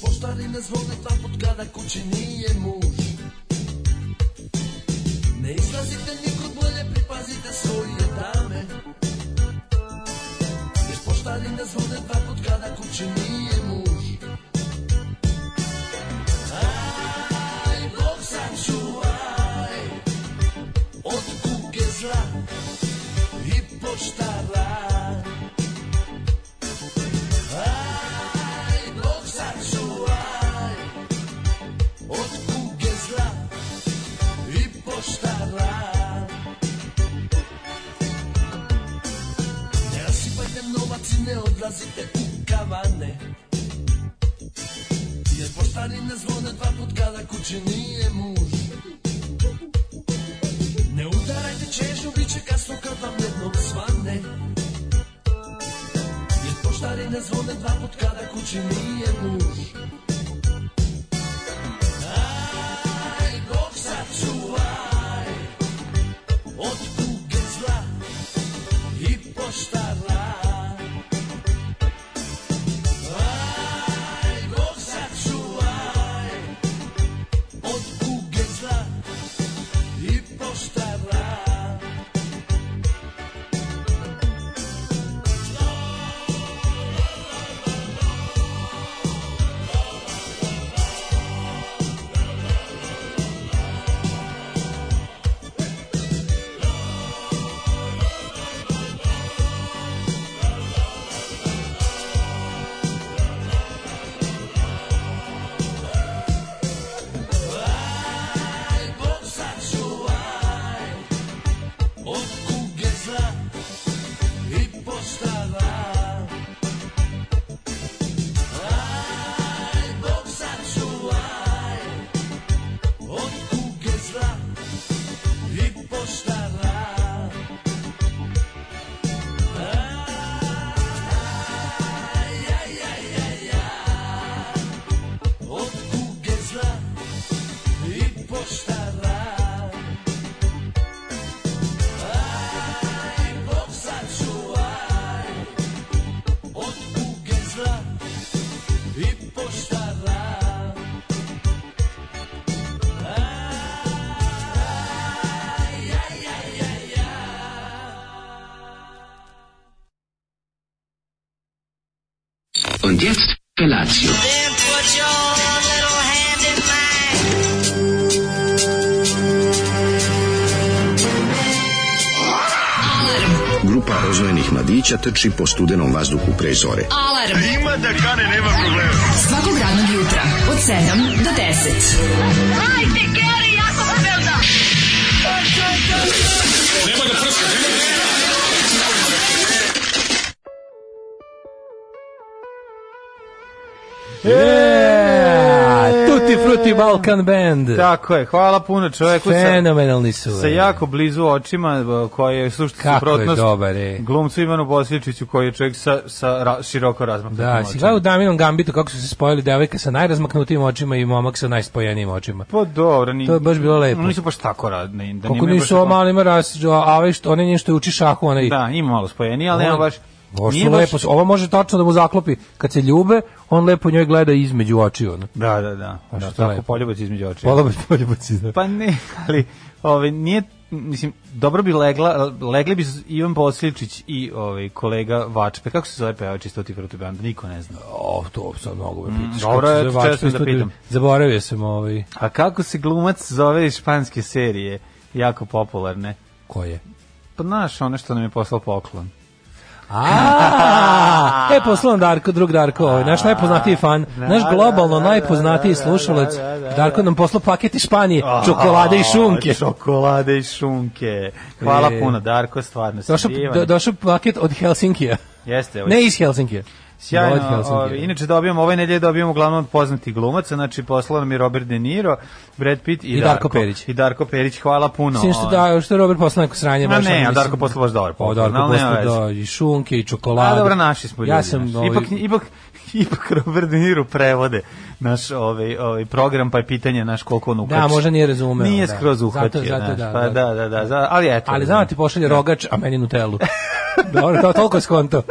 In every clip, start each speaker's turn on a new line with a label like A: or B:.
A: Poštarine zvone dva put kada kući nije muž Ne izlazite nikud bolje, pripazite svoje dame Jer poštarine zvone dva put kada kući nije muž Aj, Bog sačuvaj Od kuke zla i poštara Aj, Bog sačuvaj Od kuge zla i poštara Ne rasipajte novac i ne odlazite u kavane Jer poštarine zvone dva put kada kući nije muž Ne udarajte češnju, bit će kasno kad vam jednom svane Jer poštarine zvone dva put kada kući nije muž Aj, Bog sačuvaj Od kuge zla i poštara Aj, Bog sačuvaj Od kuge zla i poštara Aj, Bog sačuvaj Od kuge zla i poštara Aj, Bog sačuvaj Od kuge zla i poštara Aj, aj, aj, aj, aj Od kuge zla i poštara Aj, Bog sačuvaj Od kuge zla i poštara Aj, aj, aj, aj,
B: Und jetzt Felatio.
C: Then put your little hand in mine.
D: Grupa rozvojenih mladića trči po studenom vazduhu pre zore.
E: Alarm. A ima da kane, nema problema. Svakog radnog jutra, od 7 do 10. Hajde, Geri, jako pobelda.
F: Yeah! Tutti Frutti Balkan Band.
G: Tako je, hvala puno čoveku sa,
F: Fenomenalni su.
G: sa jako blizu očima e, koje je suštinska
F: Kako je
G: suprotnost
F: dobar, e.
G: glumcu Ivanu Bosličiću koji je čovjek sa, sa ra, široko razmaknutim
F: Da, si
G: očima.
F: gledao u Daminom Gambitu kako su se spojili devojka sa najrazmaknutijim očima i momak sa najspojenijim očima.
G: Pa dobro, ni,
F: To je baš bilo lepo.
G: Oni su baš tako radni. Da
F: Kako
G: nemaju
F: nisu
G: baš
F: ova
G: tako-
F: mala ima ras, a a ovaj što, on je što uči šahu, onaj...
G: Da, ima malo spojeni, ali nema
F: on-
G: baš...
F: Baš
G: nije
F: su
G: baš-
F: lepo, su- ovo može tačno da mu zaklopi. Kad se ljube, on lepo njoj gleda između očiju. Ono.
G: Da, da, da.
F: A
G: Baš
F: što
G: tako
F: lepo.
G: poljubac između očiju.
F: Poljubac, poljubac, da.
G: Pa ne, ali ovaj nije mislim dobro bi legla legli bi Ivan Bosličić i ovaj kolega Vačpe. Kako se zove pevač iz Tutti Frutti Band? Niko ne zna.
F: O, to sad mnogo me pitaš.
G: Mm, dobro,
F: kako se
G: eto,
F: zove,
G: često da
F: vačpe,
G: pitam.
F: Zaboravio sam ovaj...
G: A kako se glumac zove iz španske serije? Jako popularne.
F: Ko je?
G: Pa znaš ono što nam je poslao poklon.
F: A, e, poslao nam Darko, drug Darko, ovaj, naš najpoznatiji fan, naš globalno najpoznatiji slušalac. Darko nam poslao paket iz Španije, čokolade i šunke.
G: A, Čokolade i šunke. Hvala
F: E.
G: puno, Darko, stvarno si
F: Došao,
G: divan.
F: do, došao paket od Helsinkija.
G: Jeste, ovaj
F: Ne iz Helsinkija.
G: Sjajno,
F: Od Helsinkija.
G: ovaj, inače dobijamo, ove nedelje dobijamo uglavnom od poznatih glumaca, znači poslao nam je Robert De Niro, Brad Pitt i,
F: I Darko Perić.
G: I Darko Perić, hvala puno.
F: Sin što,
G: ovaj.
F: da, što je Robert poslao neko sranje.
G: Ma
F: baš ono,
G: ne, a
F: mislim-
G: Darko poslao baš dobar
F: O,
G: poklon,
F: Darko
G: ali nema
F: poslao da,
G: veze.
F: i šunke i čokolade.
G: A dobro, naši smo ljudi.
F: Ja sam,
G: znaš.
F: ovaj,
G: ipak, ipak, ipak Robert De Niro prevode naš ovaj, ovaj program, pa je pitanje naš koliko on ukači.
F: da, možda nije razumeo.
G: Nije
F: da.
G: skroz
F: Zato-
G: uhvatio,
F: zato
G: znaš,
F: da,
G: pa
F: da.
G: da, da, da, za- ali eto.
F: Ali znam da ti pošalje rogač, a meni Nutellu. Dobro, to toliko skonto.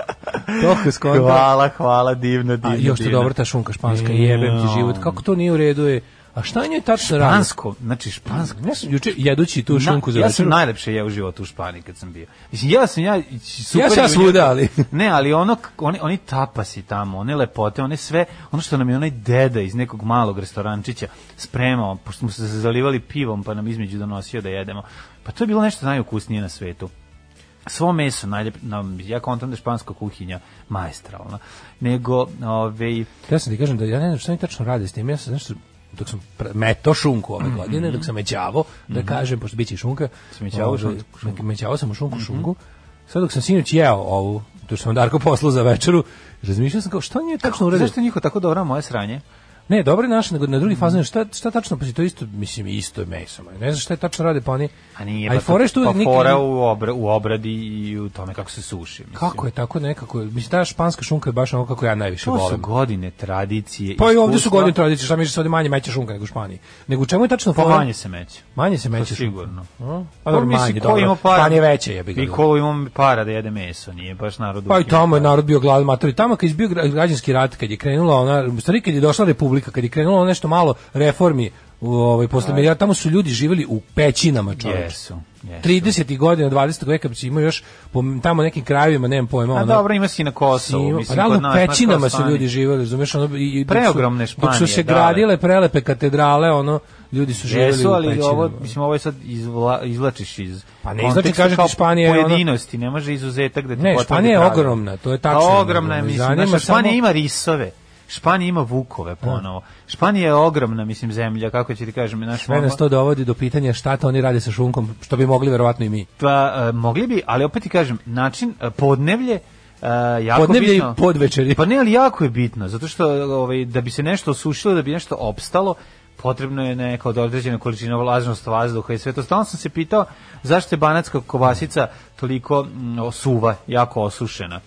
F: Toliko skonto.
G: Hvala, hvala, divno, divno.
F: A još to
G: divno.
F: dobro ta šunka španska, jebem ti život. Kako to nije u redu je? A šta njoj tačno radi?
G: Špansko, znači špansko.
F: Ja sam juče jedući tu šunku za
G: ja sam
F: večeru.
G: najlepše jeo u životu u Španiji kad sam bio. Mislim, jeo sam ja super.
F: Ja sam ja
G: junjaka.
F: svuda, ali-
G: ne, ali ono, k- oni, oni tapasi tamo, one lepote, one sve, ono što nam je onaj deda iz nekog malog restorančića spremao, pošto smo se zalivali pivom, pa nam između donosio da jedemo. Pa to je bilo nešto najukusnije na svetu. Svo meso, najljep, na, ja kontam da je španska kuhinja maestralna, nego, ovaj,
F: Ja sam ti kažem da ja ne znam šta mi tačno rade s tim. Ja sam nešto dok sam pre- meto šunku
G: Mhm.
F: ove godine, dok sam mećavo, da kažem, pošto biće i šunka.
G: Si mećavao
F: ovaj,
G: Mhm. šunku, šunku. Mhm.
F: Mećavao sam u šunku šunku. Sad dok sam sinoć jeo ovu, to što sam Darko poslao za večeru, razmišljao sam kao, što nije tačno uredio?
G: zašto je njihov tako dobro moje sranje?
F: Ne, dobro je naš, nego na drugi fazon, šta, šta tačno, pa to je isto, mislim, isto je meso. ma, Ne znam šta je tačno rade, pa oni...
G: A nije,
F: a i
G: pa,
F: fore što
G: pa
F: uvijek neki-
G: fora u, obra, u obradi i u tome kako se suši. Mislim.
F: Kako je tako nekako, mislim, ta španska šunka je baš ono kako ja najviše
G: To su
F: volim.
G: godine tradicije.
F: Pa i ovdje su
G: iskustva.
F: godine tradicije, šta mi se ovdje manje meće šunka nego u Španiji. Nego u čemu je tačno
G: Pa
F: fora?
G: manje se meće.
F: Manje se meće
G: To sigurno.
F: A? Pa dobro, manje,
G: ko
F: dobro.
G: ima para-
F: Manje veće, jebi ga.
G: I ko ima para da jede meso, nije baš narod.
F: Pa i
G: uvijek ima
F: tamo je
G: para.
F: narod bio gladan mater. I tamo kad je bio gra- građanski rat, kad je krenula ona, u stvari kad je došla republika, kad je krenulo ono nešto malo reformi, u, ovaj, posle mira, tamo su ljudi živjeli u pećinama čoveče.
G: Jesu, jesu.
F: 30. godina 20. veka bi se imao još po tamo nekim krajevima, nemam pojma.
G: A
F: ono,
G: Pa dobro, ima si na Kosovu.
F: Simo, pa
G: mislim,
F: realno
G: kod nas, znaš, kao
F: pećinama su
G: Španija.
F: ljudi živeli, razumeš, ono, i, i dok su-
G: Preogromne
F: Dok su se
G: Španije, da,
F: gradile prelepe katedrale, ono, ljudi su živeli
G: Jesu,
F: u
G: ali
F: pećinama.
G: ovo, mislim, ovo je sad izvla, izlačiš iz
F: Pa ne izlači,
G: konteksta
F: kažem ti,
G: kao
F: Španija je ono-
G: pojedinosti, ne može izuzetak da ti
F: Ne,
G: potvrdi
F: Španija je
G: pravilo.
F: ogromna, to je
G: Pa
F: tačno.
G: ogromna je,
F: Me
G: mislim,
F: zanima
G: znaš, Španija
F: samo-
G: ima risove. Španija ima vukove ponovo. Španija je ogromna, mislim, zemlja, kako ću ti kažem, naš
F: Sve nas to dovodi do pitanja šta to oni rade sa šunkom, što bi mogli verovatno i mi.
G: Pa, e, mogli bi, ali opet ti kažem, način, e, podnevlje, e, jako
F: Podneblje i
G: bitno.
F: podvečeri.
G: Pa ne, ali jako je bitno, zato što ovaj, da bi se nešto osušilo, da bi nešto opstalo, potrebno je neka od određena količina vlažnost vazduha i sve to. Stalno sam se pitao zašto je banatska kobasica toliko mm, suva, jako osušena.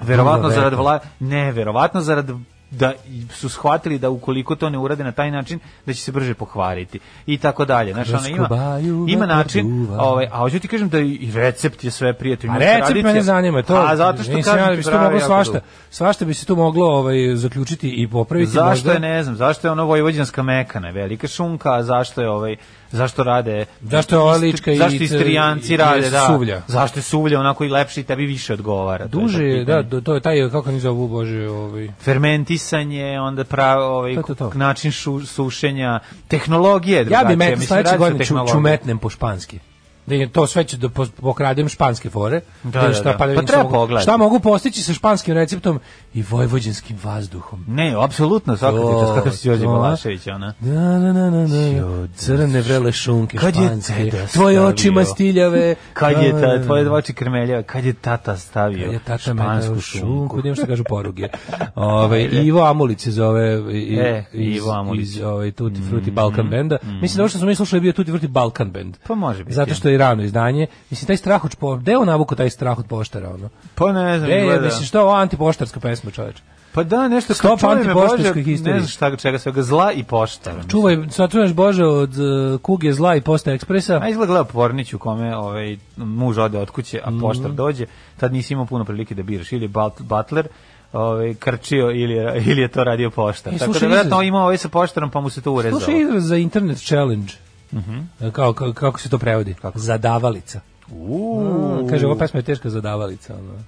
G: Verovatno
F: Dobro,
G: zarad
F: verovatno.
G: vla... Ne, verovatno zarad da su shvatili da ukoliko to ne urade na taj način da će se brže pokvariti i tako dalje. Znaš,
F: Kroz
G: ono, ima,
F: kobaju
G: ima
F: vetar
G: način,
F: duva.
G: ovaj, a hoću ti kažem da i recept je sve
F: A
G: prijatelj. ima
F: recept
G: tradicija.
F: mene zanima, to.
G: A zato što
F: mislim,
G: kažem
F: ja
G: ti
F: bi se tu
G: prave
F: moglo
G: jako
F: svašta.
G: dugo.
F: Svašta bi se tu moglo ovaj zaključiti i popraviti
G: Zašto
F: možda.
G: je, ne znam, zašto je ono vojvođanska mekana, velika šunka, a zašto je ovaj, zašto rade...
F: Zašto je ova lička i-
G: Zašto istrijanci
F: i-
G: rade,
F: i
G: da.
F: suvlja?
G: Zašto je suvlja onako i lepše i tebi više odgovara. to je sad
F: Duže je, da,
G: pitanje.
F: do- to je taj, kako oni zovu, bože, ovaj...
G: fermentisanje, onda pravi ovaj
F: To, to, to.
G: način šu- sušenja, tehnologije je
F: Ja
G: drugačija.
F: bi met,
G: mislim,
F: sledeće
G: radi se o
F: godine ću,
G: tehnologiji.
F: čumetnem po španski. Da je to sve ću da pos- pokradem španske fore.
G: Da,
F: vidim
G: da, da. Pa
F: vidim šta
G: treba
F: mogu-
G: pogledati.
F: Šta mogu postići sa španskim receptom i vojvođanskim vazduhom.
G: Ne, apsolutno, svaka ti
F: To,
G: čast, kakav si Đorđe ono.
F: to.
G: Balašević, ona.
F: Na, na, na, na, na. Crne vrele šunke
G: Kad je
F: španske.
G: deda
F: Tvoje
G: stavio?
F: oči mastiljave.
G: Kad je
F: Da, da,
G: ta,
F: da.
G: tvoje dvoči krmelja, kad je tata stavio
F: Kad je tata
G: špansku
F: metao
G: šunku?
F: šunku, nema što kažu poruge. Ove, Ivo Amulić se zove i,
G: E,
F: iz,
G: Ivo Amulić. Mhm.
F: iz ove, Tutti Frutti Balkan benda. Mislim da ovo što smo mi slušali je bio Tutti Frutti Balkan band.
G: Pa može biti.
F: Zato što je i rano izdanje. Mislim, taj strah od po... Gde je on navuko taj strah od poštara, ono?
G: Pa ne znam,
F: Gde je,
G: izgleda.
F: mislim, što je ovo antipoštarska pesma, čoveče?
G: Pa da, nešto
F: Stop
G: kao čuvaj me,
F: antipoštanskoj
G: Bože,
F: historiji.
G: Ne znam šta, čega svega, zla i pošta.
F: Čuvaj, sačuvaš Bože od e, kuge zla i posta ekspresa.
G: A izgleda gleda Pornić u kome ovaj, muž ode od kuće, a poštar
F: Mhm.
G: dođe. Tad nisi imao puno prilike da biraš. Ili je Bat- Butler ovaj, krčio ili je, ili je to radio poštar.
F: E,
G: Tako da
F: slušaj,
G: vjerojatno
F: izraz-
G: ima ovaj sa poštarom pa mu se to urezao.
F: Slušaj izraz za internet challenge.
G: Mhm.
F: E, Kao, kao- kako se to prevodi? Zadavalica.
G: Uuu.
F: Kaže, ova pesma je teška zadavalica. Ono.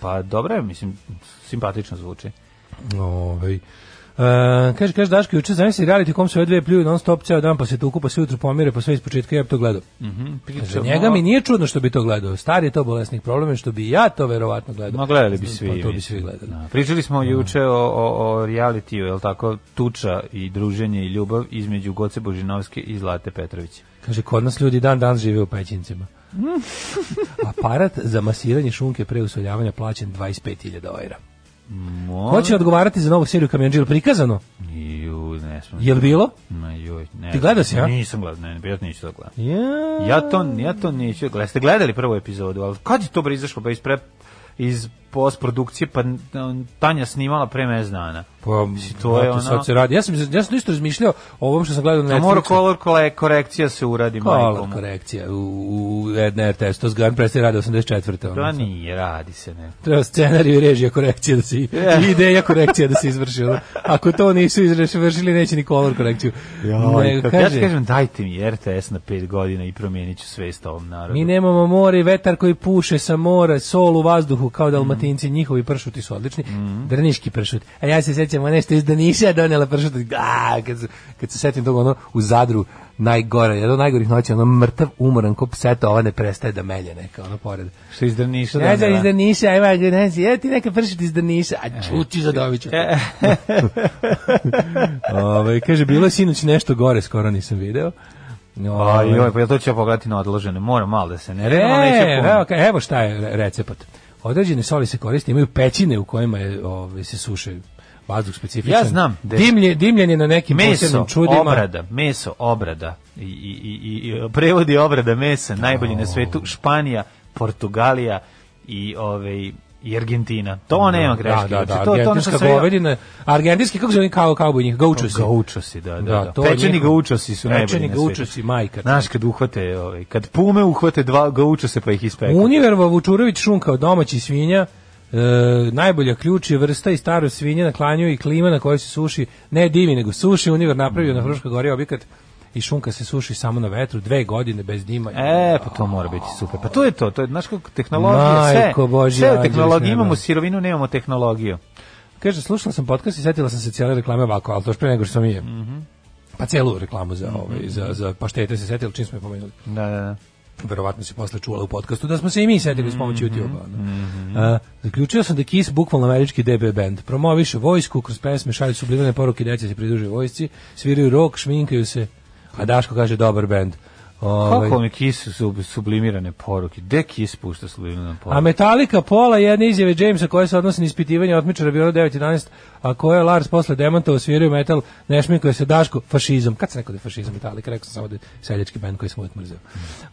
G: Pa dobro je, mislim, simpatično zvuči.
F: Ovaj. E, kaže, kaže Daško, juče zamisli reality kom se ove dve pljuju non stop ceo dan, pa se tuku, pa se jutro pomire, pa sve ispočetka, ja bi to gledao. Mhm. Za njega mi nije čudno što bi to gledao. Stari je to bolesnik problem, je što bi ja to verovatno gledao.
G: Ma gledali bi svi.
F: Pa to bi
G: mislim.
F: svi gledali.
G: Da. Pričali smo juče o, o, o realitiju, jel tako, tuča i druženje i ljubav između Goce Božinovske i Zlate Petrovića.
F: Kaže, kod nas ljudi dan dan žive u pećincima. Aparat za masiranje šunke pre usoljavanja plaćen 25.000 ojra. Ko će odgovarati za novu seriju Kamionđil prikazano?
G: Ju, ne smem.
F: Jel bilo?
G: Ma joj, ne.
F: Ti gledao si, a?
G: Nisam gledao, ne, ne, ja to neću da gledam.
F: Ja.
G: Ja to, ja to neću da gledam. Ste gledali prvu epizodu, ali kad je to bre izašlo? Pa iz, pre, iz postprodukcije, pa n- Tanja um, snimala pre mes dana.
F: Pa,
G: Mislim, to je
F: brate,
G: ono-
F: Sad se radi. Ja sam, ja sam isto razmišljao o ovom što sam gledao na
G: A
F: Netflixu.
G: mora kolor kole- korekcija se uradi
F: Kola,
G: majkom.
F: korekcija. U, u na RTS, to zgan prestaje radi 84.
G: Da
F: Ono.
G: nije, radi se ne.
F: Treba scenariju i režija korekcija da se, i ideja korekcija da se izvrši. ono. Ako to nisu izvršili, neće ni kolor korekciju. Nego,
G: Ovaj, Kako ja ti
F: kaže,
G: kažem, dajte mi RTS na pet godina i promijenit ću svest ovom narodu.
F: Mi nemamo more i vetar koji puše sa mora, sol u vazduhu kao
G: Mm.
F: dalmatinci, njihovi pršuti su odlični, drniški pršut. A ja se sjećam, ona je nešto iz Daniša donela pršut, a, kad, se- kad se setim toga, ono, u Zadru, najgore, jedan od najgorih noći, ono, mrtav, umoran, ko pseta, ova ne prestaje da melje neka, ono, pored.
G: Što iz Drniša
F: Ne znam,
G: donela.
F: iz Drniša, ima, ne znam, evo ti neka pršut iz Drniša,
G: E.
F: a čuči za Dovića. Ove, kaže, bilo je sinoć nešto gore, skoro nisam video.
G: Aj,
F: Ove,
G: joj, pa ja to ću ja pogledati na odložene. Moram malo da se ne redam, ali neće
F: E,
G: puno.
F: evo, ka- evo šta je re- recept. Određene soli se koriste, imaju pećine u kojima je, ove, se suše vazduh specifičan.
G: Ja znam gde.
F: Dimlje, dimljen je na nekim
G: Meso,
F: posebnim čudima.
G: obrada, meso, obrada. I, i, i, i prevodi obrada mesa, najbolji na svetu, Španija, Portugalija i ove i Argentina. To nema greške.
F: Da, da, da,
G: znači, to, to je ono što
F: argentinska
G: sve-
F: govedina. Argentinski, kako se oni kao kauboj njih? Gaučosi.
G: Gaučosi, da, da.
F: Da,
G: da.
F: to je
G: Pečeni
F: njihov-
G: gaučosi su najbolji
F: Pečeni
G: na svijetu.
F: gaučosi, majka.
G: Znaš, kad uhvate, ovaj, kad pume uhvate dva gaučose pa ih ispeku.
F: Univerva Vučurović šun kao domaći svinja, e, najbolja ključ je vrsta i staro svinje na klanju i klima na kojoj se suši, ne dimi nego suši, Univer napravio
G: Mhm.
F: na Fruškoj gori objekat i šunka se suši samo na vetru, dve godine bez dima.
G: E, pa to mora biti super. Pa to je to, to je, znaš kako tehnologija,
F: Majko
G: sve,
F: Božja,
G: sve je
F: anđeli s
G: tehnologija,
F: neba.
G: imamo sirovinu, nemamo tehnologiju.
F: Kaže, slušala sam podcast i setila sam se cijele reklame ovako, ali to još pre nego što sam je.
G: Mhm.
F: Pa celu reklamu za, ovaj, za, za paštete se setila, čim smo je pomenuli.
G: Da, da, da.
F: verovatno se posle čula u podcastu, da smo se i mi setili s pomoću YouTube-a. da. A, zaključio sam da Kiss bukvalno američki DB band. Promoviše vojsku, kroz pesme šalju sublimirane poruke, deca se pridružuju vojsci, sviraju rock, šminkaju se, a Daško kaže dobar band. Ovaj,
G: Kako mi kisu su sublimirane poruke? Gde kis pušta sublimirane
F: A
G: poruke?
F: Metallica pola jedne izjave Jamesa koja se odnosi na ispitivanje otmičara Biora 911, a koja je Lars posle demantovao sviraju metal, ne šminkuje se Daško, fašizam. Kad se neko da je fašizam Metallica, rekao sam samo da je seljački band koji sam uvijek mrzeo.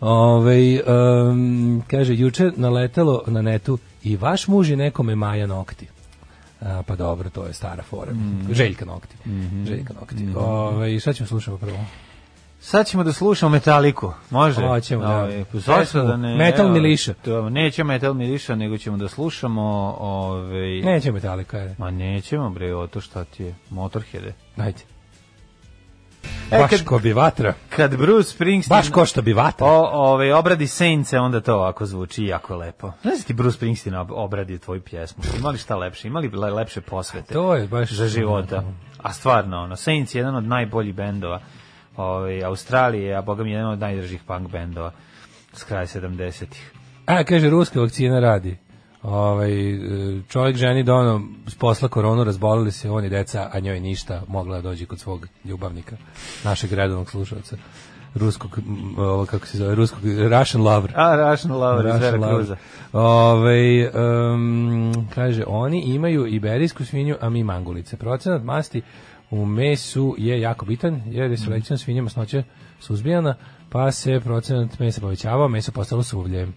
F: Ovaj, em, kaže, juče naletelo na netu i vaš muž je nekome Maja Nokti. A, pa dobro, to je stara fora.
G: Mhm.
F: Željka Nokti. Željka Nokti. Ovaj, šta ćemo slušati prvo?
G: Sad ćemo da slušamo Metaliku, može?
F: Hoćemo, da.
G: Ovaj, pa zašto da ne,
F: Metal
G: evo,
F: Miliša.
G: To, neće Metal Miliša, nego ćemo da slušamo... Ovaj,
F: Neće Metallica, ajde.
G: Ma nećemo, bre, o to šta ti je, Motorheade.
F: Ajde.
G: E,
F: Baš
G: kad-
F: ko bi vatra.
G: Kad Bruce Springsteen...
F: Baš ko što bi vatra.
G: O, ove, Pa, ovaj, obradi Sence, onda to ovako zvuči jako lepo. Znaš da ti Bruce Springsteen ob- obradi tvoju pjesmu? Imali šta lepše? Imali bi le- lepše posvete?
F: To je baš-
G: Za života. A stvarno, ono, Saints je jedan od najboljih bendova ove, Australije, a boga mi jedan od najdražih punk bendova s kraja 70-ih.
F: A, kaže, ruska vakcina radi. Ovaj, e, čovjek ženi dono s posla koronu, razbolili se on i deca, a njoj ništa, mogla je dođi kod svog ljubavnika, našeg redovnog slušalca ruskog, m, ovo, kako se zove, ruskog, Russian lover.
G: A, Rašno Lover iz
F: Russian
G: Vera
F: lover.
G: Cruza.
F: Ovaj, em, kaže, oni imaju iberijsku svinju, a mi mangulice. Procenat masti u mesu je jako bitan, jer je selekcijom svinja masnoća suzbijana, pa se procenat mesa povećavao, meso postalo suvlje.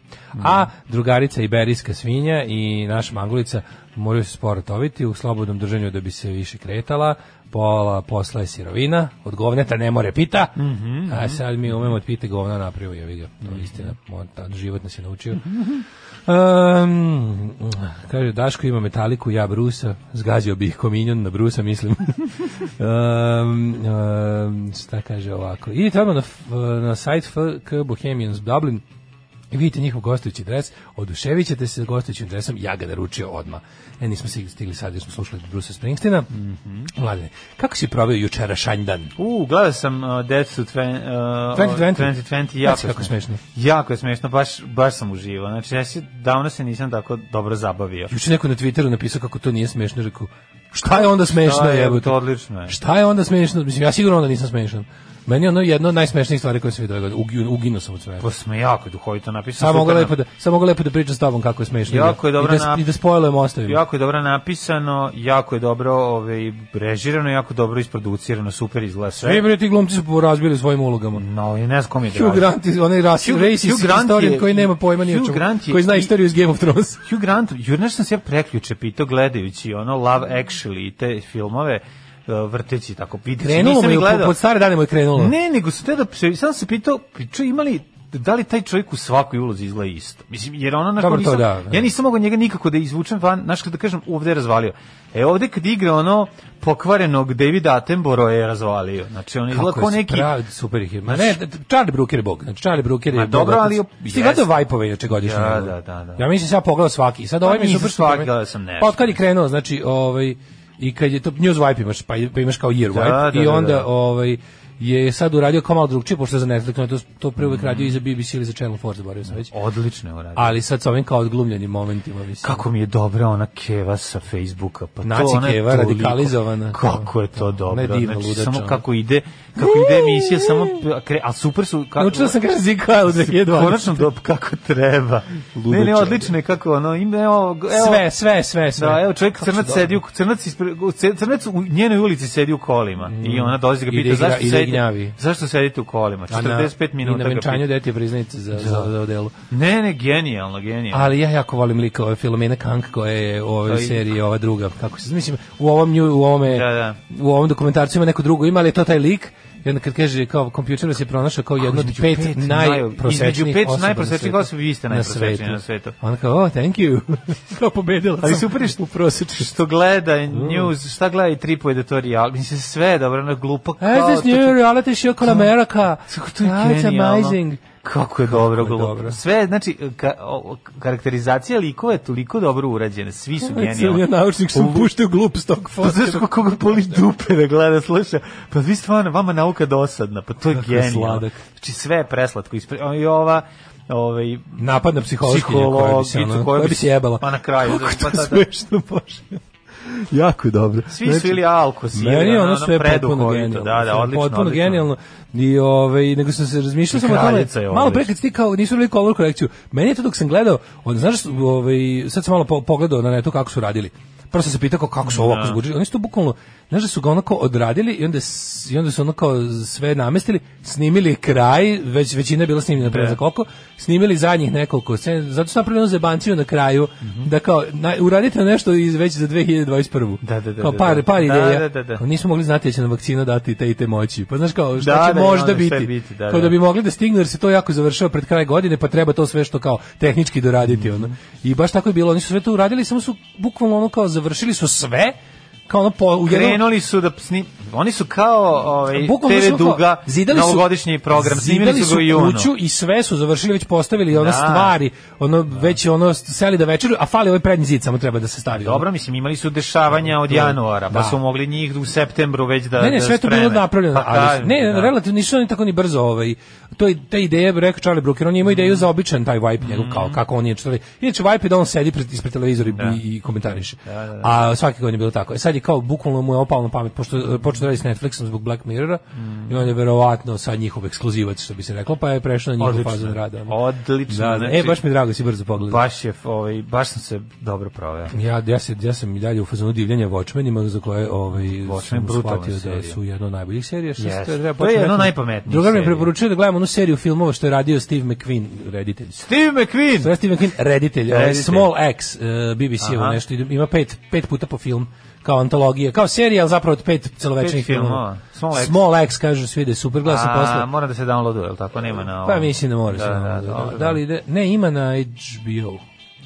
F: A drugarica iberijska svinja i naša mangulica moraju se sporo toviti u slobodnom držanju da bi se više kretala, pola posla je sirovina, od govneta ne more pita, a sad mi umemo od pite govna napravio, je vidio, to je istina, on tad život nas je naučio. Um, kaže, Daško ima metaliku, ja Brusa, zgazio bih kominjon na Brusa, mislim. um, um, šta kaže ovako? Idite odmah na, f- na sajt FK Bohemians Dublin i vidite njihov gostujući dres, oduševit ćete se gostujućim dresom, ja ga naručio odmah. E, nismo stigli- stigli sad, jer smo slušali Brusa Springsteena. Mm kako si proveo jučera šanjdan?
G: U, gledao sam uh, Death to Twen- uh,
F: 2020.
G: 2020, jako
F: Znači kako je smešno.
G: Jako je smešno, baš, baš sam uživao. Znači, ja se, davno se nisam tako dobro zabavio.
F: Juče neko na Twitteru napisao kako to nije smešno, rekao, šta je onda smešno,
G: Šta je,
F: jebote?
G: to odlično je.
F: Šta je onda smešno? Mislim, ja sigurno onda nisam smešan. Meni je ono jedno od najsmešnijih stvari koje se vidio, Ugi- uginuo sam od smeha.
G: Pa smo jako duhovito napisano.
F: Samo mogu
G: Super
F: lepo da samo mogu lepo da pričam s tobom kako je smešno.
G: Jako je
F: bilo.
G: dobro
F: I da,
G: nap-
F: i da spoilujem ostavim.
G: Jako je dobro napisano, jako je dobro ovaj, režirano, jako dobro isproducirano, super izgleda
F: Ej,
G: sve.
F: bre, ti glumci su razbili svojim ulogama.
G: No, i ne znam kom je
F: Hugh
G: draže.
F: Grant, je onaj ras,
G: Mm, Hugh-
F: racist
G: Hugh Grant
F: historian
G: je-
F: koji nema pojma ni o
G: Hugh
F: čemu,
G: Grant je
F: koji zna
G: i-
F: istoriju iz Game of Thrones.
G: Hugh Grant, ju nešto sam se ja preključe pitao gledajući ono Love rušili i te filmove uh, vrteći tako videći.
F: Krenulo
G: Nisam
F: mu
G: ih
F: je, po-
G: gledao. Mm.
F: pod stare dane mu je krenulo.
G: Ne, nego su te da se sam se pitao, priču imali da li taj čovjek u svakoj ulozi izgleda isto. Mislim jer ona
F: Dobro,
G: na
F: to
G: nisam,
F: da, da.
G: ja nisam mogao njega nikako da izvučem van, znaš kad da kažem, ovde je razvalio. E ovde kad igra ono pokvarenog David Attenborough je razvalio. Znači on izgleda
F: Kako
G: kao
F: si
G: neki
F: pravi, super ih je. Ma ne, d- d- Charlie Brooker je bog. Znači, Charlie Brooker je...
G: Ma dobro,
F: bog.
G: ali je-
F: Sti gledao
G: jeste.
F: Vajpove juče godišnje.
G: Da,
F: ono?
G: da, da, da. Pa
F: Ja mislim sam ja pogledao svaki. Sad ovaj mi je
G: nisam
F: super što
G: svaki,
F: promenio.
G: gledao sam nešto.
F: Pa od kad je krenuo, znači, ovaj, i kad je to News Vibe imaš, pa, pa imaš kao Year
G: Da,
F: Vibe.
G: da,
F: I
G: da,
F: onda,
G: da.
F: ovaj, je sad uradio kao malo drugčije, pošto je za Netflix, no, to, to pre uvek radio i za BBC ili za Channel 4, zaboravio sam već.
G: odlično je uradio.
F: Ali sad sa ovim kao odglumljenim momentima, mislim.
G: Kako mi je dobra ona keva sa Facebooka. Pa
F: Naci
G: to ona je
F: keva,
G: toliko-
F: radikalizovana.
G: Kako je to
F: Ona
G: dobro.
F: je divna
G: znači,
F: ludača, ono.
G: samo
F: ona.
G: kako ide, kako ide emisija, samo kre, a super su kako
F: Naučila sam kaže Zika u 2020.
G: Konačno do kako treba. Ne, ne,
F: Ludača,
G: odlično je kako ono, ima evo, evo
F: Sve, sve, sve, sve.
G: Da, evo čovjek
F: Kako
G: crnac
F: su
G: sedi u crnac ispred u ce- crnac u njenoj ulici sedi u kolima i ona dolazi ga
F: Mm. I da
G: pita
F: igra-
G: zašto
F: i da
G: sedite
F: gnjavi."
G: zašto sedite u kolima
F: A na-
G: 45
F: I
G: minuta
F: na
G: ga
F: venčanju
G: pita.
F: dete priznajte za, za, za odelu.
G: Ne, ne, genijalno, genijalno.
F: Ali ja jako volim lika ove Filomena Kank koja je u ovoj
G: E. To je-
F: seriji ova druga. Kako se mislim u ovom nju- u ovome
G: Da, da.
F: u ovom dokumentarcu ima neko drugo ima ali je to taj lik i onda kad kaže kao kompjuter se pronašao kao jedno od
G: između
F: pet,
G: pet
F: najprosečnijih
G: između pet
F: osoba na
G: najprosečnijih
F: svetu.
G: osoba, vi ste najprosečniji na svetu.
F: Ona kao, oh, thank you. kao pobedila
G: Ali
F: sam
G: super je što-
F: u prosečnosti.
G: što gleda
F: Mm.
G: news, šta gleda i tripuje da to real, mislim sve je dobro, ono glupo
F: Hey,
G: kao...
F: this new reality show called America.
G: Kako to je
F: Ah, it's
G: genijalno.
F: amazing.
G: Kako je dobro,
F: Kako je
G: glupo.
F: dobro.
G: Sve, znači, ka, o, karakterizacija likova je toliko dobro urađena, svi su
F: Sam ja
G: genijalni.
F: naučnik sam puštio glup stok
G: Pa znaš kako ga boli dupe da gleda, sluša, pa vi stvarno, vama nauka dosadna, pa to je
F: Kako je
G: genijalno.
F: sladak.
G: Znači sve je preslatko, ispre, i ova, ovaj,
F: napad na psihološkinju koja bi se,
G: psihologicu
F: ono, koja bi se jebala.
G: Pa na kraju.
F: Kako
G: pa
F: to
G: da, da.
F: smešno, bože. jako je dobro. Znači,
G: Svi su ili alkos, ili
F: Meni je
G: ono,
F: ono
G: ono
F: sve potpuno
G: preduhovito,
F: genijalno.
G: da,
F: sve
G: da, odlično,
F: Potpuno
G: odlično.
F: genijalno. I ovaj nego sam se razmišljao
G: I
F: sam o tome.
G: kraljica je
F: Malo
G: odlična.
F: pre kad si ti kao nisu bili color korekciju. Meni je to dok sam gledao, on znaš, ovaj sad sam malo po- pogledao na netu kako su radili. Prvo sam se pitao kao, kako su ovo ovako zbuđili. Oni su to bukvalno, znaš da su ga onako odradili i onda, s- i onda su ono kao sve namestili, snimili kraj, već, većina je bila snimljena pre za koliko, snimili zadnjih nekoliko scena, zato su napravili onu zebanciju na kraju,
G: Mhm.
F: da kao, na, uradite nešto iz, već za 2021.
G: Da, da, da,
F: Kao
G: da,
F: par,
G: da.
F: par
G: Da,
F: ideja.
G: da, da, da.
F: Nismo mogli znati da će nam vakcina dati te i te moći. Pa znaš kao, šta
G: Da,
F: će
G: da, i
F: možda
G: onda šta
F: biti.
G: je biti, da,
F: Kao
G: da.
F: bi mogli da stignu jer se to jako završava pred kraj godine, pa treba to sve što kao tehnički doraditi. ono. I baš tako je bilo. Oni su sve to uradili, samo su bukvalno ono kao završili su sve, kao ono po, u jednom-
G: Krenuli su da sni... Oni su kao ovaj,
F: Bukvalno
G: TV
F: su kao-
G: Duga,
F: zidali su-
G: novogodišnji program, snimili
F: zidali
G: su ga i ono.
F: kuću i sve su završili, već postavili ono
G: Da.
F: stvari, ono već ono seli da večeru, a fali ovaj prednji zid, samo treba da se stavi. ono.
G: Dobro, mislim, imali su dešavanja od januara, pa
F: Da.
G: su mogli njih u septembru već da
F: Ne, ne,
G: da
F: sve je to bilo
G: spreme.
F: napravljeno.
G: Pa
F: ali,
G: kažem,
F: ne,
G: da.
F: relativno nisu oni tako ni brzo ovaj. To je ta ideja, bi rekao Charlie Brooker, on je imao ideju za običan taj vibe njegov
G: Mm.
F: kao kako on je čovjek. Inače vibe je da on sedi pred ispred televizora i, i, i komentariše. A svake godine je bilo tako. E sad je kao bukvalno mu je opalo na pamet pošto e, počeo da radi s Netflixom zbog Black Mirrora
G: Mm.
F: i on je verovatno sad njihov ekskluzivac što bi se reklo, pa je prešao na njihov
G: Odlično.
F: fazon rada. ono.
G: Odlično,
F: Da, da. E
G: znači-
F: baš mi je drago si brzo pogledao.
G: Baš je, ovaj, baš sam se dobro proveo.
F: Ja, ja, se, ja sam i dalje u fazonu divljenja Watchmenima za koje ovaj, sam
G: brutalna
F: shvatio da
G: serija.
F: su jedna od najboljih serija. Šta se
G: Jeste.
F: treba
G: To je
F: početi
G: jedna od
F: nekom-
G: najpametnijih
F: Drugar mi je
G: serija.
F: preporučio da gledam onu seriju filmova što je radio Steve McQueen, reditelj.
G: Steve McQueen!
F: Sve Steve McQueen, reditelj, ovaj,
G: Reditelj.
F: Small X, eh, BBC, ovo
G: Aha.
F: nešto, ima pet, pet puta po film, kao antologija, kao serija, ali zapravo od pet celovečnih
G: Pet filmova.
F: filmova.
G: Small X.
F: Small X, kažu svi da je super, gledao sam
G: A,
F: posle.
G: mora da se downloaduje, jel tako? Nema na...
F: Pa
G: ovom.
F: mislim da mora
G: Da,
F: se
G: da,
F: navoditi.
G: dobro,
F: Da li ide? Ne, ima na HBO.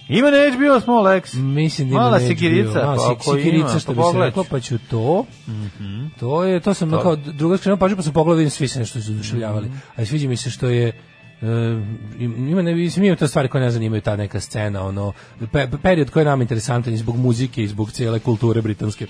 G: Ima na HBO Small X.
F: Mislim da ima
G: Mala
F: na HBO.
G: sikirica,
F: Mala
G: pa
F: si-
G: ako
F: sikirica,
G: ima,
F: što
G: pa
F: bi se
G: pogledaj. Mhm.
F: reklo, pa ću to. To je, to sam kao druga skrenuo pažnju, pa sam pogledao, vidim svi se nešto
G: Mhm.
F: zaduševljavali. A i sviđa mi se što je e, im- ima ne mislim ima to stvari koje ne zanimaju ta neka scena ono pe, period koji je nama interesantan i zbog muzike i zbog cijele kulture britanske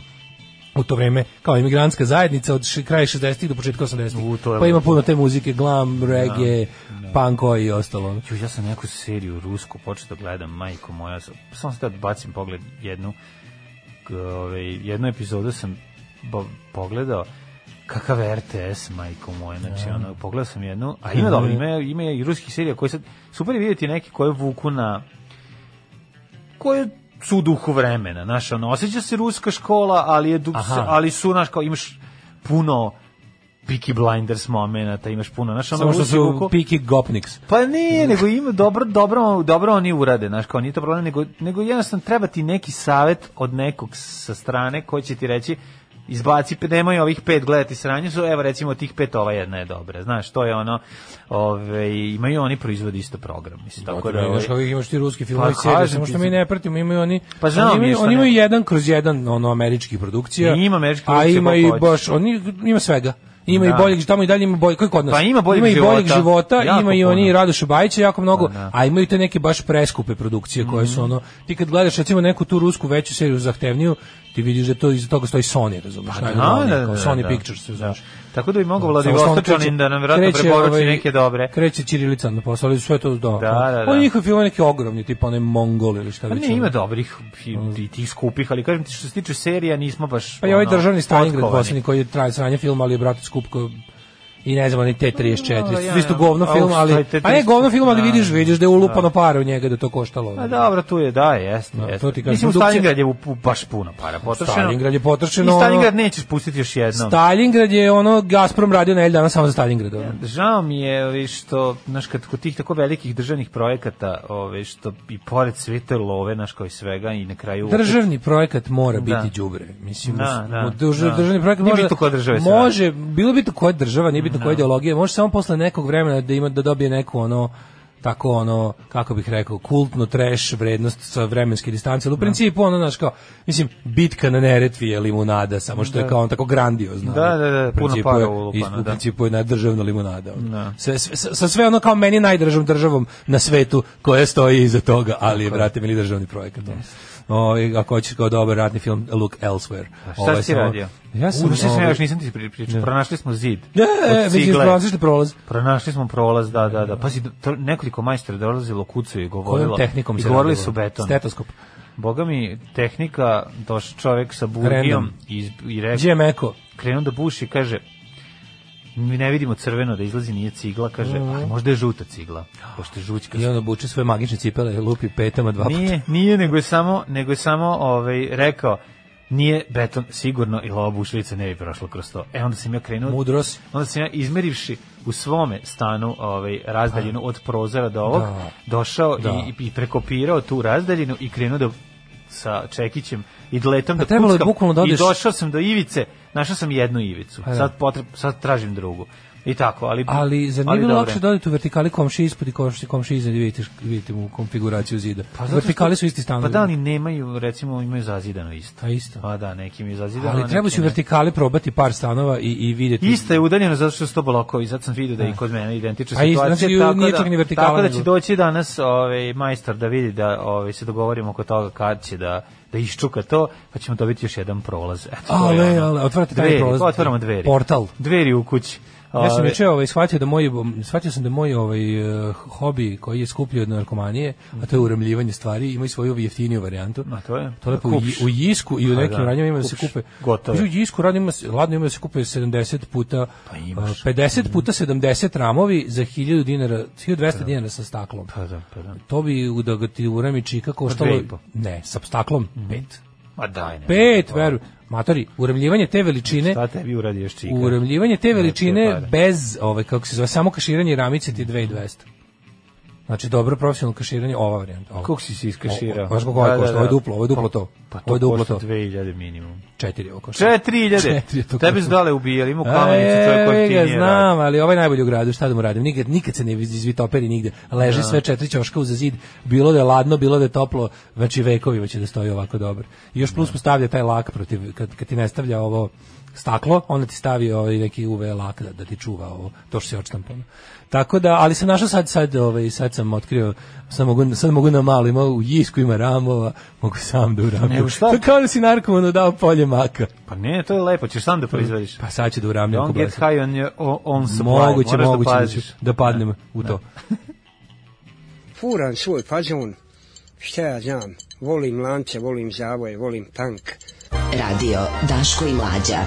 F: u to vreme kao imigrantska zajednica od š- kraja 60-ih do početka 80-ih
G: to je
F: pa ima puno te muzike glam reggae punk i ostalo ono.
G: Ju, ja sam neku seriju rusku počeo da gledam, majko moja. Samo sad bacim pogled jednu, k- ovaj, jednu epizodu sam bo- pogledao, kakav RTS, majko moja, znači, ono, pogledao sam jednu, a ima dobro, ima, ima i ruskih serija koje sad, super je vidjeti neki koje vuku na, koje su u duhu vremena, znaš, ono, osjeća se ruska škola, ali, je, du-
F: Aha.
G: ali su, znaš, kao imaš puno Peaky Blinders momenata, imaš puno, znaš, ono
F: Samo što
G: uzi
F: su
G: ruku-
F: Piki Gopniks.
G: Pa nije, nego ima dobro, dobro, dobro oni urade, znaš, kao nije to problem, nego, nego jednostavno treba ti neki savet od nekog sa strane koji će ti reći izbaci pe- nemoj ovih pet gledati sranje su evo recimo od tih pet ova jedna je dobra znaš to je ono ove, imaju oni proizvodi isto program mislim tako da
F: Znaš kako
G: ovaj,
F: imaš ti ruski film i
G: Pa,
F: serije,
G: kažem
F: samo
G: ti
F: što mi
G: sad.
F: ne pratimo, imaju oni,
G: Pa znam
F: oni
G: ja
F: imaju,
G: šta
F: oni imaju
G: ne.
F: jedan kroz jedan ono, američkih produkcija,
G: I ima američkih
F: a
G: produkcija
F: ima i
G: koliko hoćeš.
F: baš, oni, ima svega. Ima
G: Da.
F: i boljeg, tamo i dalje ima boljeg, koji kod nas?
G: Pa ima boljeg
F: ima i boljeg
G: života.
F: života,
G: Jako
F: ima i
G: puno.
F: oni Radoša Bajića jako mnogo,
G: Da. Mhm.
F: a imaju te neke baš preskupe produkcije koje su ono, ti kad gledaš recimo neku tu rusku veću seriju zahtevniju, ti vidiš da to iza toga stoji Sony, razumeš,
G: Pa,
F: najnormalnije,
G: da, da,
F: kao
G: da,
F: Sony
G: da.
F: Pictures, razumeš.
G: tako da bi mogao
F: Samo što
G: Vladivostočanin
F: on
G: da nam vratno
F: kreće,
G: preporuči
F: ovaj,
G: neke dobre
F: Kreće Ćirilica na posao, ali sve to da.
G: da, da.
F: Oni njihov film je neki ogromni, tipa onaj Mongol ili šta
G: Pa
F: već.
G: ne,
F: ono.
G: ima dobrih i, i tih skupih, ali kažem ti što se tiče serija nismo baš
F: Pa i ovaj
G: ono,
F: državni Stalingrad
G: potkovani.
F: poslednji koji je traj sranje film, ali je brate skupko i ne znam, oni T34,
G: No, ja,
F: no, isto
G: Pa ja.
F: govno
G: Au,
F: film,
G: šta je
F: ali,
G: T34?
F: pa ne govno film, ali
G: Da,
F: vidiš, vidiš da je ulupano para u njega da to koštalo.
G: A Pa dobro, tu je, da, jeste.
F: Da,
G: jeste.
F: to ti kažem,
G: Mislim, u
F: produkcija-
G: Stalingrad je u- u- baš puno para potrošeno.
F: Stalingrad je potrošeno,
G: I Stalingrad
F: ono-
G: nećeš pustiti još jednom.
F: Stalingrad je ono, Gazprom radio na Eldana samo za Stalingrad. ono.
G: Žao mi je ovi, što, znaš, kad kod tih tako velikih državnih projekata, ove, što i pored sve te love, znaš, kao i svega, i na kraju... opet-
F: Državni projekat mora biti
G: Da.
F: đubre. Mislim,
G: Da,
F: s-
G: da,
F: drž-
G: da.
F: državni projekat
G: Nije
F: može,
G: bitno koja država je sve
F: može, bilo bi to koja država, nije bitno koja ideologija, može samo posle nekog vremena da ima da dobije neku ono tako ono kako bih rekao kultno trash vrednost sa vremenske distance ali u principu ono znaš kao mislim bitka na Neretvi je limunada samo što je kao on tako grandiozno
G: Da, da, da,
F: U
G: puno
F: principu
G: para
F: je-
G: ulupano,
F: iz- u
G: da.
F: principu je na državna limunada ono. sve, sve, sa- sa sve ono kao meni najdržavom državom na svetu koja stoji iza toga ali je brate mili državni projekat ono. Ovaj, ako hoćeš kao dobar ratni film Look Elsewhere
G: Pa Šta
F: Ovaj,
G: si
F: samo-
G: radio?
F: Ja sam...
G: U, šta si
F: ovaj, e,
G: radio, još nisam ti pri- pričao. Pronašli smo zid.
F: Ne,
G: od
F: ne, već
G: cigle.
F: izbransiš da prolaz.
G: Pronašli smo prolaz, da, da, da. Pazi, to- nekoliko majstora dolazilo u kucu i govorilo.
F: Kojom tehnikom
G: i
F: se
G: govorili
F: radilo?
G: su beton.
F: Stetoskop.
G: Boga mi, tehnika, došao čovek sa burgijom
F: Random.
G: i, i rekao,
F: Gdje je Meko?
G: krenuo da buši, kaže, mi ne vidimo crveno da izlazi, nije cigla, kaže,
F: Mhm.
G: ali možda je žuta cigla, pošto je žućka.
F: I on obuče svoje magične cipele i lupi petama dva puta.
G: Nije, nije, nego je samo, nego je samo ovaj, rekao, nije beton sigurno i lova bušilica ne bi prošla kroz to. E onda sam ja krenuo,
F: Mudro si.
G: onda sam ja izmerivši u svome stanu ovaj, razdaljinu od prozora do ovog,
F: Da.
G: došao
F: Da.
G: I, i prekopirao tu razdaljinu i krenuo da sa čekićem i letam
F: Pa
G: da
F: trebalo je
G: kuckam
F: bukvalno da
G: i
F: odeš- Pa
G: došao sam do ivice, našao sam jednu ivicu.
F: da.
G: Sad, potreb, sad tražim drugu. I tako, ali...
F: Ali zar nije bilo
G: dobro.
F: lakše dodati u vertikali komši ispod i komši, komši iznad i vidite, vidite mu konfiguraciju zida?
G: Pa zato što-
F: vertikali su isti stanovi.
G: Pa da, ali nemaju, recimo, imaju zazidano isto.
F: A isto.
G: Pa da, neki mi je zazidano.
F: Ali
G: a
F: treba
G: neki
F: si u
G: ne.
F: vertikali probati par stanova i, i vidjeti.
G: Ista je udaljeno zato što su to blokovi, zato sam vidio da je i kod mene identična
F: A isto,
G: situacija.
F: znači, ju- nije čak ni vertikala,
G: Tako da će
F: nego-
G: doći danas ovaj, majstor da vidi da ovaj, se dogovorimo oko toga kad će da, da iščuka to, pa ćemo dobiti još jedan prolaz. Eto, to je
F: Ale,
G: ono.
F: ale, otvarate taj
G: Dveri,
F: prolaz.
G: Otvaramo dveri.
F: Portal.
G: Dveri u kući.
F: Ja sam
G: Ove,
F: juče ovaj shvatio da moj shvatio sam da moj ovaj eh, hobi koji je skupljio od narkomanije, a to je uremljivanje stvari, ima i svoju jeftiniju varijantu.
G: A to je?
F: To lepo u,
G: Kupiš.
F: Ji- u Jisku i u
G: Pa
F: nekim
G: da,
F: radnjama ima da se
G: kupiš
F: kupe.
G: gotove.
F: U Jisku radnjama ima se- ladno ima da se kupe 70 puta
G: Pa imaš.
F: eh, 50 puta 70 ramovi za 1000 dinara, 1200 dinara sa staklom.
G: Pa da, pa da.
F: To bi u- da ga ti uremi čika koštalo
G: Pa dve i po. Mhm.
F: ne, sa staklom 5.
G: Ma daj, ne.
F: 5, veruj. Matori, uremljivanje te veličine
G: Šta tebi uradi još čika?
F: Uremljivanje te
G: te
F: veličine
G: pare.
F: bez ove kako se zove samo kaširanje ramice ti je 2200. Znači dobro profesionalno kaširanje ova varijanta. ova.
G: Kako si se iskaširao?
F: Baš kako ovaj košta, ovo je duplo, ovo je duplo to.
G: Pa
F: Ovo
G: to
F: je duplo
G: košta
F: to.
G: 2000 minimum.
F: 4 ovo košta.
G: 4000.
F: Četiri to
G: Tebe
F: košta.
G: su dale ubijali, ima u kamenicu čovjek
F: E,
G: koji ti
F: ga
G: nije radio.
F: znam, ali ovaj je najbolji u gradu, šta da mu radim? Nikad, nikad se ne izvitoperi nigde. Leži sve četiri ćoška uz zid, bilo da je ladno, bilo da je toplo, znači vekovima će da stoji ovako dobro. I još plus mu stavlja taj lak protiv, kad, kad ti ne stavlja ovo staklo, onda ti stavi ovaj neki UV lak da, da ti čuva ovo, to što se odštampano. Tako da, ali sam našao sad, sad, ovaj, sad sam otkrio, sad mogu, sad mogu na malo, ima u jisku, ima ramova, mogu sam da uramim.
G: Nego šta?
F: To je kao da si narkomanu dao polje maka.
G: Pa ne, to je lepo, ćeš sam da proizvodiš.
F: Pa sad će da uramljam
G: Don't get high on, your, on supply,
F: Moguće,
G: moraš
F: moguće
G: da
F: da, ću,
G: paziš.
F: da padnem u to.
H: furam svoj fazon, šta ja znam, volim lance, volim zavoje, volim tank.
E: Radio Daško i Mlađa.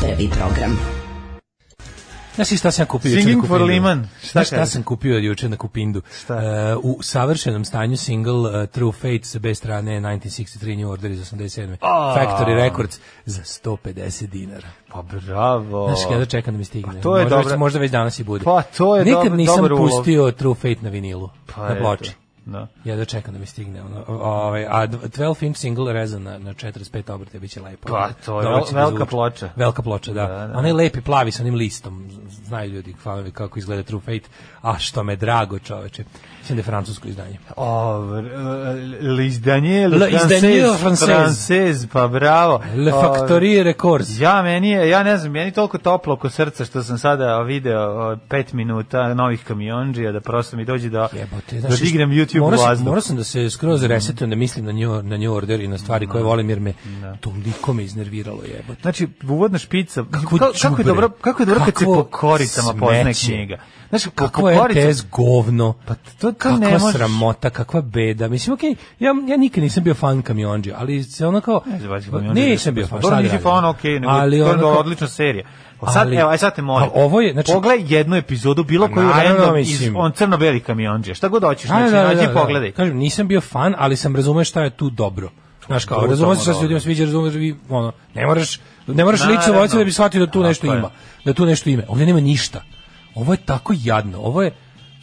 E: Prvi program.
F: Znaš ti šta sam ja kupio juče
G: Singing
F: na
G: for
F: Kupindu?
G: Liman.
F: Znaš šta
G: kažeš?
F: sam kupio juče na Kupindu?
G: Šta?
F: E, u savršenom stanju single uh, True Fate sa B strane 1963 New Order iz 87. Factory Records za 150 dinara.
G: Pa bravo.
F: Znaš, kada čekam da mi stigne.
G: Pa to je
F: možda, već-
G: dobra-
F: možda već danas i bude.
G: Pa to je
F: Nikad
G: dobar-
F: nisam
G: dobar ulov.
F: pustio True Fate na vinilu,
G: Pa
F: na
G: eto,
F: ploči.
G: Da.
F: Ja da čekam da mi stigne. Ono, o- ovaj, a dv- 12 inch single rezan na, na 45 obrte, bit će lepo.
G: Pa, to je
F: Dobro
G: vel-
F: će da
G: velika
F: zvuči.
G: ploča.
F: Velika ploča, da.
G: Da, da.
F: Onaj lepi plavi sa onim listom. Z- Znaju ljudi, fanovi, kako izgleda True Fate. A što me drago, čoveče. Mislim da je francusko izdanje.
G: Ovo, l'izdanje,
F: Le
G: le
F: izdanje
G: e, francez,
F: francez.
G: francez, pa bravo.
F: Le
G: Ovaj,
F: Factory Records.
G: Ja, meni je, ja ne znam, meni je toliko toplo oko srca što sam sada video o, pet minuta novih kamionđija da prosto mi dođe da,
F: Jebote,
G: da
F: znaš,
G: dignem YouTube
F: morao sam-
G: glazbu. Mhm.
F: Morao sam da se skroz resetujem, da mislim na New, na new Order i na stvari koje volim, jer me toliko me iznerviralo jebote.
G: Znači, uvodna špica,
F: Kakvo
G: kako, kako,
F: đubre.
G: je dobro, kako je dobro kad se
F: Kakvo
G: po koricama poznaje
F: smeće.
G: knjiga. Znači, po, po
F: Kako je
G: koricama-
F: RTS govno?
G: Pa to- to
F: kakva
G: ne možeš.
F: sramota, kakva beda. Mislim, okej, ja, ja nikad nisam bio fan kamionđe, ali se ono kao...
G: Ne znam, baš kamionđe.
F: nisam bio fan,
G: Dobro,
F: sad
G: nisi
F: radim.
G: fan, okej, nego
F: Ali
G: to je
F: ono
G: bila
F: kao-
G: odlična serija. A sad,
F: Ali-
G: evo, aj sad te molim.
F: A ovo je, znači-
G: Pogledaj jednu epizodu, bilo koju
F: naravno,
G: random iz,
F: mislim.
G: on crno-beli kamionđe. Šta god hoćeš,
F: A,
G: znači,
F: da, da,
G: nađi
F: da,
G: i
F: da.
G: pogledaj.
F: Kažem, nisam bio fan, ali sam razumeo šta je tu dobro. Znaš kao,
G: To je
F: razumeš
G: tamo
F: šta se
G: dobro.
F: ljudima sviđa, razumeš vi, ono, ne moraš, ne moraš lice
G: Naravno.
F: u oči da bi shvatio da tu
G: Tako
F: nešto
G: je.
F: ima, da tu nešto ima. Ovdje nema ništa. Ovo je tako jadno, ovo je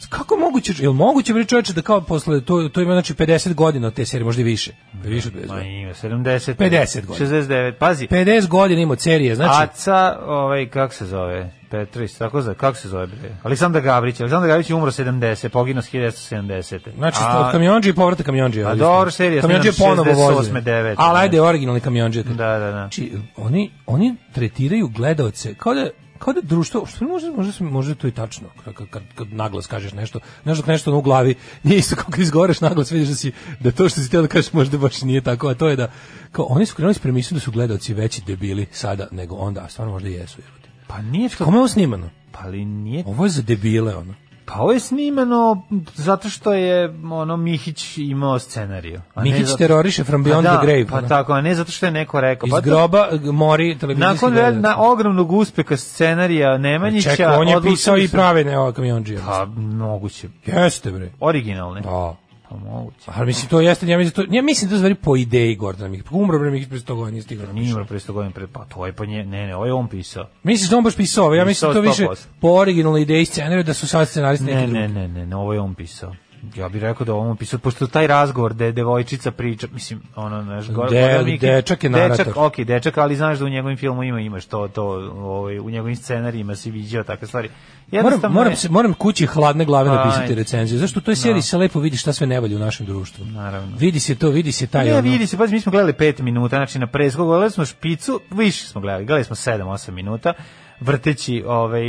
F: Kako je moguće, jel moguće bre čoveče da kao posle to to ima znači 50 godina od te serije, možda i više. Više od 50
G: Ma
F: godina.
G: ima, 70.
F: 50 godina.
G: 69, pazi.
F: 50 godina ima od serije, znači
G: Aca, ovaj, kako se zove? Petrić, tako zove, kako se zove? Bre? Aleksandar Gavrić. Aleksandar Gavrić je umro 70, poginuo s 1970.
F: Znači,
G: A-
F: od kamionđe i povrata kamionđe.
G: A dobro, serija se
F: Kamionđe
G: nema
F: ponovo
G: 68,
F: vozi.
G: 9,
F: Ali ajde,
G: ne.
F: originalni kamionđe.
G: Da, da, da.
F: Znači, oni, oni tretiraju gledaoce kao da kao da društvo, što možda, možda, se- možda je to i tačno, kad, kad, kad naglas kažeš nešto, nešto nešto ono u glavi, nije isto kako izgovaraš naglas, vidiš da, si, da to što si teo da kažeš možda baš nije tako, a to je da, kao, oni su krenuli s premisom da su gledaoci veći debili sada nego onda, a stvarno možda i jesu. jebote.
G: Pa nije to...
F: Kome je ovo snimano?
G: Pa ali nije
F: Ovo je za debile, ono.
G: Pa ovo je snimano zato što je ono Mihić imao scenariju. A Pa ne
F: Mihić
G: zato-
F: teroriše from
G: Pa
F: beyond
G: da,
F: the grave,
G: Pa
F: ono.
G: tako, a ne zato što je neko rekao.
F: Iz
G: Pa to-
F: groba g- mori televizijski
G: nakon
F: gledalac.
G: na ogromnog uspeha scenarija Nemanjića...
F: Čekaj, on je
G: odlučili
F: pisao i
G: su-
F: prave ne ova kamionđija.
G: Pa moguće.
F: Jeste bre.
G: Originalne.
F: Da.
G: Pa moguće.
F: Ali mislim to jeste, ja mislim to, ja mislim da zvari po ideji Gordana Mikić. Umro bre Mikić pre 100 godina nije stigao. da
G: Nije
F: piše.
G: imao pre 100 godina pre, pa to je pa nje, ne, ne, ovo je on pisao.
F: Misliš da on baš pisao, ovo? ja mislim da to više
G: 100%.
F: po originalnoj ideji scenarija da su sad scenaristi neki
G: Ne,
F: drugi.
G: ne, ne, ne, ne, ovo je on pisao. Ja bih rekao da je on pisao, pošto taj razgovor da je devojčica priča, mislim, ono, znaš, Gor-
F: De-
G: Goran Mikić-
F: dečak je narator.
G: Dečak, ok, dečak, ali znaš da u njegovim filmu ima, imaš to, to, ovaj, u njegovim scenarijima si vidio takve stvari.
F: Moram,
G: Jednostavno
F: moram,
G: je-
F: se, moram kući hladne glave
G: Aj.
F: napisati recenziju. Zašto u toj seriji se lepo vidi šta sve ne valja u našem društvu.
G: Naravno.
F: Vidi se to, vidi se taj
G: Ne,
F: ono.
G: vidi se, pazi, mi smo gledali 5 minuta, znači na prezgo, gledali smo špicu, više smo gledali, gledali smo 7-8 minuta, vrteći ovaj,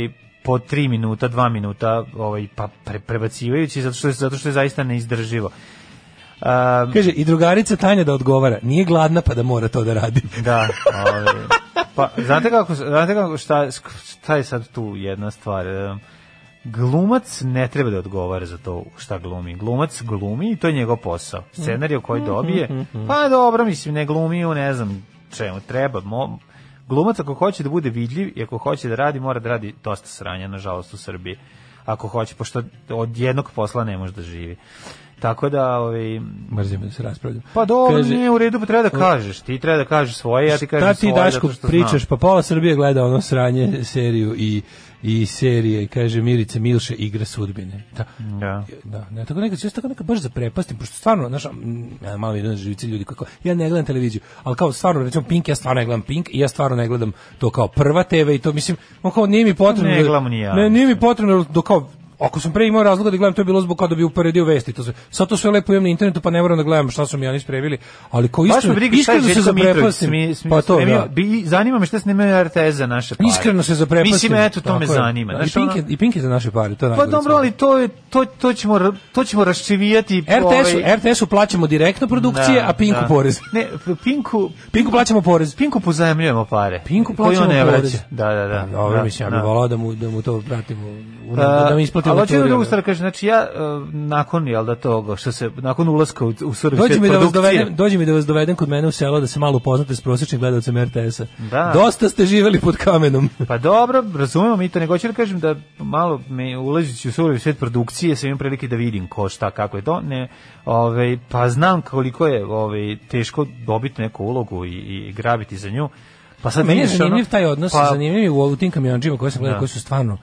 G: po 3 minuta, 2 minuta, ovaj, pa pre, prebacivajući, zato što, je, zato što je zaista neizdrživo. Um,
F: Kaže, i drugarica Tanja da odgovara, nije gladna pa da mora to da radi.
G: Da, ovaj. Pa, znate kako, znate kako, šta, šta je sad tu jedna stvar? em, Glumac ne treba da odgovara za to šta glumi. Glumac glumi i to je njegov posao. Scenarij koji dobije, pa dobro, mislim, ne glumi u ne znam čemu treba. Mo, glumac ako hoće da bude vidljiv i ako hoće da radi, mora da radi dosta sranja, nažalost, u Srbiji. Ako hoće, pošto od jednog posla ne može da živi. Tako da, ovaj,
F: Mrzim da se raspravljam.
G: pa dobro,
F: Kaže-
G: nije u redu, pa treba da kažeš. Ti treba da kažeš svoje, ja ti kažem
F: Šta
G: svoje.
F: ti Daško
G: zato što
F: pričaš,
G: znam.
F: pa pola Srbije gleda ono sranje seriju i i serije i kaže Mirice Milše igra sudbine. Da.
G: Da.
F: Da, ne, tako neka, sve tako neka baš zaprepastim, pošto stvarno, znaš, mm, ja malo vidim na živici ljudi kako, ja ne gledam televiziju, ali kao stvarno, recimo Pink, ja stvarno ne gledam Pink i ja stvarno ne gledam to kao prva TV i to, mislim, on kao nije mi potrebno.
G: Ne
F: da-
G: gledam ni ja,
F: Ne, nije mi potrebno, do kao, ako sam pre imao razloga da gledam, to je bilo zbog kao da bi uporedio vesti. To sve. Sad to sve lepo imam na internetu, pa ne moram da gledam šta su mi oni spremili, ali kao
G: Baš me
F: iskreno,
G: briga šta je
F: iskreno se
G: Željko Mitrović
F: zaprepastim.
G: smi, smi,
F: pa to,
G: spremio.
F: da.
G: Bi, zanima me šta snimaju RTS za naše pare.
F: Iskreno se zaprepastim.
G: Mislim, eto, to me
F: Tako je.
G: zanima.
F: Da, I
G: Znaš,
F: Pink, je,
G: ono-
F: I Pink je za naše pare, to je
G: Pa
F: najgore
G: dobro,
F: od
G: ali to, je, to, to, ćemo, ra- to ćemo raščivijati.
F: RTS-u
G: ovaj-
F: RTS -u plaćamo direktno produkcije,
G: Da,
F: a Pinku
G: da.
F: porez.
G: Ne, Pinku,
F: Pinku plaćamo porez.
G: Pinku pozajemljujemo pare.
F: Pinku
G: Koji on
F: plaćamo
G: ne
F: porez. Pa
G: vraća. Da, da, da.
F: Dobro,
G: Da,
F: mislim, ja
G: da.
F: bih volao da ovaj mu, da mu to pratimo, u-
G: A,
F: da mi isplatimo
G: Ali hoću da
F: laboratoriju.
G: drugu stvar kažem, znači ja uh, nakon jel da toga što se nakon ulaska u, u srv
F: Dođi
G: svijet
F: mi, da vas
G: produkcije-
F: dovedem, dođi mi da vas dovedem kod mene u selo da se malo upoznate s prosječnim gledalcem RTS-a.
G: Da.
F: Dosta ste živeli pod kamenom.
G: Pa dobro, razumemo mi to, nego hoću da kažem da malo me ulazeći u surovi svijet produkcije sam imam prilike da vidim ko šta, kako je to, ne, ovaj, pa znam koliko je ovaj, teško dobiti neku ulogu i, i grabiti za nju. Pa sad
F: Meni je
G: vidiš, ono,
F: zanimljiv taj odnos,
G: pa-
F: zanimljiv je u, u tim kamionđima koje sam gledao,
G: Da.
F: koji su stvarno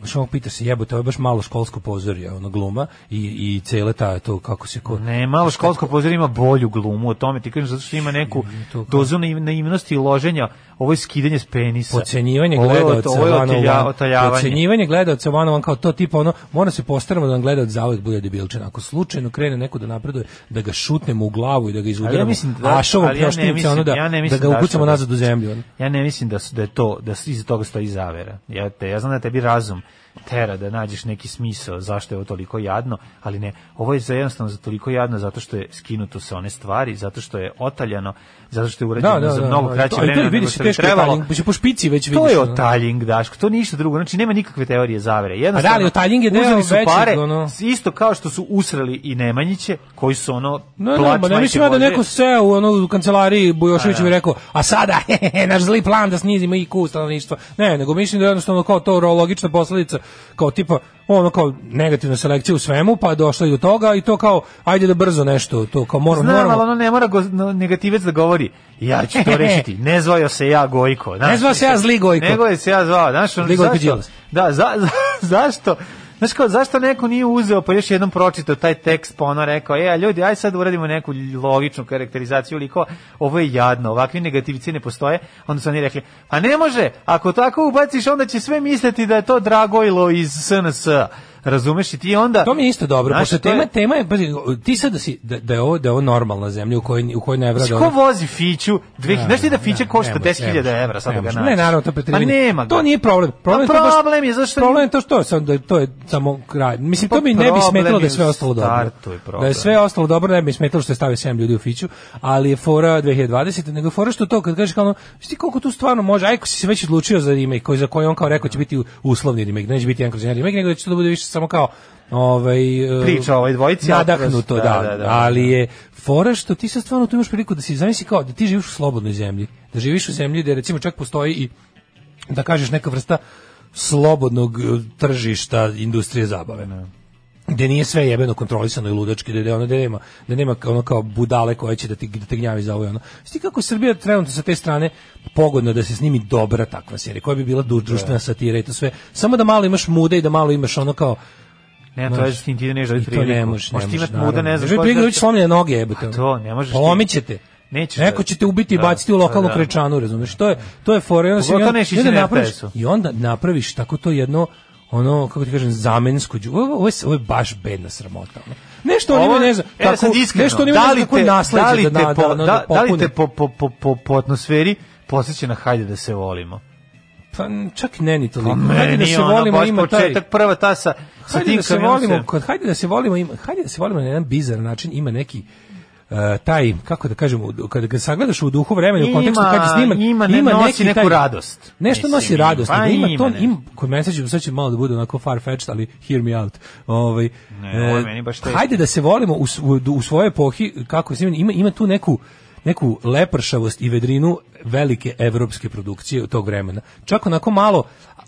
F: Baš ovog pitaš se, jebote, ovo je baš malo školsko pozorje, ono gluma i, i cele ta, to kako se ko...
G: Ne, malo školsko pozorište ima bolju glumu, o tome ti kažem zato što ima neku
F: to kao-
G: dozu naiv- naivnosti i loženja, ovo je skidanje s penisa.
F: Pocenjivanje
G: Ovo je ot-
F: gledaoca
G: ovo je
F: one on
G: otilja-
F: one.
G: otaljavanje.
F: Pocenjivanje gledaoca one on one, kao to tipa ono, mora se postaramo da nam gledalac zauvek bude debilčan. Ako slučajno krene neko da napreduje, da ga šutnemo u glavu i da ga izudaramo.
G: ja mislim da-
F: ašovom
G: ali ja ne
F: pljoštinicom,
G: mislim-
F: ono da,
G: ja ne
F: da
G: mislim
F: ga
G: da
F: ukucamo
G: ašovom.
F: nazad u zemlju. ono.
G: Ja ne mislim da su, da je to da su, iza toga stoji zavera. Ja te ja znam da tebi razum tera da nađeš neki smisao zašto je ovo toliko jadno, ali ne, ovo je za jednostavno za toliko jadno zato što je skinuto sa one stvari, zato što je otaljano, zato što je urađeno za mnogo kraće
F: To- ali to
G: vremena nego
F: vidiš,
G: što bi
F: teško je
G: trebalo.
F: taljing, po špici već vidiš.
G: To je
F: ono.
G: otaljing, Daško, to ništa drugo. Znači, nema nikakve teorije zavere. Jednostavno,
F: Pa da, ali otaljing je deo
G: uzeli su
F: većeg,
G: pare,
F: ono.
G: isto kao što su usrali i Nemanjiće, koji su ono...
F: No,
G: plat
F: no, ba, ne
G: majke
F: mislim ja da
G: Božje.
F: neko seo u, ono, u kancelariji Bujošević mi rekao, a sada, he, he, he, naš zli plan da snizimo IQ stanovništva. Ne, nego mislim da je jednostavno kao to logična posledica, kao tipa, ono kao negativna selekcija u svemu, pa je došla i do toga i to kao, ajde da brzo nešto, to kao moramo,
G: Znam, ali
F: moramo.
G: ono ne mora go, no, negativec da govori, ja ću to rešiti, ne zvao se ja Gojko. Znaš,
F: Ne zvao se ja zli Gojko.
G: Nego je se ja zvao, znaš, ono,
F: Zli Gojko
G: zašto?
F: Đilas.
G: Da, za, za, zašto? Znaš kao, zašto neko nije uzeo pa još jednom pročitao taj tekst pa ono rekao, e, a ljudi, aj sad uradimo neku logičnu karakterizaciju likova, ovo je jadno, ovakvi negativici ne postoje, onda su oni rekli, a ne može, ako tako ubaciš, onda će sve misliti da je to Dragojlo iz SNS. Razumeš i ti onda...
F: To mi je isto dobro,
G: Znaš,
F: pošto
G: to je-
F: tema, tema je, pazi, ti sad da, si, da, da, je ovo, da je ovo normalna zemlja u kojoj, u kojoj ne ono vrada
G: Mislim, ko vozi Fiću? Dve, znaš ti da Fića košta 10.000 evra sad da ga naći?
F: Ne, naravno, to je
G: Pa
F: preterivanje.
G: nema ga.
F: To nije problem. Problem,
G: Pa
F: je to baš-
G: problem je zašto
F: Problem je to što je sam, da to je samo kraj. Mislim, to
G: Pa
F: mi ne bi
G: problem
F: smetalo da je
G: je
F: sve
G: u
F: ostalo dobro.
G: startu je problem.
F: Da je sve ostalo dobro, ne bi smetalo što je stavio 7 ljudi u fiću, ali je fora 2020, nego je fora što to, kad kažeš kao ono, znaš ti koliko tu stvarno može, ajko si se već odlučio za remake, koji, za koji on kao rekao će biti uslovni remake, da neće biti jedan kroz jedan remake, nego da će to da bude više samo kao ovaj, e,
G: Priča o ovoj dvojici, a
F: nadahnuto, da,
G: kroz-
F: da,
G: da,
F: da,
G: da, da.
F: ali je fora što ti sad stvarno tu imaš priliku da si zamisli kao da ti živiš u slobodnoj zemlji, da živiš u zemlji gde recimo čak postoji i da kažeš neka vrsta slobodnog eh, tržišta industrije zabave. Gde nije sve jebeno kontrolisano i ludački, gde, gde ono gde nema, gde nema ono kao budale koje će da ti, da te gnjavi za ovo i ono. Sti kako je Srbija trenutno sa te strane pogodno da se snimi dobra takva serija, koja bi bila du- društvena satira i to sve. Samo da malo imaš mude i da malo imaš ono kao
G: Ne, to je s tim ti ne želiš
F: i to
G: priliku.
F: ne možeš, ne
G: Možeš ti
F: možeš.
G: imat muda, ne znaš
F: Želi
G: ko-
F: priliku da će slomljene noge jebote. ono.
G: A to ne možeš ti.
F: Polomit ćete.
G: Nećeš
F: Neko
G: da-
F: će te ubiti i
G: Da,
F: baciti u lokalnu
G: da.
F: krečanu, razumeš? To je to je fora. I onda, se- i
G: Pogotovo
F: onda-
G: ne šiši
F: i onda
G: na
F: napraviš,
G: RTS-u.
F: i onda napraviš tako to jedno ono kako ti kažem zamensku đu- ovo, ovo, je, s- ovo je baš bedna sramota. ono. Nešto oni
G: Ovo-
F: imaju, ne znam,
G: E, da
F: kako
G: sad iskreno,
F: nešto oni
G: da
F: imaju
G: li
F: kako
G: te-
F: nasleđe
G: da li
F: da,
G: te
F: na- da,
G: po-
F: ono,
G: da- da li
F: popune.
G: te po, po, po, po, po atmosferi posjeća na hajde da se volimo?
F: Pa, čak ne ni toliko.
G: Pa
F: Hajde da
G: meni
F: se
G: ono,
F: volimo
G: baš
F: ima taj
G: početak, prva ta sa, sa
F: Hajde
G: tim
F: da se
G: kamionom
F: volimo, kod hajde da se volimo, ima, hajde da se volimo na jedan bizar način, ima neki e, taj kako da kažem u- kada ga sagledaš u duhu vremena u kontekstu
G: Ima-
F: kad je sniman
G: ima, ne nosi neku radost.
F: nešto
G: Mislim,
F: nosi radost
G: pa
F: nego ima
G: ima,
F: to
G: ne.
F: ima kod mene sad će- sad će malo da bude onako far fetched ali hear me out ovaj
G: Ne, ovo je
F: e,
G: meni baš teško.
F: hajde da se volimo u, s- u, u svojoj epohi kako je sniman ima ima tu neku neku lepršavost i vedrinu velike evropske produkcije od tog vremena. Čak onako malo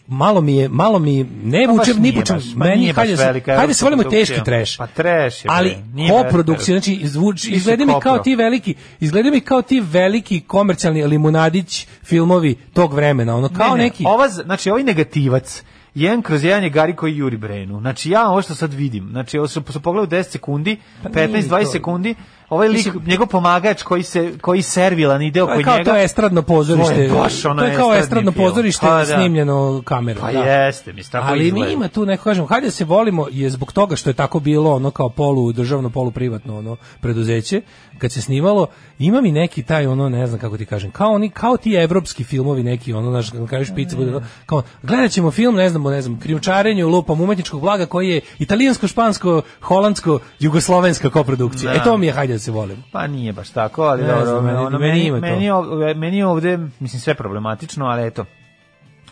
F: malo mi je, malo mi ne
G: Pa baš
F: vuče ni
G: nije
F: po čemu.
G: baš, ma
F: Meni
G: nije baš
F: hajde, se-
G: velika
F: hajde se
G: evropska
F: volimo
G: produkcija.
F: teški trash.
G: Pa trash je,
F: Ali
G: bre, nije
F: ko
G: velika
F: produkcija, znači izvuč,
G: Ti si
F: izgleda mi kao
G: kopro.
F: ti veliki, izgleda mi kao ti veliki komercijalni limunadić filmovi tog vremena, ono kao
G: Ne, ne,
F: neki.
G: Ova, z- znači, ovaj negativac, jedan kroz jedan je Gari koji juri Brenu. Znači, ja ovo što sad vidim, znači, ovo su, su pogledao 10 sekundi,
F: Pa nije
G: 15-20
F: to.
G: sekundi, ovaj lik,
F: Mislim-
G: njegov pomagač koji se koji servilan ide
F: To
G: oko
F: je kao
G: njega.
F: to estradno pozorište.
G: To je baš ono
F: To je kao
G: estradni
F: estradno
G: film.
F: pozorište
G: Pa da.
F: snimljeno kamerom.
G: Pa
F: da.
G: jeste, mislim, tako
F: Ali
G: izgleda.
F: ima tu neko kažemo, hajde da se volimo je zbog toga što je tako bilo ono kao polu državno, polu privatno ono preduzeće kad se snimalo, ima mi neki taj ono ne znam kako ti kažem, kao oni kao ti evropski filmovi neki ono znaš kako kažeš pizza bude ono, kao gledaćemo film ne znam, o, ne znam, krijumčarenje u lupam umetničkog blaga koji je italijansko, špansko, holandsko, jugoslovenska koprodukcija.
G: Da.
F: E to mi je hajde da se volimo.
G: Pa nije baš tako, ali
F: Ne
G: dobro,
F: znam,
G: me-
F: meni-
G: ono,
F: meni
G: meni,
F: ima to.
G: meni, ov- meni je ovde, mislim, sve problematično, ali eto,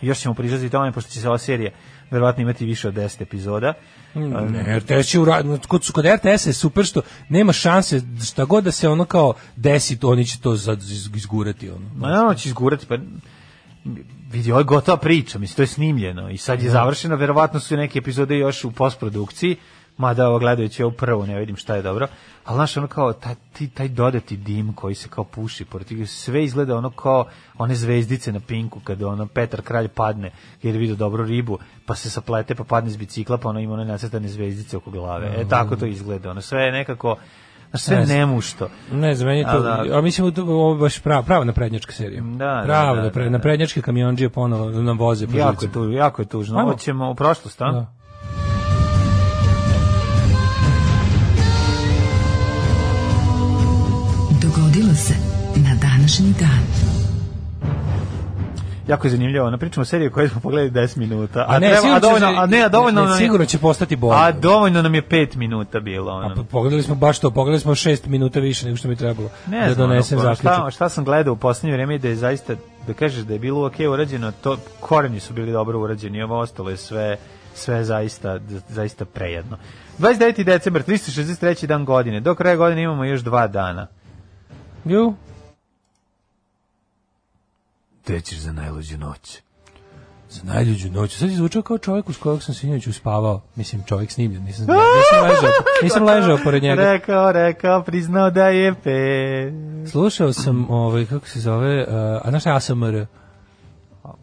G: Još ćemo prižati tome, pošto će se ova serija verovatno imati više od 10 epizoda.
F: Mm, Ne, RTS je u ra- kod, kod RTS je super što nema šanse šta god da se ono kao desi, to oni će to za- iz- izgurati ono.
G: Ma naravno će izgurati, pa vidi, ovo je gotova priča, mislim, to je snimljeno i sad je završeno, verovatno su neke epizode još u postprodukciji, mada ovo gledajući ovu prvu ne vidim šta je dobro, ali znaš, ono kao, taj, ti- taj dodati dim koji se kao puši, pored toga sve izgleda ono kao one zvezdice na pinku, kada ono Petar Kralj padne, jer je vidio dobru ribu, pa se saplete, pa padne iz bicikla, pa ono ima one nacrtane zvezdice oko glave. E, tako to izgleda, ono, sve je nekako, znaš, sve
F: Mm. Ne znam.
G: nemušto.
F: Ne znam, meni je to,
G: A da.
F: a mislim da ovo je baš prava, prava naprednjačka serija.
G: Da, da,
F: prava
G: da, da, da.
F: napre, naprednjačke kamionđije ponovo nam voze po
G: Jako je,
F: žicama.
G: tu, jako je tužno.
F: Ajmo.
G: Hoćemo u prošlost, a?
F: Da.
E: Dogodilo se na današnji dan.
G: Jako je zanimljivo. ono, Napričamo seriju koju smo pogledali 10 minuta. A,
F: ne,
G: treba,
F: sigurno će-
G: a dovoljno, a ne, a dovoljno
F: ne,
G: nam je-
F: sigurno će postati bolje.
G: A dovoljno nam je 5 minuta bilo. Ono.
F: Pa Pogledali smo baš to, pogledali smo šest minuta više nego što mi trebalo
G: ne
F: da
G: znam,
F: donesem
G: ono, šta,
F: zaključak.
G: šta sam gledao u posljednje vreme i da je zaista, da kažeš da je bilo ok urađeno, to koreni su bili dobro urađeni, ovo ostalo je sve sve zaista, zaista prejedno. 29. decembar, 363. dan godine. Do kraja godine imamo još dva dana.
F: Ju,
G: Te ćeš za najluđu noć.
F: za najljuđu noć. Sad je zvučao kao čovjek uz kojeg sam sinoć uspavao. Mislim, čovjek snimljen, nisam, nisam ležao, nisam ležao pored njega.
G: Rekao, rekao, priznao da je pe...
F: Slušao sam, ovaj, kako se zove, uh, a znaš šta je ASMR?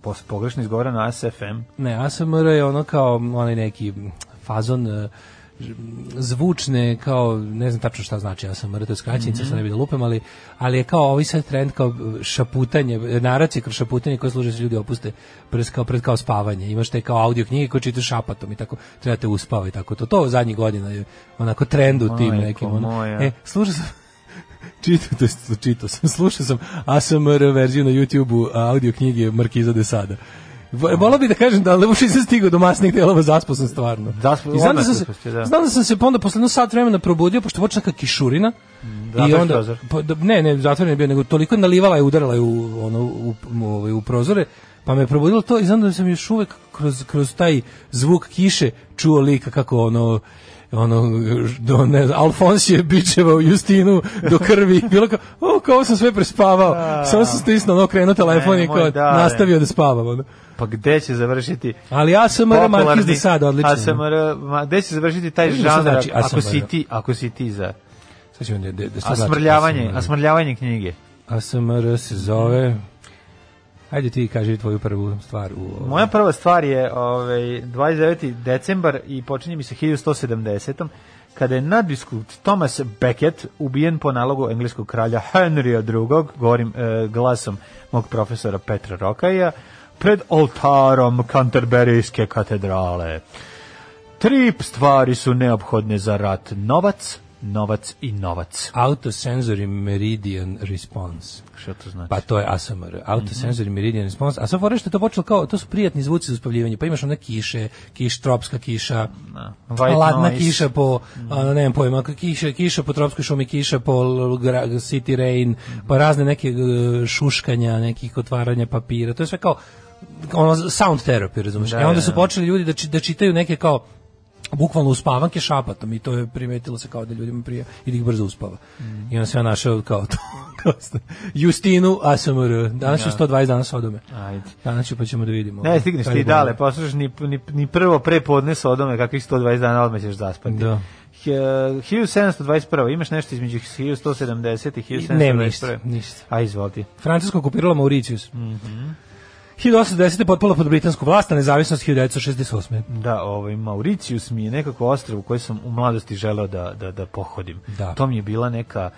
G: Posle pogrešno izgovoreno ASFM.
F: Ne, ASMR je ono kao onaj neki fazon e, ž- zvučne, kao, ne znam tačno šta znači ASMR, to je
G: Mhm.
F: skraćenica, sad ne bi da lupem, ali, ali je kao ovaj sad trend kao e, šaputanje, e, naracije kroz šaputanje koje služe da se ljudi opuste pred kao, pred kao spavanje. Imaš te kao audio knjige koje čitaš šapatom i tako trebate uspava i tako to. To zadnjih godina je onako trend u tim
G: Majko
F: nekim. Ono.
G: moja.
F: E, slušao sam čitao, to jest čitao sam, slušao sam ASMR verziju na YouTube-u audio knjige Markiza de Sada. Volao bi da kažem da lepo nisam stigao do masnih delova, zaspao sam stvarno.
G: Zaspao-
F: I znam da
G: odmah
F: sam
G: se
F: se,
G: spustio, da.
F: znam da sam se pa onda posle jedno sat vremena probudio, pošto počne neka kišurina. I
G: zatvoriš
F: onda,
G: prozor?
F: pa, da- ne, ne, zatvoren je bio, nego toliko je nalivala je, udarala je u, ono, u, u, ovaj, u prozore, pa me probudilo to i znam da sam još uvek kroz, kroz taj zvuk kiše čuo lika kako ono, ono, do, ne znam, Alfons je bičevao Justinu do krvi, bilo kao, o, kao sam sve prespavao, samo sam stisnuo, ono, krenuo telefon i
G: Nemoj,
F: kao,
G: da, ne.
F: nastavio da spavam, ono.
G: Pa gde će završiti
F: Ali ASMR Markiz
G: popularni
F: de Sada, odlično.
G: ASMR, ma, gde će završiti taj
F: Vidim šta
G: žanr
F: znači
G: ako
F: ASMR.
G: si ti, ako si ti za
F: Sad ćemo da- da- da- sad znači
G: asmrljavanje,
F: ASMR.
G: asmrljavanje knjige.
F: ASMR se zove... Ajde ti kaži tvoju prvu stvar u... ovom.
G: Moja prva stvar je ovaj 29. decembar i počinje mi sa 1170. kada je nadbiskup Thomas Becket ubijen po nalogu engleskog kralja Henrya II, govorim e, glasom mog profesora Petra Rokaja, pred oltarom Canterburyske katedrale. Tri stvari su neophodne za rat, novac, novac i novac.
F: Autosensory Meridian Response.
G: Što to znači? Mhm.
F: Pa to je ASMR, Autosensory Meridian Response. A sad fora što je to počelo kao, to su prijatni zvuci za uspavljivanje, pa imaš ona kiše, kiš, tropska kiša,
G: White
F: ladna
G: noise. Mhm.
F: kiša po, a, ne znam pojma, kiša, kiša po tropskoj šumi, kiša po l- gra- city rain,
G: Mhm.
F: pa razne neke e, šuškanja, nekih otvaranja papira, to je sve kao ono sound therapy, razumiješ?
G: Da,
F: e onda
G: da,
F: su
G: da.
F: počeli ljudi da, či- da čitaju neke kao bukvalno uspavanke šapatom i to je primetilo se kao da ljudima prija i da ih brzo uspava.
G: Mm.
F: I on se ja našao kao to. kao sta- Justinu ASMR. Danas je 120 dana Sodome.
G: Ajde.
F: Danas ću pa ćemo da vidimo.
G: Ne, stigneš
F: Kad je
G: ti
F: bolje.
G: dale, poslušaš ni, ni, ni prvo prepodne sa odome, kakvih 120 dana odmah ćeš zaspati.
F: Da.
G: He- 1721. Imaš nešto između 1170 i
F: Ne, ništa,
G: 1721.
F: ništa.
G: A izvoliti.
F: Francuska okupirala Mauricius.
G: Mhm.
F: 1810. je potpala pod britansku vlast, a nezavisnost 1968.
G: Da, ovaj Mauricius mi je nekako ostrvo koji sam u mladosti želeo da, da, da pohodim.
F: Da.
G: To mi je bila neka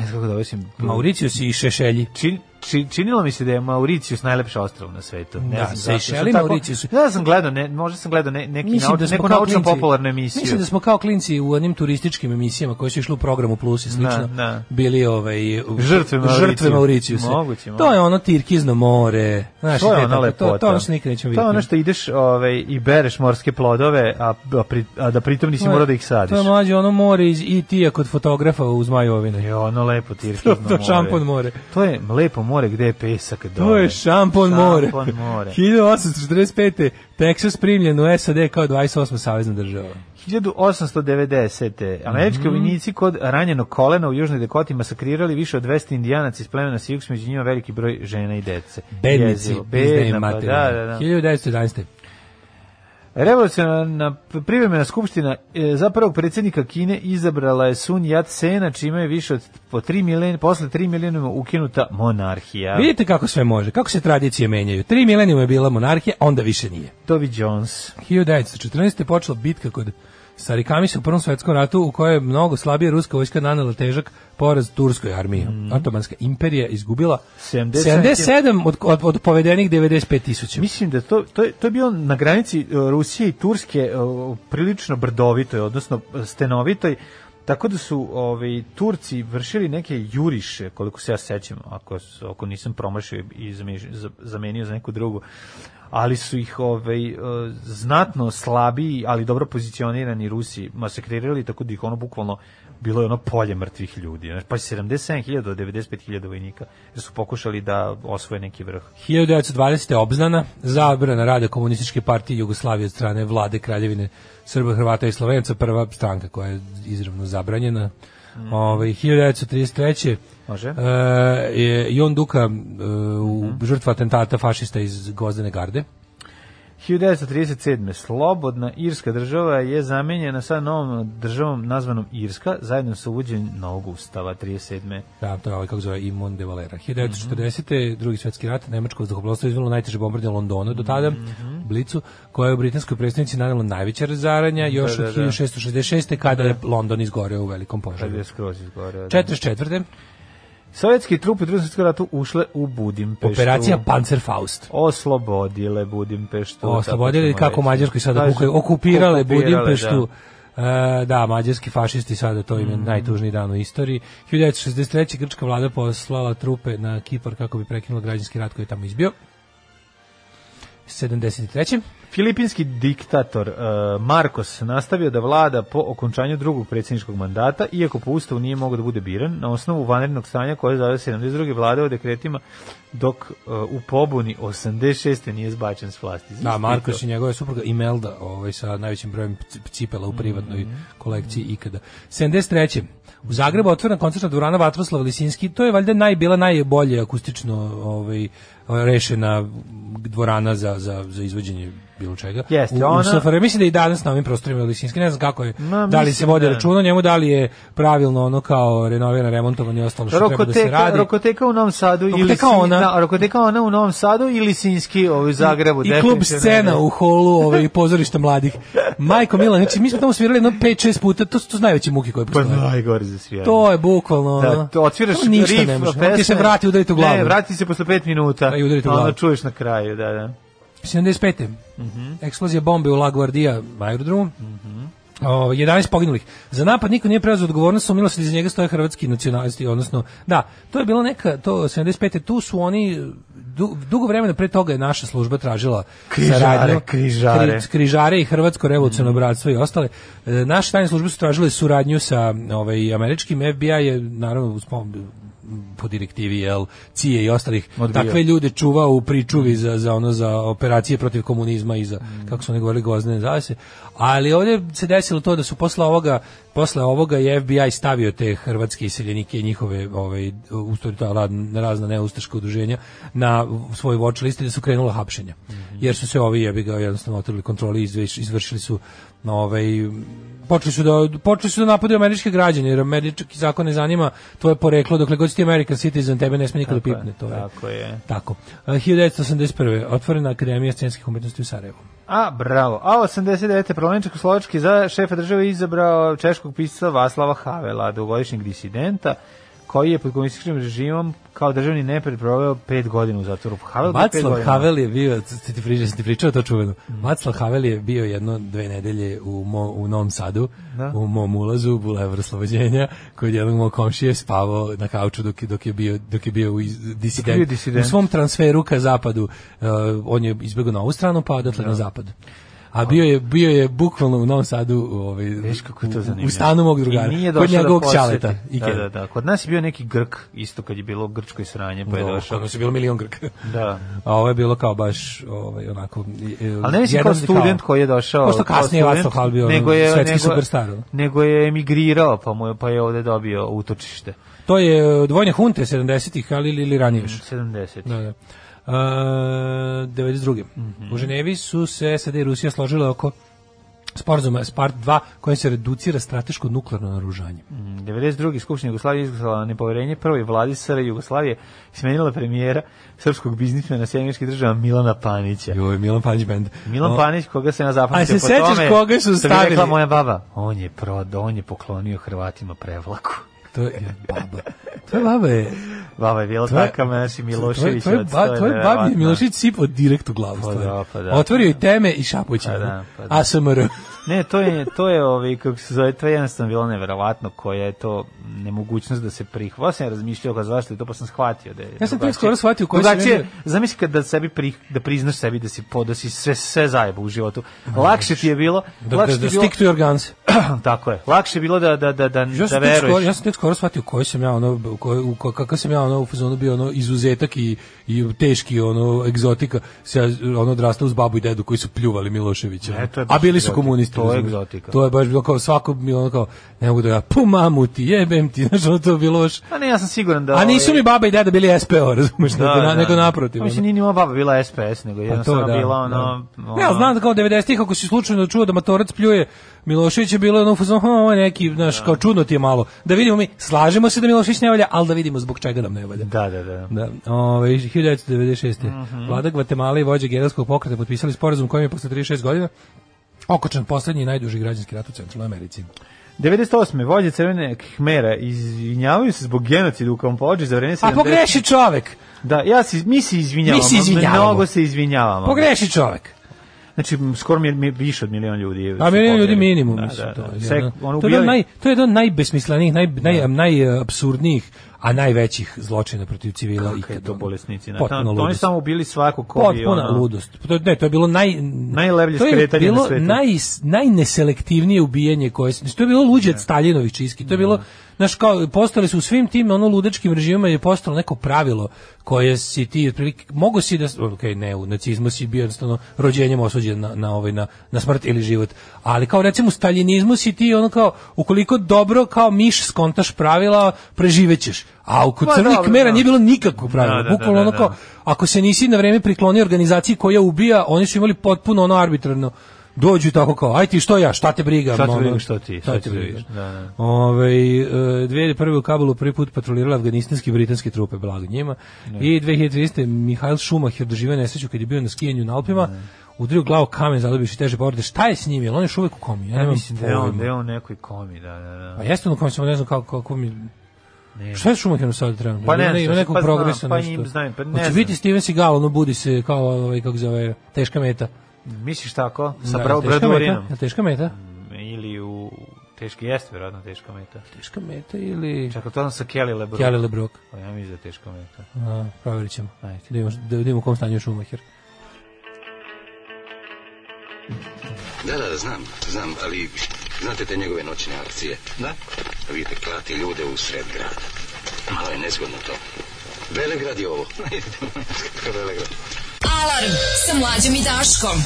G: ne znam kako da osim
F: Mauricius i Šešelji.
G: Čin, či- činilo mi se da je Mauricius najlepše ostrvo na svetu. Ne
F: Da,
G: znam
F: Seychelles
G: zašto. Sam
F: i
G: tako-
F: Mauricius.
G: Ja sam gledao, ne, možda sam gledao ne, neki
F: Mislim
G: nauč,
F: da smo
G: neku
F: kao
G: naučno
F: klinci-
G: popularnu emisiju.
F: Mislim da smo kao klinci u onim turističkim emisijama koje su išle u programu Plus i slično,
G: Da, da.
F: bili ovaj u-
G: Žrtve Mauricijusa.
F: žrtve Mauricijusa.
G: Moguće, moguće.
F: To je ono Tirkizno more. Znaš,
G: To je
F: te
G: ona
F: tako-
G: lepota.
F: To, to je ono što nikad nećemo
G: To
F: vidjeti.
G: je ono što ideš ovaj, i bereš morske plodove, a, a, pri, a da pritom nisi morao da ih
F: To
G: sadiš.
F: je mlađe ono more iz IT-a kod fotografa uz Majovine.
G: Je ono lepo tirkizno
F: To,
G: more.
F: to šampon more.
G: To je lepo more, gde je pesak dole?
F: To je šampon more.
G: Šampon more.
F: 1845. Texas primljen u SAD kao 28. savezna država.
G: 1890.
F: Mhm.
G: Američki vojnici kod ranjenog kolena u Južnoj Dakoti masakrirali više od 200 indijanaca iz plemena Sioux, među njima veliki broj žena i dece.
F: Bednici,
G: Jezivo,
F: bedna,
G: bedna, pa da, da, da.
F: 1911.
G: Revolucionarna privremena skupština e, za prvog predsjednika Kine izabrala je Sun Yat-sena, čime je više od po 3 milijena, posle 3 milijena ukinuta monarhija.
F: Vidite kako sve može, kako se tradicije menjaju. Tri milenijuma je bila monarhija, a onda više nije.
G: Tovi Jones.
F: 1914. je počela bitka kod Sarikamisa u Prvom svetskom ratu u kojoj je mnogo slabije ruska vojska nanela težak poraz turskoj armiji. Otomanska imperija izgubila
G: 70
F: 77 od, od, od povedenih 95 tisuća.
G: Mislim da to, to, je, to je bilo na granici e, Rusije i Turske e, prilično brdovitoj, odnosno e, stenovitoj, tako da su ovaj, Turci vršili neke juriše, koliko se ja sećam, ako, s- ako nisam promašio i zamiš- za- zamenio za neku drugu, ali su ih ovaj, e, znatno slabiji, ali dobro pozicionirani Rusi masakrirali, tako da ih ono bukvalno bilo je ono polje mrtvih ljudi. Znači, pa 77.000 do 95.000 vojnika jer su pokušali da osvoje neki vrh.
F: 1920. obznana, zabrana rada komunističke partije Jugoslavije od strane vlade Kraljevine Srba, Hrvata i Slovenca, prva stranka koja je izravno zabranjena. Ovaj 1933.
G: Može.
F: E, je Jon Duka e, u žrtva atentata fašista iz Gozdene garde.
G: 1937. Slobodna Irska država je zamenjena sa novom državom nazvanom Irska zajedno sa uvođenjem novog ustava 37.
F: Da, to je ovaj kako zove Imon de
G: Mhm.
F: Valera. 1940. drugi svjetski rat, Nemačko vazduhoplovstvo izvelo najteže bombardanje Londona do tada,
G: Mhm.
F: Blicu, koja je u britanskoj predstavnici nanelo najveće razaranja još
G: da,
F: od
G: da.
F: 1666. kada je London izgoreo u velikom požaru.
G: Kad je skroz izgoreo, da.
F: 44.
G: Sovjetski trupi u drugom svjetskom ratu ušle u Budimpeštu.
F: Operacija Panzerfaust.
G: Oslobodile Budimpeštu.
F: Oslobodili
G: tako ćemo
F: kako
G: reći.
F: Mađarskoj sada
G: Kaže,
F: kukaju, okupirale
G: da.
F: Budimpeštu. E, da, mađarski fašisti sada to im
G: Mm.
F: je najtužniji dan u istoriji. 1963. grčka vlada poslala trupe na Kipar kako bi prekinula građanski rat koji je tamo izbio. 73.
G: Filipinski diktator eh, Marcos nastavio da vlada po okončanju drugog predsjedničkog mandata, iako po ustavu nije mogao da bude biran, na osnovu vanrednog stanja koje je zavio 72. vladao dekretima, dok eh, u pobuni 86. nije zbačen s vlasti. Znaš
F: Da,
G: ti to?
F: Markoš i njegova supruga Imelda, ovaj, sa najvećim brojem c- cipela u privatnoj
G: Mhm.
F: kolekciji ikada. 73. U Zagrebu otvorena koncertna dvorana Vatroslav Lisinski, to je valjda naj, bila najbolje akustično ovaj, rešena dvorana za, za, za izvođenje bilo čega.
G: Jeste,
F: U- u,
G: ona-
F: SFRJ. Mislim da i danas na ovim prostorima je Lisinski, ne znam kako je,
G: Ma,
F: da li
G: mislim
F: se vodi
G: da.
F: računa o njemu, da li je pravilno ono kao renovirano, remontovano i ostalo što treba da se
G: Rokoteka,
F: radi.
G: Rokoteka u Novom Sadu ili
F: Rokoteka
G: Sin-
F: ona.
G: Da, Rokoteka ona u Novom Sadu ili Sinski ovaj, u Zagrebu.
F: I klub
G: definitivno.
F: scena u holu ovaj, pozorišta mladih. Majko Milan, znači mi smo tamo svirali jedno 5-6 puta, to su, to su najveće muke koje
G: Pa
F: postoje.
G: najgore za svijanje.
F: To je bukvalno... ono,
G: Da, to otviraš
F: to ništa
G: riff,
F: ne može.
G: pesme.
F: Ti se vrati udariti u glavu.
G: Ne, vrati se posle 5 minuta.
F: Da, i udariti u
G: a onda
F: glavu.
G: čuješ na kraju, da, da.
F: 75.
G: Mhm.
F: Eksplozija bombe u La Guardia aerodromu. O, 11 poginulih. Za napad niko nije preuzeo odgovornost, sumnjilo se da iza njega stoje hrvatski nacionalisti, odnosno, da, to je bilo neka, to 75. Tu su oni, du- dugo vremena pre toga je naša služba tražila
G: Križare,
F: saradnju.
G: križare. Mhm.
F: Kri- križare i Hrvatsko revolucionarno bratstvo i ostale. E, naše tajne službe su tražile suradnju sa ovaj, američkim FBI je, naravno, uz pom- po direktivi jel, CIA i ostalih
G: Odbio.
F: takve ljude čuva u pričuvi za, za ono za operacije protiv komunizma i za
G: Mm.
F: kako su oni govorili gozne zavese. Ali ovdje se desilo to da su posle ovoga posle ovoga je FBI stavio te hrvatske iseljenike i njihove ovaj u stvari ta rad- razna neustaška udruženja na svoj watch listi da su krenula hapšenja.
G: Mhm.
F: Jer su se ovi jebi ga jednostavno otrli kontroli i izvrš- izvršili su ovaj počeli su da počeli su da napadaju američke građane jer američki zakon ne zanima tvoje poreklo dokle god si ti American citizen tebe ne sme niko da
G: Tako je,
F: pipne to je
G: tako je.
F: tako E, 1981 otvorena akademija scenskih umetnosti u Sarajevu
G: A, bravo. A, 89. parlament Čekoslovački za šefa države izabrao češkog pisca Vaslava Havela, dugogodišnjeg disidenta, koji je pod komunističkim režimom kao državni nepred proveo pet godina u zatvoru. Havel je bio pet
F: Vaclav
G: godina.
F: Havel je bio ti ti pričao ti pričao to čuveno Vaclav Havel je bio jedno dve nedelje u mo, u Novom Sadu u mom ulazu u bulevar Slobođenja kod jednog mog komšije spavao na kauču dok, je- dok je bio dok je bio u iz- disident,
G: bio disident.
F: u svom transferu ka zapadu e, on je izbegao na ovu stranu pa odatle na zapad a bio je, bio je bukvalno u Novom Sadu ovaj,
G: Viš kako je to
F: u-
G: zanimljivo.
F: u stanu mog drugara,
G: I nije
F: kod
G: došao
F: njegovog
G: da posjeti.
F: čaleta.
G: Da, da, da. Kod nas je bio neki Grk, isto kad je bilo grčko i sranje, pa je došao.
F: Ono se bilo milion grka.
G: Da.
F: A ovo je bilo kao baš ovaj, onako... e,
G: Ali ne mislim
F: jedan
G: kao
F: od
G: student koji je došao.
F: Pošto
G: kao
F: kasnije
G: student,
F: Václav Hal bio svetski superstar, ono.
G: Nego je emigrirao, pa, mu je, pa je ovde dobio utočište.
F: To je od vojne hunte 70-ih, ali ili, ili ranije još.
G: 70.
F: Da, da. Uh, 92.
G: Mhm.
F: U Ženevi su se SAD i Rusija složile oko sporazuma SPART 2 kojim se reducira strateško nuklearno naružanje.
G: Mm, 92. Skupština Jugoslavije izglasala nepoverenje prvoj vladi SR Jugoslavije i smenila premijera srpskog biznismena Sjemičkih država Milana Panića.
F: Joj, Milan Panić band.
G: Milan
F: O,
G: Panić, koga se ja zapamtio
F: A se sećaš koga su
G: što bi rekla
F: stavili?
G: moja baba, on je prodo, on je poklonio Hrvatima prevlaku.
F: To je baba. To je baba je...
G: Baba je bila
F: Tvoje-
G: taka, meni si
F: Tvoj,
G: Milošević.
F: tvoj, ba, tvoj babi je Milošić sipao direkt u glavu.
G: Pa
F: stvarno.
G: da, pa da.
F: Otvorio i teme i šapuće.
G: Pa da, pa da.
F: ASMR.
G: Ne, to je, to je ovaj, kako se zove, to je jednostavno bilo neverovatno koja je to nemogućnost da se prihvata. Ja sam razmišljao kao zašto je to, pa sam shvatio da je
F: Ja sam tek
G: drugačije.
F: skoro shvatio koji se
G: drugačije.
F: vidi-
G: Zamisli kad da sebi pri, da priznaš sebi da si po, da si sve, sve zajeba u životu. Lakše ti je bilo,
F: Da, da,
G: lakše
F: da
G: ti je bilo,
F: stick to your guns.
G: tako je, lakše je bilo da, da, da, da,
F: Ja
G: da
F: sam, tek skoro,
G: veruješ.
F: ja sam tek skoro shvatio koji sam ja ono, u koj, u, ka- kakav sam ja ono u fazonu bio ono izuzetak i, i teški ono egzotika se ja, ono odrastao uz babu i dedu koji su pljuvali Miloševića. ono.
G: E, to je baš
F: A bili su
G: egzotika.
F: komunisti.
G: To je
F: razumeš?
G: egzotika.
F: To je baš bilo kao svako mi ono kao ne mogu da ja pu mamu ti jebem ti znači ono to je bilo baš
G: Pa ne, ja sam siguran da...
F: A nisu
G: ovaj,
F: mi baba i deda bili SPO, razumeš, nego, na, nego naprotiv.
G: Pa Mislim,
F: ono.
G: nije ni moja baba bila SPS, nego je
F: Pa to
G: jednostavno
F: da,
G: bila
F: da.
G: ono...
F: Ne, ali znam da kao 90-ih, ako si slučajno čuo da Matorac pljuje, Milošević je bilo ono, u fazonu, "Ha, ovo je neki, znaš, kao čudno ti je malo. Da vidimo mi, slažemo se da Milošević ne valja, ali da vidimo zbog čega nam ne valja.
G: Da, da, da. Mhm.
F: Da, ove, 1996. Vlada Gvatemala i vođe geralskog pokreta potpisali sporazum kojim je posle 36 godina okočan poslednji i najduži građanski rat u Centralnoj Americi.
G: 98. vođe Crvene Khmera izvinjavaju se zbog genocida u Kampođi za vreme 70.
F: A pogreši čovek!
G: Da, ja se, mi se izvinjavamo.
F: Pa, Mi se izvinjavamo.
G: Mnogo se izvinjavamo.
F: Pogreši čovek!
G: Znači, m, skoro mi, mi više od milion ljudi. je-
F: A milion ljudi
G: pobjeli.
F: minimum,
G: Da,
F: mislim,
G: da,
F: to
G: da.
F: je.
G: Sek,
F: jedan-
G: ono,
F: to je jedan
G: ubijali-
F: naj, to je jedan najbesmislenijih, naj, naj, najabsurdnijih, a najvećih zločina protiv civila.
G: Kakvi
F: ikad,
G: to
F: ono.
G: bolesnici. Na,
F: Potpuna
G: to oni
F: ludost.
G: samo ubili svako ko ono- je...
F: Potpuna ludost. To, ne, to je bilo naj...
G: Najlevlje
F: to je
G: skretanje na
F: bilo
G: svetu.
F: naj, najneselektivnije ubijanje koje se... To je bilo luđe od Staljinovih čiski. To je bilo... Znaš, kao, postali su u svim tim ono ludačkim režimima je postalo neko pravilo koje si ti, otprilike, mogo si da, ok, ne, u nacizmu si bio jednostavno rođenjem osuđen na, na, ovaj, na, na smrt ili život, ali kao recimo u staljinizmu si ti ono kao, ukoliko dobro kao miš skontaš pravila, preživećeš, a u kod
G: Ma,
F: crnih
G: dobro,
F: mera
G: da.
F: nije bilo nikakvog pravila,
G: Da, da,
F: bukvalno
G: da,
F: ono
G: da,
F: kao,
G: da.
F: ako se nisi na vreme priklonio organizaciji koja ubija, oni su imali potpuno ono arbitrarno dođu i tako kao, aj ti što ja, šta te briga?
G: Šta te
F: ono,
G: briga, što ti,
F: šta
G: šta
F: te
G: ti
F: briga.
G: vidiš, da, da.
F: Ove, e, 2001. u Kabulu prvi put patrolirala afganistanske i britanske trupe, blago njima. I 2013. Mihajl Šumacher doživio nesreću kad je bio na skijanju na Alpima, udario glavu kamen, zadobioši teže povrede. Šta je s njim? Jel on je još uvek u komi? Ja,
G: Ja
F: nemam
G: mislim da je on,
F: pojma.
G: da je on nekoj komi, da, da, da.
F: Pa jeste on u komi, samo ne znam kako, kako mi... Šta je Šumacheru sad trenutno?
G: Pa ne
F: Ima-
G: znam,
F: ima nekog
G: pa znam,
F: progresa,
G: pa
F: nešto.
G: im znam, pa ne
F: Hoće
G: znam.
F: biti Steven Seagal, ono budi se kao, ovaj, kako zove, teška meta.
G: Misliš tako? Sa Mm.
F: Da,
G: bravo
F: teška meta?
G: Bradurinom?
F: Jel Teška meta?
G: Ili u... Teški jeste, vjerojatno, teška meta.
F: Teška meta ili...
G: Čak, to je ono sa Kelly Lebron.
F: Kelly LeBrock.
G: Pa ja mislim da je teška meta.
F: A, provjerit ćemo.
G: Ajde.
F: Da vidimo, da vidimo u kom stanju je Šumacher.
B: Da, da, da, znam, znam, ali znate te njegove noćne akcije? Da. Vidite, klati ljude u sred grada. Malo je nezgodno to. Velegrad je ovo. Velegrad.
E: Alarm sa mlađom i Daškom.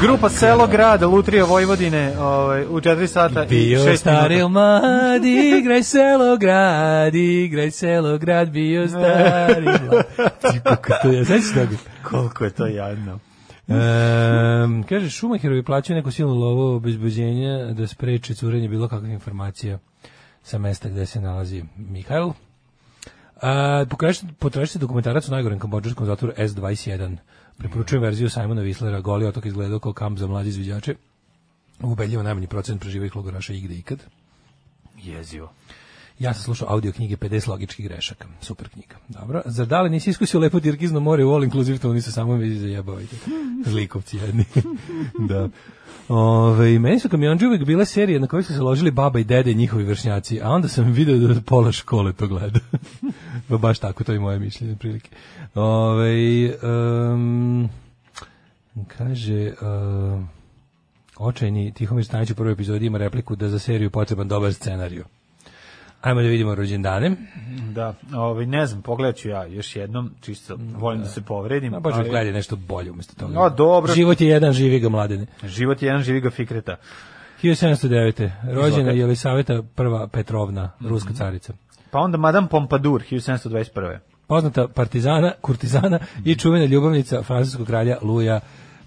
G: Grupa Selo Grad, Lutrija Vojvodine, ovaj, u 4 sata i
F: Bio
G: 6
F: stari um-
G: minuta.
F: ili mlad, igraj selo grad, igraj selo grad, bio stari ili mlad. Ti, Kako to je, znači toga?
G: Koliko je to jadno.
F: Ehm, kaže, Šumacherovi plaćaju neku silnu lovu obezbeđenja da spreče curenje bilo kakvih informacija sa mesta gde se nalazi Mihajl. A, potražite, potražite dokumentarac o najgorem kambođanskom zatvoru S21. Preporučujem verziju Simona Whistlera. Goli otok izgledao kao kamp za mladi izviđače. Ubedljivo najmanji procent preživih logoraša igde ikad.
G: Jezivo.
F: Ja sam slušao audio knjige 50 logičkih grešaka. Super knjiga. Dobro. Zar da li nisi iskusio lepo Dirgizno more u All Inclusive, to nisu samo mi zajebavajte. Zlikovci jedni. da. Ove, i meni su kamionđe uvek bile serije na koje su se ložili baba i dede njihovi vršnjaci, a onda sam video da pola škole to gleda. Pa Baš tako, to je moje mišljenje prilike. Ove, um, Kaže, uh, očajni Tihomir Stanić u prvoj epizodi ima repliku da za seriju potreban dobar scenariju. Ajmo da vidimo rođendane.
G: Da, ovaj, ne znam, pogledat ću ja još jednom, čisto volim da, se povredim.
F: Pa baš
G: ali-
F: gledaj nešto bolje umjesto toga.
G: No, dobro.
F: Život je jedan, živi ga mladene.
G: Život je jedan živi ga fikreta.
F: 1709. Rođena
G: Izvolite. Mhm.
F: je Elisaveta prva Petrovna, ruska carica.
G: Pa onda Madame Pompadour, 1721.
F: Poznata partizana, kurtizana i
G: Mhm.
F: čuvena ljubavnica francuskog kralja Luja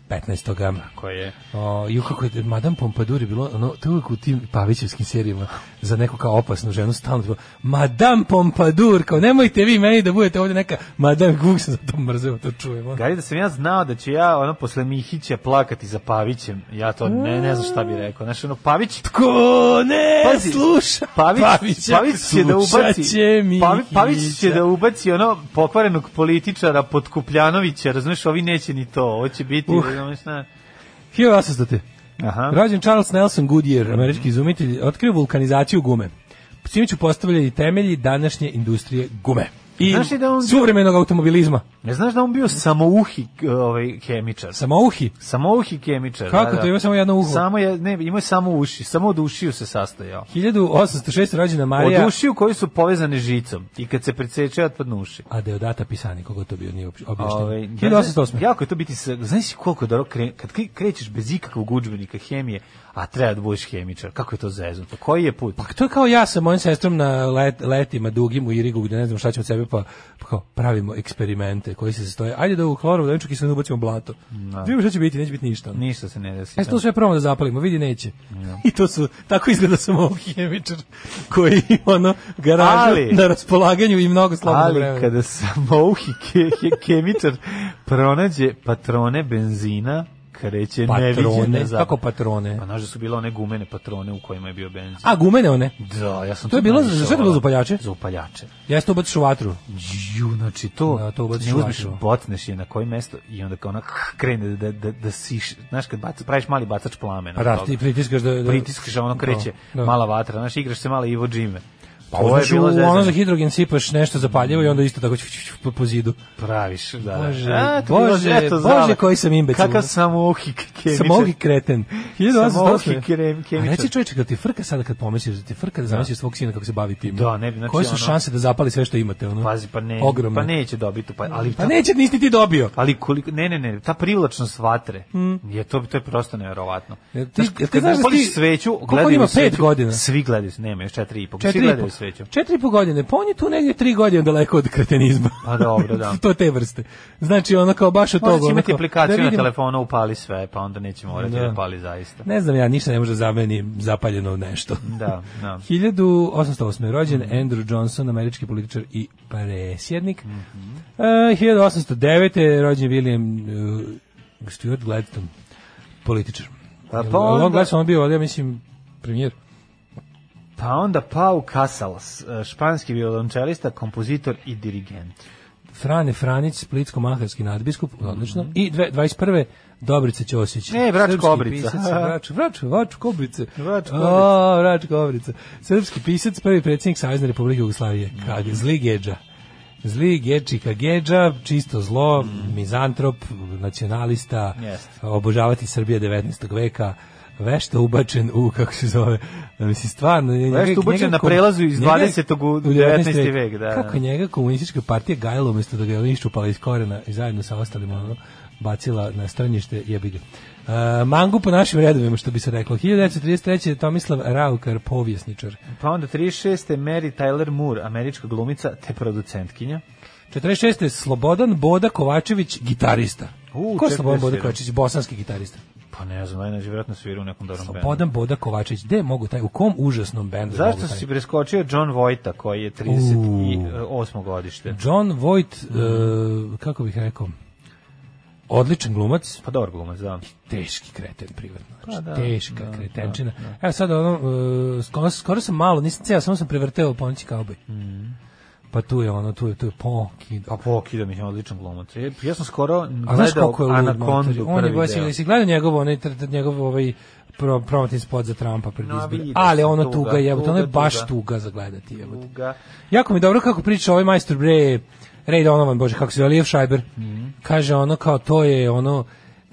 F: 15.
G: Koja je?
F: O, ju kako je Madame Pompadour je bilo, ono, to je uvijek u tim Pavićevskim serijama za neku kao opasnu ženu stalno bilo, Madame Pompadour, kao nemojte vi meni da budete ovdje neka Madame Gug, sam za to mrzeo, to čujem. ono.
G: Gari da sam ja znao da ću ja ono posle Mihića plakati za Pavićem, ja to ne, ne znam šta bi rekao. Znaš, ono, Pavić
F: Ko ne
G: Pazi,
F: sluša
G: Pavić,
F: Pavića,
G: Pavić će da ubaci
F: slušat će mi
G: Pavi- Pavić će
F: Hića.
G: da ubaci ono pokvarenog političara pod Kupljanovića, razumeš, ovi neće ni to, ovo će biti, ono,
F: Uh.
G: razumeš, na...
F: 1800.
G: Aha.
F: Rođen Charles Nelson Goodyear, američki izumitelj, otkrio vulkanizaciju gume. Čime ću postavljati temelji današnje industrije gume i
G: Znaš li da on-
F: suvremenog automobilizma.
G: Ne znaš da on bio samouhi k- ovaj, kemičar?
F: Samouhi.
G: Samouhi kemičar.
F: Kako
G: da, da.
F: to, ima samo jedno uho?
G: Samo je, ne, imao je samo uši, samo od ušiju se sastojao.
F: 1806. rođena Marija
G: Od ušiju koji su povezane žicom i kad se preseče otpadnu uši.
F: a deodata pisani, koga to bio nije objašnjen.
G: Ove,
F: 1808.
G: Ovaj, Jako je to biti, sa- znaš koliko je dobro kre, kad kri- krećeš bez ikakvog udžbenika hemije, a treba da budeš hemičar, kako je to zeznuto, koji je put?
F: Pa to je kao ja sa mojim sestrom na let, letima dugim u Irigu gde ne znam šta ćemo od sebe pa, pa kao pravimo eksperimente koji se sastoje. Ajde da u hlorovu da kiselinu ubacimo blato. Da. Vidimo šta će biti, neće biti ništa. ono.
G: Ništa se ne desi.
F: E, to sve probamo da zapalimo, vidi neće. I to su, tako izgleda samo ovog hemičar koji ima ono garažu
G: Ali-
F: na raspolaganju i mnogo slobodno vremena.
G: Ali kada samouhi ke, ke- kemičar pronađe patrone benzina, kreće neviđene
F: Patrone,
G: za...
F: kako patrone?
G: Pa znaš da su bile one gumene patrone u kojima je bio benzin.
F: A, gumene one?
G: Da, ja sam
F: To je bilo za-
G: naišao,
F: šta je bilo za
G: ono,
F: upaljače?
G: Za upaljače.
F: Jeste ubaciš u vatru.
G: Ju, znači to,
F: Da, to ubaciš
G: ne
F: u
G: uzmeš,
F: vatru.
G: botneš je na koje mesto i onda kao ona kh, krene da, da, da siš, znaš kad baca, praviš mali bacač plamena.
F: Pa da,
G: od toga.
F: ti pritiskaš da... da
G: pritiskaš, a ono kreće,
F: Da, da.
G: mala vatra, znaš, igraš se malo Ivo Džime.
F: Pa
G: To je
F: uzmeš u
G: bilo zezanje.
F: ono za hidrogen sipaš nešto zapaljivo i onda isto tako ću, ću, ću, po, po zidu.
G: praviš, da.
F: Bože,
G: da. A, to
F: Bože,
G: bilo- eto,
F: Bože,
G: zale.
F: koji sam imbecil.
G: Kakav sam ohi kemičar.
F: Samouhi kreten. 1808.
G: Samouhi krem-
F: A
G: kemičar.
F: Reci čovječe, kad ti frka sada kad pomisliš, da ti frka da zamisliš svog sina kako se bavi tim.
G: Da, ne bi, znači,
F: Koje su
G: ono-
F: šanse da zapali sve što imate? Ono?
G: Pazi, pa ne,
F: Ogromne.
G: pa neće dobiti, pa, ali
F: Pa neće, nisi ti dobio.
G: Ali koliko, ne, ne, ne, ta privlačnost vatre, je to, to je prosto neverovatno.
F: Hmm. Jel ti-
G: Znaš,
F: jel ti
G: kad
F: znaš da
G: upališ
F: ti-
G: sveću,
F: koliko on
G: gledaju
F: ima?
G: u sveću,
F: Pet godina?
G: Svi gledaju, nema, još četiri i po, svi
F: Četiri i po,
G: gledaju u sveću.
F: četiri i po godine, pa on je tu negdje tri godine daleko od kretenizma.
G: Pa dobro, da.
F: to te vrste. Znači, ono kao baš od toga.
G: Možda će
F: ono
G: imati
F: kao,
G: aplikaciju
F: da
G: na
F: vidimo.
G: telefonu, upali sve, pa onda neće morati da,
F: Da.
G: pali zaista.
F: Ne znam ja, ništa ne može da zameni zapaljeno nešto.
G: Da, da.
F: 1808. je rođen
G: Mhm.
F: Andrew Johnson, američki političar i presjednik.
G: Mhm.
F: E, 1809. je rođen William uh, Stuart Gladstone, političar.
G: Pa, pa
F: Jel- jel on
G: onda-
F: Gladstone on bio, ovdje, ja mislim, premijer.
G: Pa onda Pau Casals, e, španski violončelista, kompozitor i dirigent.
F: Frane Franić, splitsko-maharski nadbiskup, odlično. I dve, 21. Dobrica Ćosić.
G: E, Vrač
F: srpski
G: Kobrica.
F: Pisac, vrač, vrač, vrač Kobrice.
G: Vrač Kobrice.
F: O, vrač Kobrice. Srpski pisac, prvi predsjednik Savezne Republike Jugoslavije. Kag, zli geđa. Zli gečika geđa, čisto zlo, mizantrop, nacionalista,
G: Mm. Jeste.
F: obožavati Srbije 19. veka, vešta ubačen u, kako se zove, mislim, stvarno... njega-
G: ubačen
F: njega
G: na
F: kom-
G: prelazu iz
F: njega-
G: 20. u 19. vek, da,
F: Kako
G: da.
F: njega komunistička partija gajla umjesto da ga je iščupala iz korena i zajedno sa ostalima ono, bacila na strnjište jebi ga. E, mangu po našim redovima, što bi se reklo. 1933. je Tomislav Raukar, povjesničar.
G: Pa onda 36. Mary Tyler Moore, američka glumica te producentkinja.
F: 46. je Slobodan Boda Kovačević, gitarista.
G: U,
F: Ko je Slobodan Boda
G: 47?
F: Kovačević? Bosanski gitarista.
G: Pa ne znam, najnađe vjerojatno svira u nekom dobrom bendu.
F: Slobodan Boda Kovačević. Gde mogu taj? U kom užasnom bendu
G: Zašto
F: mogu taj?
G: si preskočio John Vojta koji je 38. godište?
F: John Voight, e, kako bih rekao, odličan glumac,
G: Pa dobar glumac, da.
F: teški kreten privatno. Znači,
G: Pa da,
F: teška kretenčina. Evo sad ono, e, skoro, skoro sam malo, nisam cijel, samo sam prevrteo Ponoći kauboj.
G: Mm.
F: Pa tu je ono, tu je, tu je Poki.
G: A pokida mi je odličan glumac. Ja, ja sam skoro
F: A znaš
G: gledao
F: kako je lud
G: Anakondu
F: motor? On je
G: prvi
F: baš,
G: deo.
F: jesi gledao njegov, onaj, tr- tr- njegov ovaj pro, promotin spot za Trumpa pred
G: No,
F: izbore?
G: vidio
F: Ali
G: sam,
F: ono
G: tuga,
F: tuga, jebote, ono je
G: tuga,
F: baš
G: tuga.
F: tuga za gledati, jebote.
G: Tuga.
F: Jako mi je dobro kako priča ovaj majstor bre Ray Donovan, bože, kako se zove, Lijev Šajber. Kaže ono kao to je ono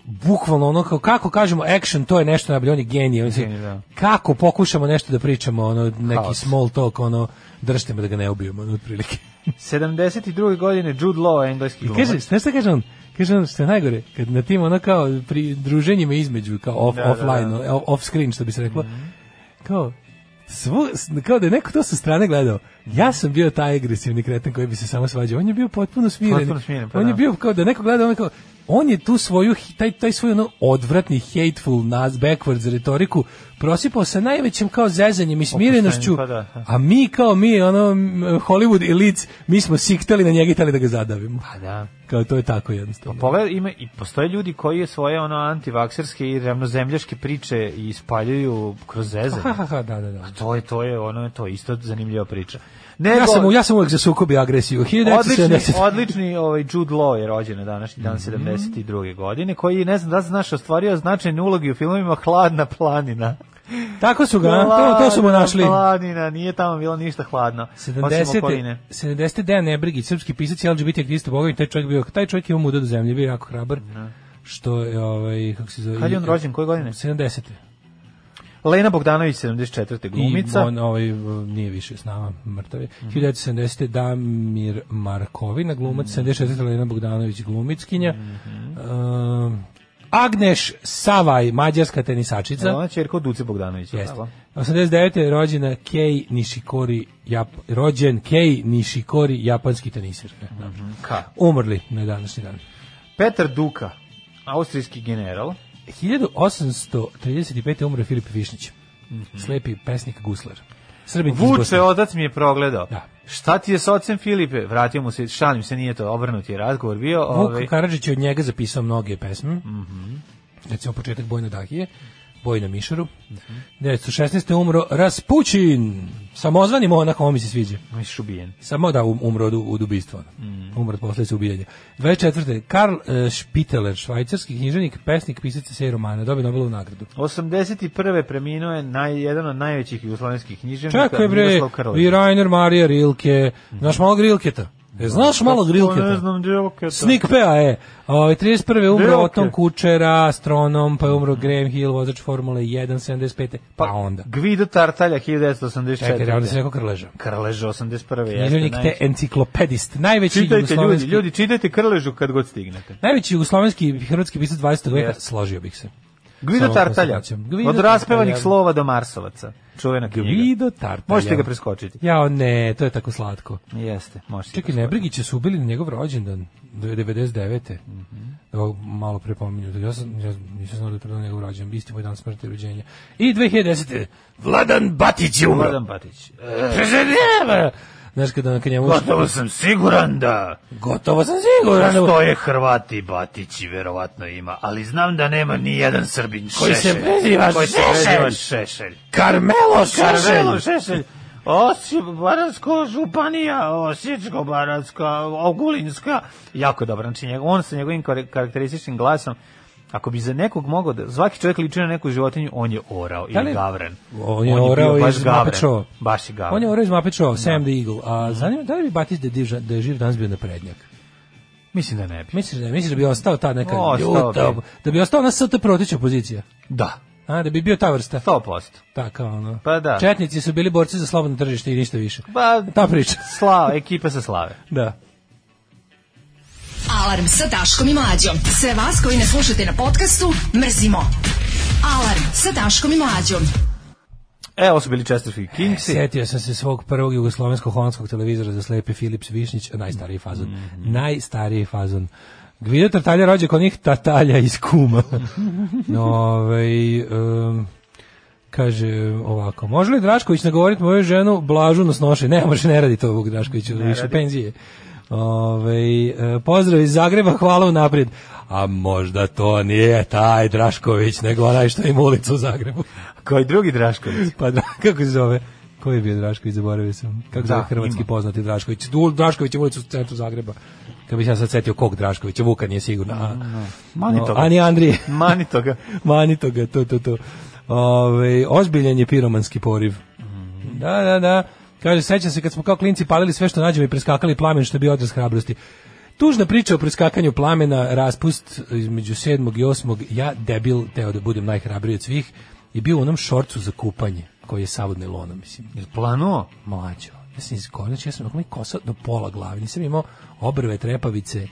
F: bukvalno ono kao kako kažemo action to je nešto najbolje on je genije on se-
G: Genije, da.
F: kako pokušamo nešto da pričamo ono neki
G: Haos.
F: small talk ono držite me da ga ne ubijemo ono, otprilike
G: 72. godine Jude Law, engleski
F: I
G: glumac.
F: kaže, znaš šta kaže on? Kaže on što je najgore, kad na tim ono kao pri druženjima između, kao off,
G: Da, Mhm. da,
F: offline,
G: da.
F: o- off screen što bi se reklo, kao, svu, s- kao da je neko to sa strane gledao.
G: Mhm.
F: Ja sam bio taj agresivni kreten koji bi se samo svađao. On je bio potpuno smiren.
G: Potpuno smiren, pa
F: on je
G: da.
F: bio kao da neko gleda, on je kao, on je tu svoju, hi- taj, taj svoj ono odvratni, hateful, nas, backwards retoriku prosipao sa najvećim kao zezanjem i smirenošću,
G: pa da, da.
F: a mi kao mi, ono, m, Hollywood elites, mi smo siktali na njega i tali da ga zadavimo.
G: Pa da. Pa,
F: Kao to je tako jednostavno.
G: Pogledaj, ima i postoje ljudi koji svoje ono antivakserske i ravnozemljaške priče ispaljuju kroz zezanje.
F: Ha, ha, ha, da, da, da.
G: To je to je ono to je isto zanimljiva priča. Nego
F: Ja sam, u- ja sam uvek za sukob i agresiju. 1970.
G: odlični odlični ovaj Jude Law je rođen na današnji
F: Mhm.
G: dan 72. godine koji je, ne znam da li znaš ostvario značajnu ulogu u filmovima Hladna planina.
F: Tako su ga, to, to su mu
G: Hladna
F: našli.
G: Planina, nije tamo bilo ništa hladno. osim
F: 70.
G: okoline.
F: 70. Dejan Nebrigić, srpski pisac i LGBT aktivista Bogović, taj čovjek bio, taj čovjek je imao muda do zemlje, bio je jako hrabar. Što je, ovaj, kako se zove?
G: Kad je on rođen, koje godine?
F: 70.
G: Lena Bogdanović 74. glumica. Mhm.
F: I on ovaj, nije više s nama, mrtav je. 1970. Damir Markovina, glumac,
G: Mhm.
F: 76. Lena Bogdanović, glumickinja. Um, Agneš Savaj, mađarska tenisačica.
G: Za... Ona čerka od Duce Bogdanović.
F: Jeste. 89. je rođena Kei Nishikori, Jap, rođen Kei Nishikori, japanski teniser. E, da.
G: Ka.
F: Umrli na današnji dan.
G: Petar Duka, austrijski general.
F: 1835. umre Filip Višnić, slepi pesnik Guslar. Srbin iz Bosne.
G: Mhm. Vuče, otac mi je progledao.
F: Da.
G: Šta ti je s ocem Filipe? Vratio mu se, šalim se, nije to obrnuti je razgovor bio. ovaj,
F: Vuk Karadžić je od njega zapisao mnoge pesme.
G: Mhm.
F: Recimo početak Bojne Dahije, Boj na Mišaru.
G: Mhm.
F: 916. je umro Raspućin, samozvani monak, ovo mi se sviđa.
G: misliš ubijen.
F: Samo da um- umro od, u- od ubistva. ono.
G: Mhm.
F: Umro od posledica ubijanja. 24. Karl e, Spitteler, švajcarski književnik, pesnik, pisac se i romana, dobio Nobelovu nagradu.
G: 81. preminuo je naj, jedan od najvećih jugoslovenskih književnika,
F: Čekaj bre,
G: Miroslav Krlić.
F: i Rainer Marija Rilke, znaš malo Rilketa? E, znaš malo
G: Pa Ne
F: Rilketa?
G: znam, Rilketa.
F: Snik Pea je. Ovaj 31. je umro
G: Rilke.
F: Oton Kučera, astronom, pa je umro Graham Hill, vozač Formule 1, 75. Pa, onda.
G: Gvido Tartalja,
F: Čekaj, onda se
G: 1984.
F: rekao Krleža.
G: Krlež 81. jeste.
F: Književnik te
G: najveći.
F: enciklopedist, najveći
G: Čitajte ljudi,
F: jugoslovenski-
G: ljudi, čitajte Krležu kad god stignete.
F: Najveći jugoslovenski i hrvatski pisac 20. veka,
G: Jeste.
F: složio bih se.
G: Gvido
F: Samo
G: Tartalja,
F: konstatacijom. Gvido
G: od raspevanih
F: Tartalja.
G: slova do Marsovaca. Čuvena knjiga.
F: Gvido Tartalja.
G: Možete ga preskočiti.
F: Jao, ne, to je tako slatko.
G: Jeste, možete.
F: Čekaj, Nebrigića su ubili na njegov rođendan, do 99. Mm
G: Mhm.
F: malo pre pominju, ja, sam, ja nisam znao da je predao njegov rođendan, isti moj dan smrti i rođenja. I 2010. Vladan Batić je umro.
G: Vladan Batić. E,
F: Prežedjeva! Znaš kada na njemu...
G: sam siguran da
F: Gotovo sam siguran. da-
G: je Hrvati Batići verovatno ima, ali znam da nema ni jedan Srbin
F: Koji se preziva Šešelj.
G: Šešelj.
F: Karmelo
G: Karvelo
F: Šešelj!
G: Šešelj. Osijek-Baranska županija, Osječko-Baranska, Ogulinska. Jako dobro, znači njegov, on sa njegovim kar- karakterističnim glasom, ako bi za nekog mogao da, svaki čovjek liči na neku životinju, on je orao
F: Da
G: ili
F: li-
G: gavren.
F: On je
G: bio
F: orao
G: baš
F: iz
G: gavren.
F: Muppet Showa.
G: Baš je gavren.
F: On je orao iz Muppet Show, Sam the Eagle. A zanima, da li bi Batić da je div- da je živ danas bio naprednjak?
G: Mislim da ne bi.
F: Misliš da, misliš da bi ostao ta neka
G: Ostao
F: ljuta,
G: bi.
F: da bi ostao na ST protić opozicija?
G: Da.
F: A, da bi bio ta vrsta?
G: 100%.
F: Ta kao ono.
G: Pa da.
F: Četnici su bili borci za slobodno tržište i ništa više.
G: Pa,
F: Ta priča.
G: Slava, ekipa se slave.
F: Da.
E: Alarm sa Daškom i Mlađom. Sve vas koji ne slušate na podcastu, mrzimo. Alarm sa Daškom i Mlađom.
G: E, ovo su bili Chesterfield Kingsi.
F: Sjetio E, sam se svog prvog jugoslovensko-holandskog televizora za slepe Philips Višnić, najstariji fazon. Najstariji fazon. Gvido Tartalja rođe kod njih Tartalja iz kuma. no, ovaj, em, kaže ovako, može li Drašković nagovoriti moju ženu Blažu na snoše? Ne, može, ne radi to Vuk Drašković, više penzije. Ovaj, e, pozdrav iz Zagreba, hvala u naprijed. A možda to nije taj Drašković, nego onaj što ima ulicu u Zagrebu.
G: Koji drugi Drašković?
F: Pa da, kako se zove? Ko je bio Drašković, zaboravio sam. Kako se
G: Da,
F: zove hrvatski
G: ima.
F: poznati Drašković? Du- Drašković je ulicu u centru Zagreba. Kad bih ja sad setio kog Draškovića, Vuka nije sigurno. A,
G: Mani
F: No,
G: toga.
F: a ni Andrije.
G: Mani toga.
F: Mani toga, to, to, to. Ove, ozbiljan je piromanski poriv. Da, da, da. Kaže, sećam se kad smo kao klinci palili sve što nađemo i preskakali plamen što je bio odraz hrabrosti. Tužna priča o preskakanju plamena, raspust između 7. i 8. Ja debil teo da budem najhrabriji od svih i bio u onom šorcu za kupanje koji je sav od nelona, mislim.
G: Jel planuo?
F: Mlađo. Ja sam izgorio, znači ja sam imao kosa do pola glave, nisam imao obrve, trepavice,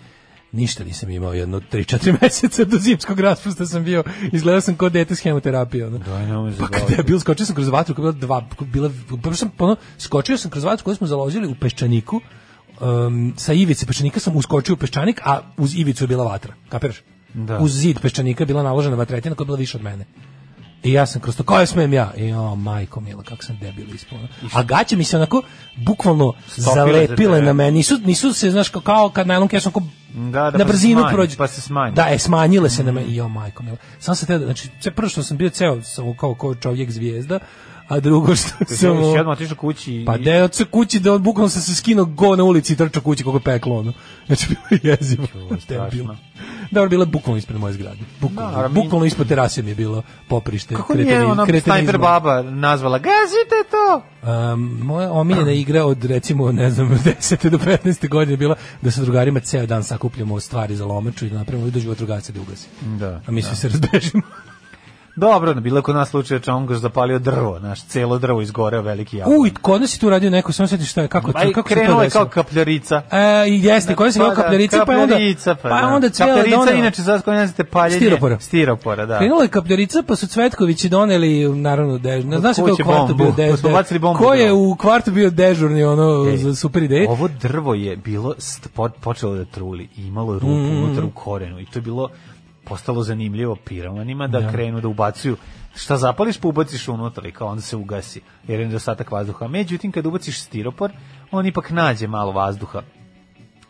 F: ništa nisam imao jedno 3-4 meseca do zimskog raspusta sam bio izgledao sam kao dete s hemoterapije ono.
G: Da, ne možeš
F: pa kad je bil skočio sam kroz vatru koja je bila dva bila pa sam ono, skočio sam kroz vatru koju smo založili u peščaniku um, sa ivice peščanika sam uskočio u peščanik a uz ivicu je bila vatra kapiraš
G: Da.
F: uz zid peščanika je bila naložena vatretina koja je bila više od mene I ja sam kroz to, kao smem ja? I o, majko mila, kako sam debil ispao. ono. A gaće mi se onako, bukvalno
G: Stopile za
F: zalepile
G: tebe.
F: na meni. Nisu, nisu se, znaš, kao, kao kad najlon keš, onako
G: Da, da, pa
F: na
G: se
F: brzinu
G: smanji,
F: prođe.
G: pa se smanji.
F: Da, e, smanjile se na meni. Jo, majko mila. Sam se te, znači, sve prvo što sam bio ceo, sam kao, kao čovjek zvijezda, a drugo što sam...
G: Samo... Jedno otišao kući i...
F: Pa da od se kući da on bukvalno se se skinuo go na ulici i trčao kući kako je peklo ono. Znači bilo je jezivo. Debil.
G: strašno.
F: Dobro, bilo je bukvalno ispred moje zgrade. Bukvalno,
G: Naravno, mi-
F: bukvalno ispod terase mi je bilo poprište.
G: Kako nije
F: kreteni-
G: ona
F: kretenizma.
G: sniper baba nazvala? Gazite to!
F: Um, moja omiljena igra od recimo ne znam 10. do 15. godine je bila da sa drugarima ceo dan sakupljamo stvari za lomaču i da napravimo i dođu vatrogasci da ugasi.
G: Da.
F: A mi svi se razbežimo.
G: Dobro, no, bilo je kod nas slučaj da on ga zapalio drvo, naš celo drvo izgoreo veliki jablon.
F: Uj, kod nas je tu radio neko, samo sjetiš šta je, kako,
G: Aj,
F: kako se to
G: krenula je
F: desilo?
G: kao kapljarica.
F: E, i jeste, koja se
G: Pa
F: kao
G: da,
F: kapljarica, pa je onda...
G: kapljarica, pa, da.
F: onda cijela
G: Kapljarica,
F: donela.
G: inače, sad koja nazivate paljenje...
F: Stiropora.
G: Stiropora, da.
F: Krenula je kapljarica, pa su Cvetkovići doneli, naravno, dežurni.
G: Od
F: Znaš se ko je u
G: kuće
F: kvartu
G: bombu.
F: bio dežurni?
G: Pa smo bacili bombu,
F: Ko je
G: da.
F: u kvartu bio dežurni, ono,
G: Ej,
F: za super ideje?
G: Ovo drvo je bilo st- po- počelo da truli i imalo je rupu
F: Mm-hmm.
G: unutar u korenu i to je bilo postalo zanimljivo piromanima da krenu da ubacuju šta zapališ pa ubaciš unutra i kao onda se ugasi jer je nedostatak vazduha. Međutim kad ubaciš stiropor, on ipak nađe malo vazduha.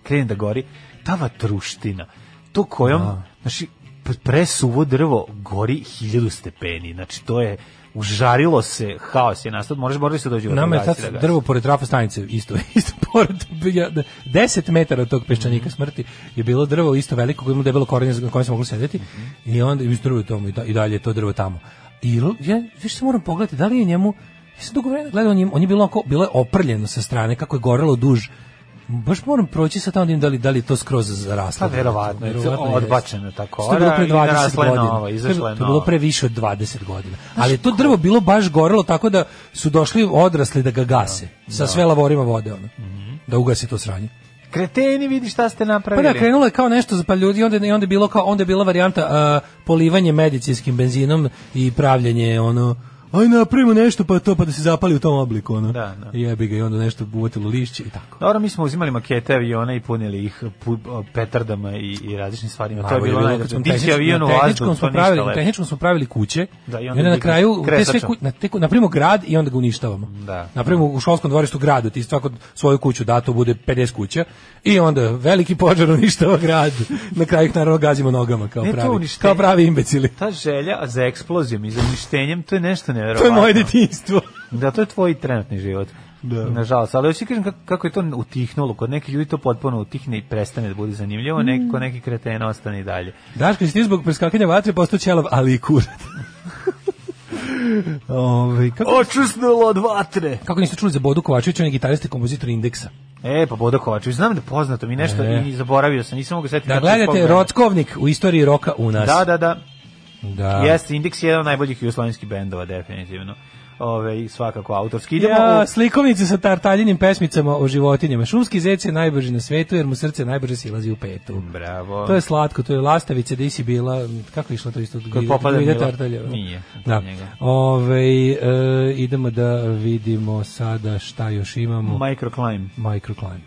G: Krene da gori ta vatruština. To kojom, znači p- presuvo drvo gori 1000 stepeni. Znači to je užarilo se, haos je nastao, možeš morali se dođe
F: Nama je
G: vatrogasci
F: tad
G: da gase.
F: drvo pored trafo stanice, isto, isto pored, ja, da- 10 metara od tog peščanika smrti je bilo drvo isto veliko, koje je imalo debelo korenje na kojem se moglo sedeti i onda i uz drvo je tamo i, da, i dalje je to drvo tamo. I l- ja, više se moram pogledati, da li je njemu, ja sam dugo vremena gledao, on je, on je bilo, oko, bilo je oprljeno sa strane, kako je gorelo duž, baš moram proći sad tamo da vidim da li, da li je to skroz zaraslo.
G: Pa verovatno je,
F: jeste.
G: odbačena ta kora
F: Što je bilo pre
G: i
F: 20
G: narasla je
F: godina.
G: nova, izašla je
F: To je
G: nova.
F: bilo pre više od 20 godina. Ali je to drvo bilo baš gorelo tako da su došli odrasli da ga gase. Sa sve lavorima vode ono.
G: Mhm.
F: Da ugase to sranje.
G: Kreteni, vidi šta ste
F: Pa
G: napravili.
F: da, krenulo je kao nešto za pa ljudi, onda, i onda je bilo kao, onda je bila varijanta a, polivanje medicinskim benzinom i pravljanje ono aj napravimo nešto pa to pa da se zapali u tom obliku ono.
G: Da, da.
F: Jebi ga i onda nešto uvotilo lišće i tako.
G: Dobro, mi smo uzimali makete aviona i punili ih pu- petardama i, i različnim stvarima. To je
F: Lavo
G: bilo
F: kad
G: najbolje.
F: smo
G: Dići
F: tehnički-
G: avion u
F: na tehničkom
G: vazduh,
F: smo
G: to ništa
F: pravili, na
G: lepo.
F: tehničkom smo pravili kuće.
G: Da,
F: Da,
G: i
F: i
G: onda
F: onda, na
G: digneš
F: kraju te sve
G: kresačom.
F: kuće, na te, napravimo grad i onda ga uništavamo.
G: Da.
F: Napravimo u školskom dvorištu grad, ti svako svoju kuću da to bude 50 kuća i onda veliki požar uništava grad. Na kraju ih naravno gazimo nogama kao
G: Ne, to
F: pravi.
G: uništenje.
F: Kao pravi imbecili.
G: Ta želja za eksplozijom i za uništenjem, to je nešto
F: To je
G: nevjerovatno.
F: moje detinjstvo.
G: Da, to je tvoj trenutni život. Da. Nažalost, ali hoću ti kažem kako, kako je to utihnulo. Kod nekih ljudi to potpuno utihne i prestane da bude zanimljivo, mm. kod nekih kretena ostane i dalje.
F: Daško, jesi ti zbog preskakanja vatre postao ćelav, ali i kurat. Ove, kako,
G: Očusnulo od vatre!
F: kako niste čuli za Bodu Kovačevića, on je gitarista i kompozitor Indeksa.
G: E, pa Bodo Kovačević, znam da je poznato mi nešto
F: E.
G: i zaboravio sam, nisam mogu setiti.
F: Da
G: kako se
F: gledate
G: spomenu.
F: Rockovnik u istoriji roka u nas.
G: Dakle, Da, da, da.
F: da.
G: Jeste, Index je jedan od najboljih jugoslovenskih bendova, definitivno. Ove, i svakako autorski. Idemo
F: Ja,
G: ja,
F: slikovnice sa tartaljenim pesmicama o životinjama. Šumski zec je najbrži na svetu jer mu srce najbrže silazi u petu.
G: u... Bravo.
F: To je slatko, to je lastavice da si bila, kako je išlo to isto? Kad
G: popada Mila?
F: tartalje.
G: Nije,
F: Da.
G: njega.
F: Ove, idemo da vidimo sada šta još imamo.
G: Microclimb.
F: Microclimb.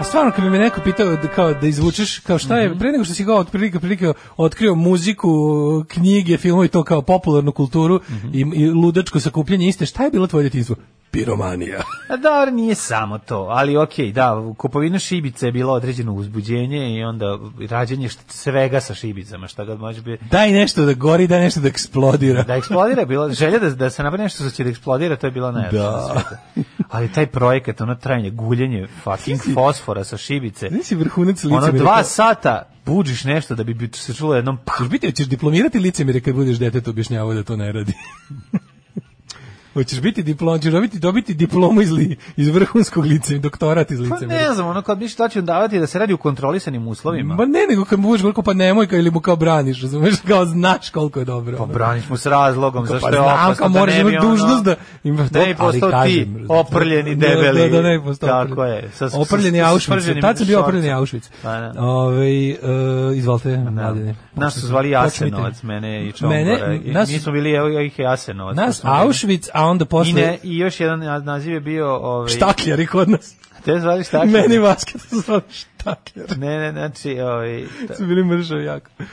F: A stvarno kad bi me neko pitao da, kao da izvučeš kao šta
G: Mhm.
F: je pre nego što si kao otprilike prilike otkrio muziku,
G: Mhm.
F: knjige, filmove i to kao popularnu kulturu i, i ludačko sakupljanje iste, šta je bilo tvoje djetinjstvo? piromanija.
G: A da, nije samo to, ali okej, da, kupovina šibice je bilo određeno uzbuđenje i onda rađenje št- svega sa šibicama, šta god može biti.
F: Daj nešto da gori, daj nešto da eksplodira.
G: Da eksplodira je bilo, želja da, da se napravi nešto što će da eksplodira, to je bilo najlepše
F: Da.
G: na svijetu. Ali taj projekat, ono trajanje, guljenje fucking fosfora sa šibice,
F: Nisi vrhunac lice.
G: ono dva sata buđiš nešto da bi bi se čulo jednom pa.
F: Ćeš biti, ćeš diplomirati licemire kad budeš detetu objašnjavao da to ne radi. Hoćeš biti diplom, ćeš dobiti, dobiti diplomu iz, li, iz vrhunskog lice, doktorat iz
G: Pa
F: licemirja.
G: ne znam, ono kad bi šta će davati da se radi u kontrolisanim uslovima.
F: Ma ne, nego kad mu budeš govorko, pa nemoj ka ili mu kao braniš, razumeš, kao znaš koliko je dobro.
G: Pa braniš mu s razlogom,
F: Kao,
G: zašto
F: pa
G: je
F: znam,
G: opasno,
F: kao moraš
G: ne bi
F: imati
G: ono-
F: dužnost da imaš
G: da
F: to,
G: bi
F: ali
G: postao ti
F: kažem, razumeš,
G: oprljeni,
F: da-
G: debeli.
F: Da, da, ne bi postao
G: Tako
F: oprljeni.
G: je. sa- sa-
F: oprljeni
G: sa- sa
F: Auschwitz.
G: sprženim
F: Tad sam bio
G: šorcem.
F: oprljeni Auschwitz.
G: Pa da. Pa
F: Ovaj e, izvolite, mladine.
G: Nas su zvali
F: Počnite.
G: Jasenovac, mene i
F: Mene,
G: Čombora. I
F: nas-
G: Mi smo bili, evo, ja ih je Jasenovac.
F: Nas
G: smo bili.
F: Auschwitz, a onda
G: I,
F: posle...
G: ne, I još jedan na- naziv je bio... Ovaj,
F: Štakljari kod nas.
G: Te zvali štakljari?
F: Meni basket su zvali štakljari.
G: Ne, ne, znači... Ovaj, ta-
F: Su bili mržavi jako.
G: Znači-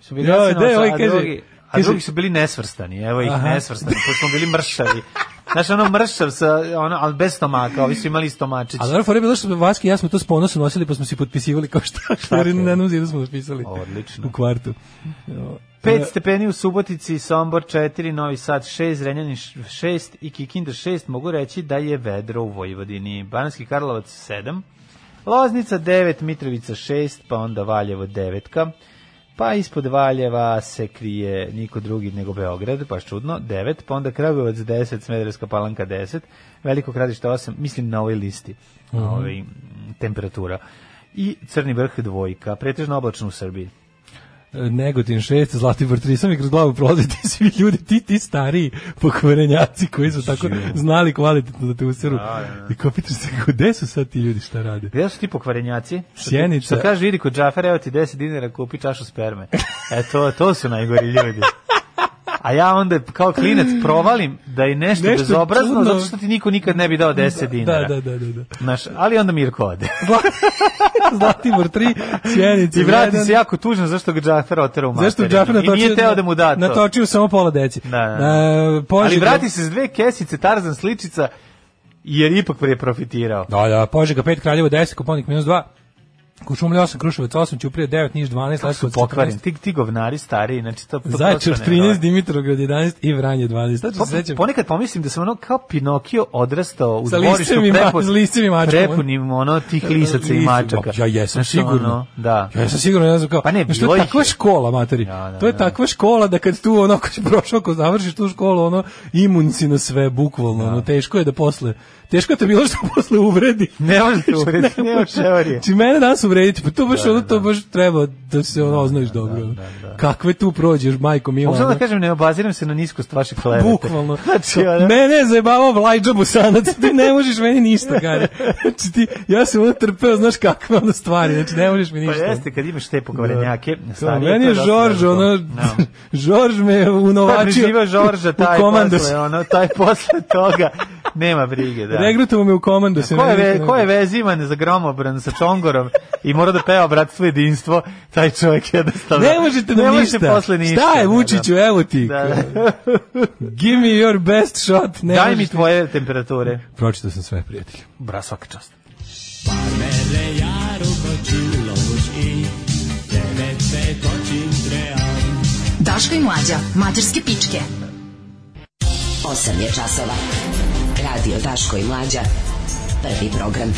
G: su bili
F: Joj,
G: Jasenovac,
F: gde je ovaj,
G: a
F: kaže-
G: drugi... A
F: kaže-
G: drugi su bili nesvrstani, evo ih
F: Aha.
G: nesvrstani, pošto smo bili mršavi. Znaš, ono mršav sa, ono, ali bez stomaka, ovi su imali stomačić.
F: A dobro, fora je bilo što smo Vaski i ja smo to s ponosom nosili, pa smo si potpisivali kao štakljari. Na jednom zidu smo napisali.
G: Odlično.
F: U kvartu.
G: 5 stepeni u Subotici, Sombor 4, Novi Sad 6, Renjanin 6 i Kikinda 6, mogu reći da je vedro u Vojvodini. Bananski Karlovac 7, Loznica 9, Mitrovica 6, pa onda Valjevo 9, pa ispod Valjeva se krije niko drugi nego Beograd, baš čudno, 9, pa onda Kragujevac 10, Smederevska palanka 10, Veliko gradište 8, mislim na ovoj listi, ovaj, mm, temperatura. I Crni vrh dvojka, pretežno oblačno u Srbiji.
F: E, Negotin 6, Zlatibor 3, sam mi kroz glavu prolaze ti svi ljudi, ti, ti stariji pokvarenjaci koji su tako znali kvalitetno da te useru. I kao pitaš se, kao, gde su sad ti ljudi, šta rade?
G: Gde Pa su ti pokvarenjaci? Što ti-
F: Sjenica.
G: Što kaže, vidi kod Džafera, evo ti 10 dinara, kupi čašu sperme. E to, to su najgori ljudi. A ja onda kao klinac provalim da je nešto,
F: Nešto
G: bezobrazno,
F: čudno.
G: zato što ti niko nikad ne bi dao 10
F: Da,
G: dinara.
F: da, da, da. da.
G: Znaš, ali onda Mirko ode.
F: Zlatibor 3, Sjenica
G: I vrati
F: 1,
G: se jako tužno zašto ga Džafer otera u materinu.
F: Zašto je Džafer natočio?
G: I nije teo da mu da to.
F: Natočio samo pola deci.
G: Da, da, da.
F: E, Požega,
G: ali vrati se s dve kesice Tarzan sličica, jer ipak prije profitirao.
F: Da, da, Požega 5, Kraljevo 10, Koponik minus 2, Kučumlja 8, Kruševac 8, Ćuprije 9, Niš 12,
G: Su
F: Leskovac 14,
G: pokvaren, ti, ti govnari stariji, znači to... to prosto
F: Zaječar 13,
G: nevjerojatno.
F: Dimitrovgrad 11 i Vranje 12. Tačno se
G: Po-
F: sećam.
G: Pa, ponekad pomislim da sam ono kao Pinokio odrastao u
F: Sa
G: dvorištu
F: liscem i ma-
G: prepun-
F: s liscem i mačkom.
G: Prepunim ono tih lisaca i
F: Lisac,
G: mačaka.
F: Ja jesam
G: Znaš,
F: sigurno.
G: ono, da.
F: Ja sam sigurno, ne znam kao.
G: Pa ne,
F: znaš,
G: bilo
F: to je
G: ih
F: takva
G: je.
F: škola, materi.
G: Da, da,
F: to je
G: da.
F: takva škola da kad tu ono, ako si prošao, ako završiš tu školu, ono, imun si na sve, bukvalno. Ono, teško je da posle, teško je te bilo što posle uvredi.
G: Ne može te urediti, nema teorije.
F: Či mene nas uvrediti, pa to baš ono, to baš treba da se ono oznojiš dobro. Kakve tu prođeš, majko mila.
G: Mogu samo da
F: ono.
G: kažem, ne obaziram se na niskost vaše klevete.
F: Bukvalno.
G: Znači, ono,
F: Mene je zajebavao Vlajđa Busanac, ti ne možeš meni ništa, Gari. Znači ti, ja sam ono trpeo, znaš kakve ono stvari, znači ne možeš mi
G: pa
F: ništa.
G: jeste, kad imaš te pokvarenjake,
F: Kao,
G: starije,
F: meni
G: to
F: je
G: dosta
F: Žorž,
G: dobro.
F: ono,
G: Da.
F: Žorž me
G: Ko je
F: unovačio
G: preživao Žorža, taj
F: u komandos.
G: posle, ono, taj posle toga, nema brige, da.
F: Regrutovo me u komando. se
G: Ko je,
F: meni
G: ve,
F: nikad
G: ko je
F: ne-
G: vezivan za gromobran sa čongorom i mora da peva bratstvo i jedinstvo, taj čovjek jednostavno...
F: Ne možete nam
G: ne može
F: ništa.
G: posle ništa.
F: Šta
G: da,
F: je,
G: da.
F: Vučiću, evo ti.
G: Da,
F: Give me your best shot. Ne
G: Daj
F: možeš
G: mi tvoje temperature.
F: Pročitao sam sve, prijatelju.
G: Bra, svaka čast.
E: Daško i mlađa, mađarske pičke. 8 je časova. Radio Daško i mlađa. Prvi program.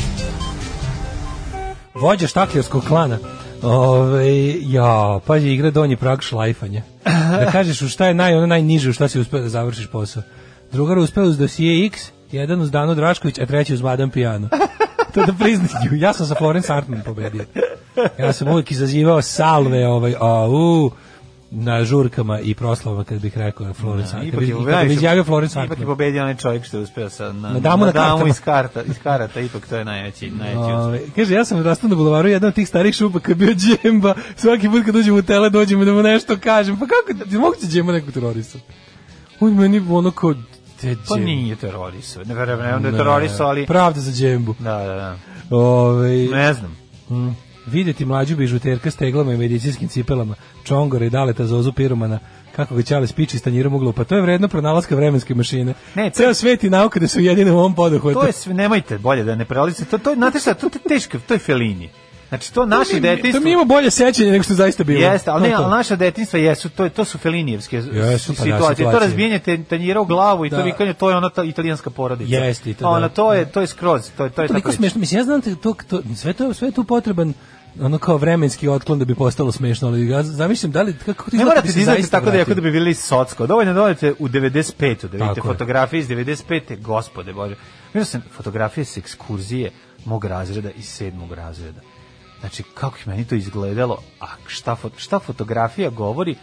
F: Vođa štakljarskog klana. Ove, ja, pazi, igra donji prag šlajfanja. Da kažeš u šta je naj, ono najniže, u šta si uspeo da završiš posao. Drugar uspeo uz dosije X, jedan uz Danu Drašković, a treći uz Madame Pijano. To da priznaju. Ja sam sa Florence Hartman pobedio. Ja sam uvijek izazivao salve ovaj, au, na žurkama i proslavama kad bih rekao Florence Hartman. Kad
G: Ipak
F: bih
G: je
F: kad bih
G: najviše-
F: izjavio Florence
G: Ipak je
F: Hartman.
G: pobedio onaj čovjek što je uspeo sa, na,
F: Na damu na kartama.
G: iz, karta, iz karata, ipak to je najveći, najveći uspeh.
F: Ove, Ovaj, kaže, ja sam rastao na bulevaru, jedan od tih starih šupaka je bio džemba, svaki put kad uđem u tele dođem da mu nešto kažem, pa kako, da- moguće džemba nekog terorista? On meni ono kao, te džemba.
G: Pa nije terorisao, ne verujem, ne, onda je terorisao, ali...
F: Pravda za džembu. Ovaj,
G: Da, da, da.
F: Ove,
G: Ne znam.
F: vidjeti mlađu bižuterka s teglama i medicinskim cipelama, čongora i daleta Zozu Piromana, Kako ga Ćale spiči s tanjirom uglu, pa to je vredno pronalaska vremenske mašine.
G: Ne,
F: Ne,
G: to-
F: Ceo svet i nauka da su jedine u ovom poduhvatu.
G: To je sve, nemojte bolje da ne prelazite. To, to, znate šta, to je teško, to je Felini. Znači, to naše
F: To
G: detinjstvo...
F: mi ima bolje sećanje nego što je zaista bilo.
G: Jeste,
F: To
G: ali
F: je
G: ne,
F: to.
G: ali naša detinjstva jesu, to, je- to su felinijevske
F: Jesu,
G: Jesu,
F: pa da,
G: situacije. to
F: situacije.
G: razbijanje te- tanjira u glavu i to
F: Da.
G: vikanje, to je ona ta italijanska porodica.
F: Jeste, i to da.
G: Ona, to je, to je skroz, to je, to je ta
F: toliko
G: priča.
F: smešno. Mislim, ja znam te- to, to, sve, to, sve je tu potreban ono kao vremenski otklon da bi postalo smešno, ali ja zamislim da li, kako ti
G: Ne
F: izgleda kad
G: morate
F: bi se
G: dizati
F: zaista
G: tako da jako
F: vratio?
G: da bi bili socko. Dovoljno da odete u 95. da vidite
F: Tako je.
G: fotografije iz 95. Gospode Bože. Vidio sam fotografije s ekskurzije mog razreda i sedmog razreda. Znači, kako je meni to izgledalo, a šta, fo- šta fotografija govori,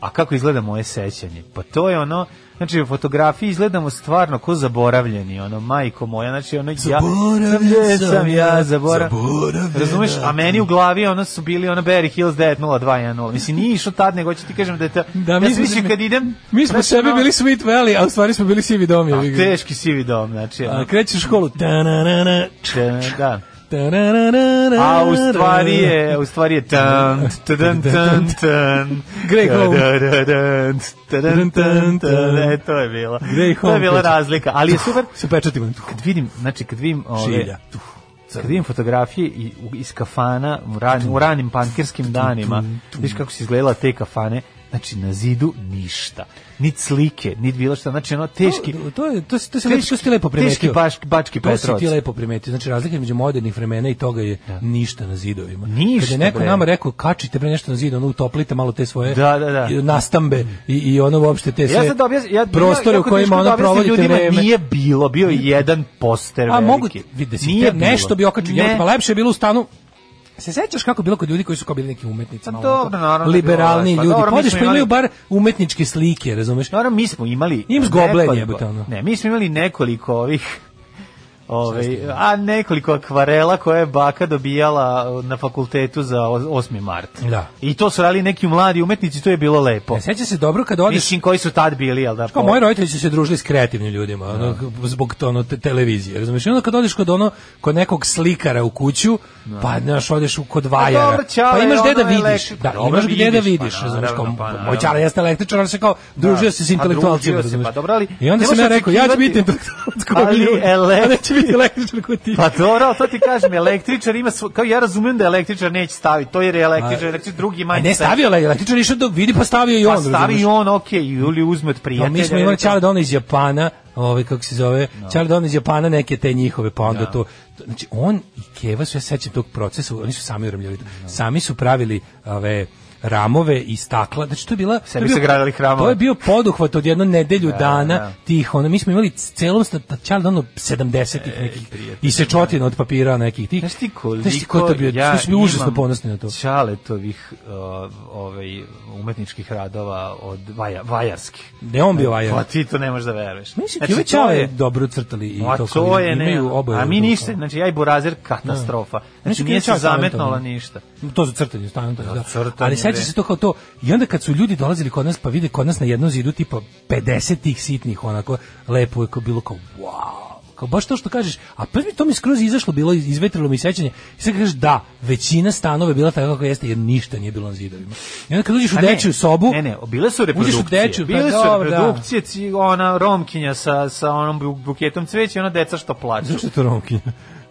G: a kako izgleda moje sećanje. Pa to je ono, znači u fotografiji izgledamo stvarno ko zaboravljeni, ono, majko moja, znači ono, ja,
F: Zaboravljen
G: sam ja, zaborav...
F: zaboravljen.
G: Razumeš, a meni u glavi ono su bili ono Barry Hills 90210. Mislim, nije išao tad, nego ću ti kažem da je to...
F: Da,
G: ja
F: mi
G: sam
F: smo-
G: mislio kad idem...
F: Mi smo
G: znači,
F: sebi
G: ono,
F: bili Sweet Valley, a u stvari smo bili sivi dom.
G: a,
F: jebi ga.
G: teški sivi dom, znači...
F: A
G: ono,
F: krećeš u školu. Ta-na-na-na,
G: te- da.
F: ta-na-na-na-na.
G: A u stvari je, u stvari je tan, tadan, tan, tan,
F: Grey Home.
G: tadadadan, tadan, tan, tan, e, to je bilo.
F: Grey
G: To je
F: Home
G: bila
F: peče.
G: razlika, ali je super.
F: Se pečatima.
G: Kad vidim, znači kad vidim ove,
F: Šilja.
G: Kad vidim fotografije i, u, iz kafana u, ran, u ranim pankirskim danima, viš kako su izgledala te kafane, znači na zidu ništa. Nit slike, nit bilo šta, znači ono teški...
F: To, to, je, to, si- to, si lepo- to si ti lepo primetio.
G: Teški baš, bački
F: To si
G: Petrovac.
F: ti lepo primetio. Znači, razlika između modernih vremena i toga je ništa na zidovima.
G: Ništa,
F: Kad je neko
G: bre.
F: nama rekao, kačite bre nešto na zid, ono utoplite malo te svoje
G: Da, da, da.
F: i- nastambe i, i ono uopšte te sve
G: Ja sad da objasnim, ja,
F: prostore
G: ja,
F: u kojima ono provodite
G: ljudima
F: vreme.
G: Nije bilo, bio je jedan poster
F: A
G: veliki.
F: mogu ti, vidi da si
G: Nije
F: te- nešto bi okačio.
G: Ne.
F: Ne. Pa lepše je bilo u stanu Se sećaš kako je bilo kod ljudi koji su kao bili neki umetnici,
G: Pa
F: malo
G: dobro,
F: onako
G: naravno da je bilo
F: liberalni
G: lepše. Pa
F: ljudi.
G: dobro, mi
F: Podiš
G: smo
F: pa imaju
G: imali- Pa-
F: bar umetničke slike, razumeš?
G: Naravno, mi smo imali...
F: Im zgoblen
G: nekoliko-
F: jebote, ono.
G: Ne, mi smo imali nekoliko ovih... Ove, a nekoliko akvarela koje je baka dobijala uh, na fakultetu za os- 8. mart.
F: Da. E,
G: I to su radili neki mladi umetnici, to je bilo lepo.
F: Ne sećaš se dobro kad odeš
G: Mislim koji su tad bili, jel da?
F: Kao
G: po-
F: moji roditelji su se družili s kreativnim ljudima, ono, zbog to, ono, te- televizije, razumiješ? I onda kad odeš kod, ono, kod nekog slikara u kuću, pa, znaš, odeš u, kod vajara,
G: dobro, ćale,
F: pa imaš gde da
G: ono je
F: vidiš,
G: elektri-
F: da,
G: Dobro,
F: imaš gde da
G: vidiš, pa
F: vidiš, razumiješ, kao,
G: naravno, pa naravno.
F: moj ćale jeste električar, ali se kao, družio se s
G: a
F: intelektualcima,
G: družio se,
F: razumiješ?
G: pa dobro, ali
F: I onda
G: ne
F: sam ja
G: možeš
F: rekao, ja ću
G: očekivati-
F: biti intelektualac kao
G: Ali
F: ljudi,
G: elektri-
F: a neću biti električar kao ti.
G: Pa dobro, ali to ti kažem, električar ima svoj, kao ja razumijem da električar neće staviti, to jer je električar, električar drugi
F: A
G: manji.
F: ne, stavio je električar, išao da vidi, pa stavio i on,
G: pa stavi
F: razumeš?
G: i on, okej, ili uzme od prijatelja.
F: No, mi smo imali Čale Dona iz Japana, ovaj kako se zove, no. Čale Dona iz Japana neke te njihove, pa onda to, to- znači on i Keva su ja se sećam tog procesa, oni su sami uramljali, sami su pravili ove ramove i stakla, znači to je bila
G: Sebi
F: to je bio-
G: sagradili hramove.
F: To je bio poduhvat od jedno nedelju dana
G: da.
F: tih, ono mi smo imali celom pa sta Čale Dona 70-ih nekih i sečotina od papira nekih tih.
G: E, Znaš ti koliko
F: Znaš ti ko je to bio,
G: ja
F: ja smo bili užasno
G: imam
F: ponosni na to.
G: Čaletovih uh, ovaj, umetničkih radova od vaja, vajarskih.
F: Da je on bio vajar.
G: Pa ti to ne možeš da veruješ.
F: Mislim,
G: Znači,
F: Kive
G: to
F: Čale
G: je-
F: dobro crtali i
G: A
F: to
G: to
F: kao
G: je ne,
F: imaju oboje.
G: a mi
F: ruku.
G: ništa, znači ja i Burazer katastrofa. Znači
F: Mislim, Kive
G: nije se
F: Čale
G: zametnula
F: talentovan.
G: ništa.
F: To su crtanje, stvarno to je, da.
G: crtanje,
F: Ali seća
G: bre.
F: se to kao to. I onda kad su ljudi dolazili kod nas, pa vide kod nas na jednom zidu tipa 50 tih sitnih, onako, lepo je kao bilo kao, wow. Kao baš to što kažeš, a pa mi to mi skroz izašlo, bilo iz- izvetrilo mi sećanje. I sad kažeš da, većina stanova je bila tako kako jeste, jer ništa nije bilo na zidovima. I onda kad uđeš u
G: A Pa ne,
F: dečju sobu,
G: Ne, ne, bile su reprodukcije.
F: Uđeš u dečju, pa
G: bile su
F: dobro, da.
G: reprodukcije, ci- ona romkinja sa, sa onom bu- buketom cveća i ona deca što plaću.
F: zašto je to romkinja?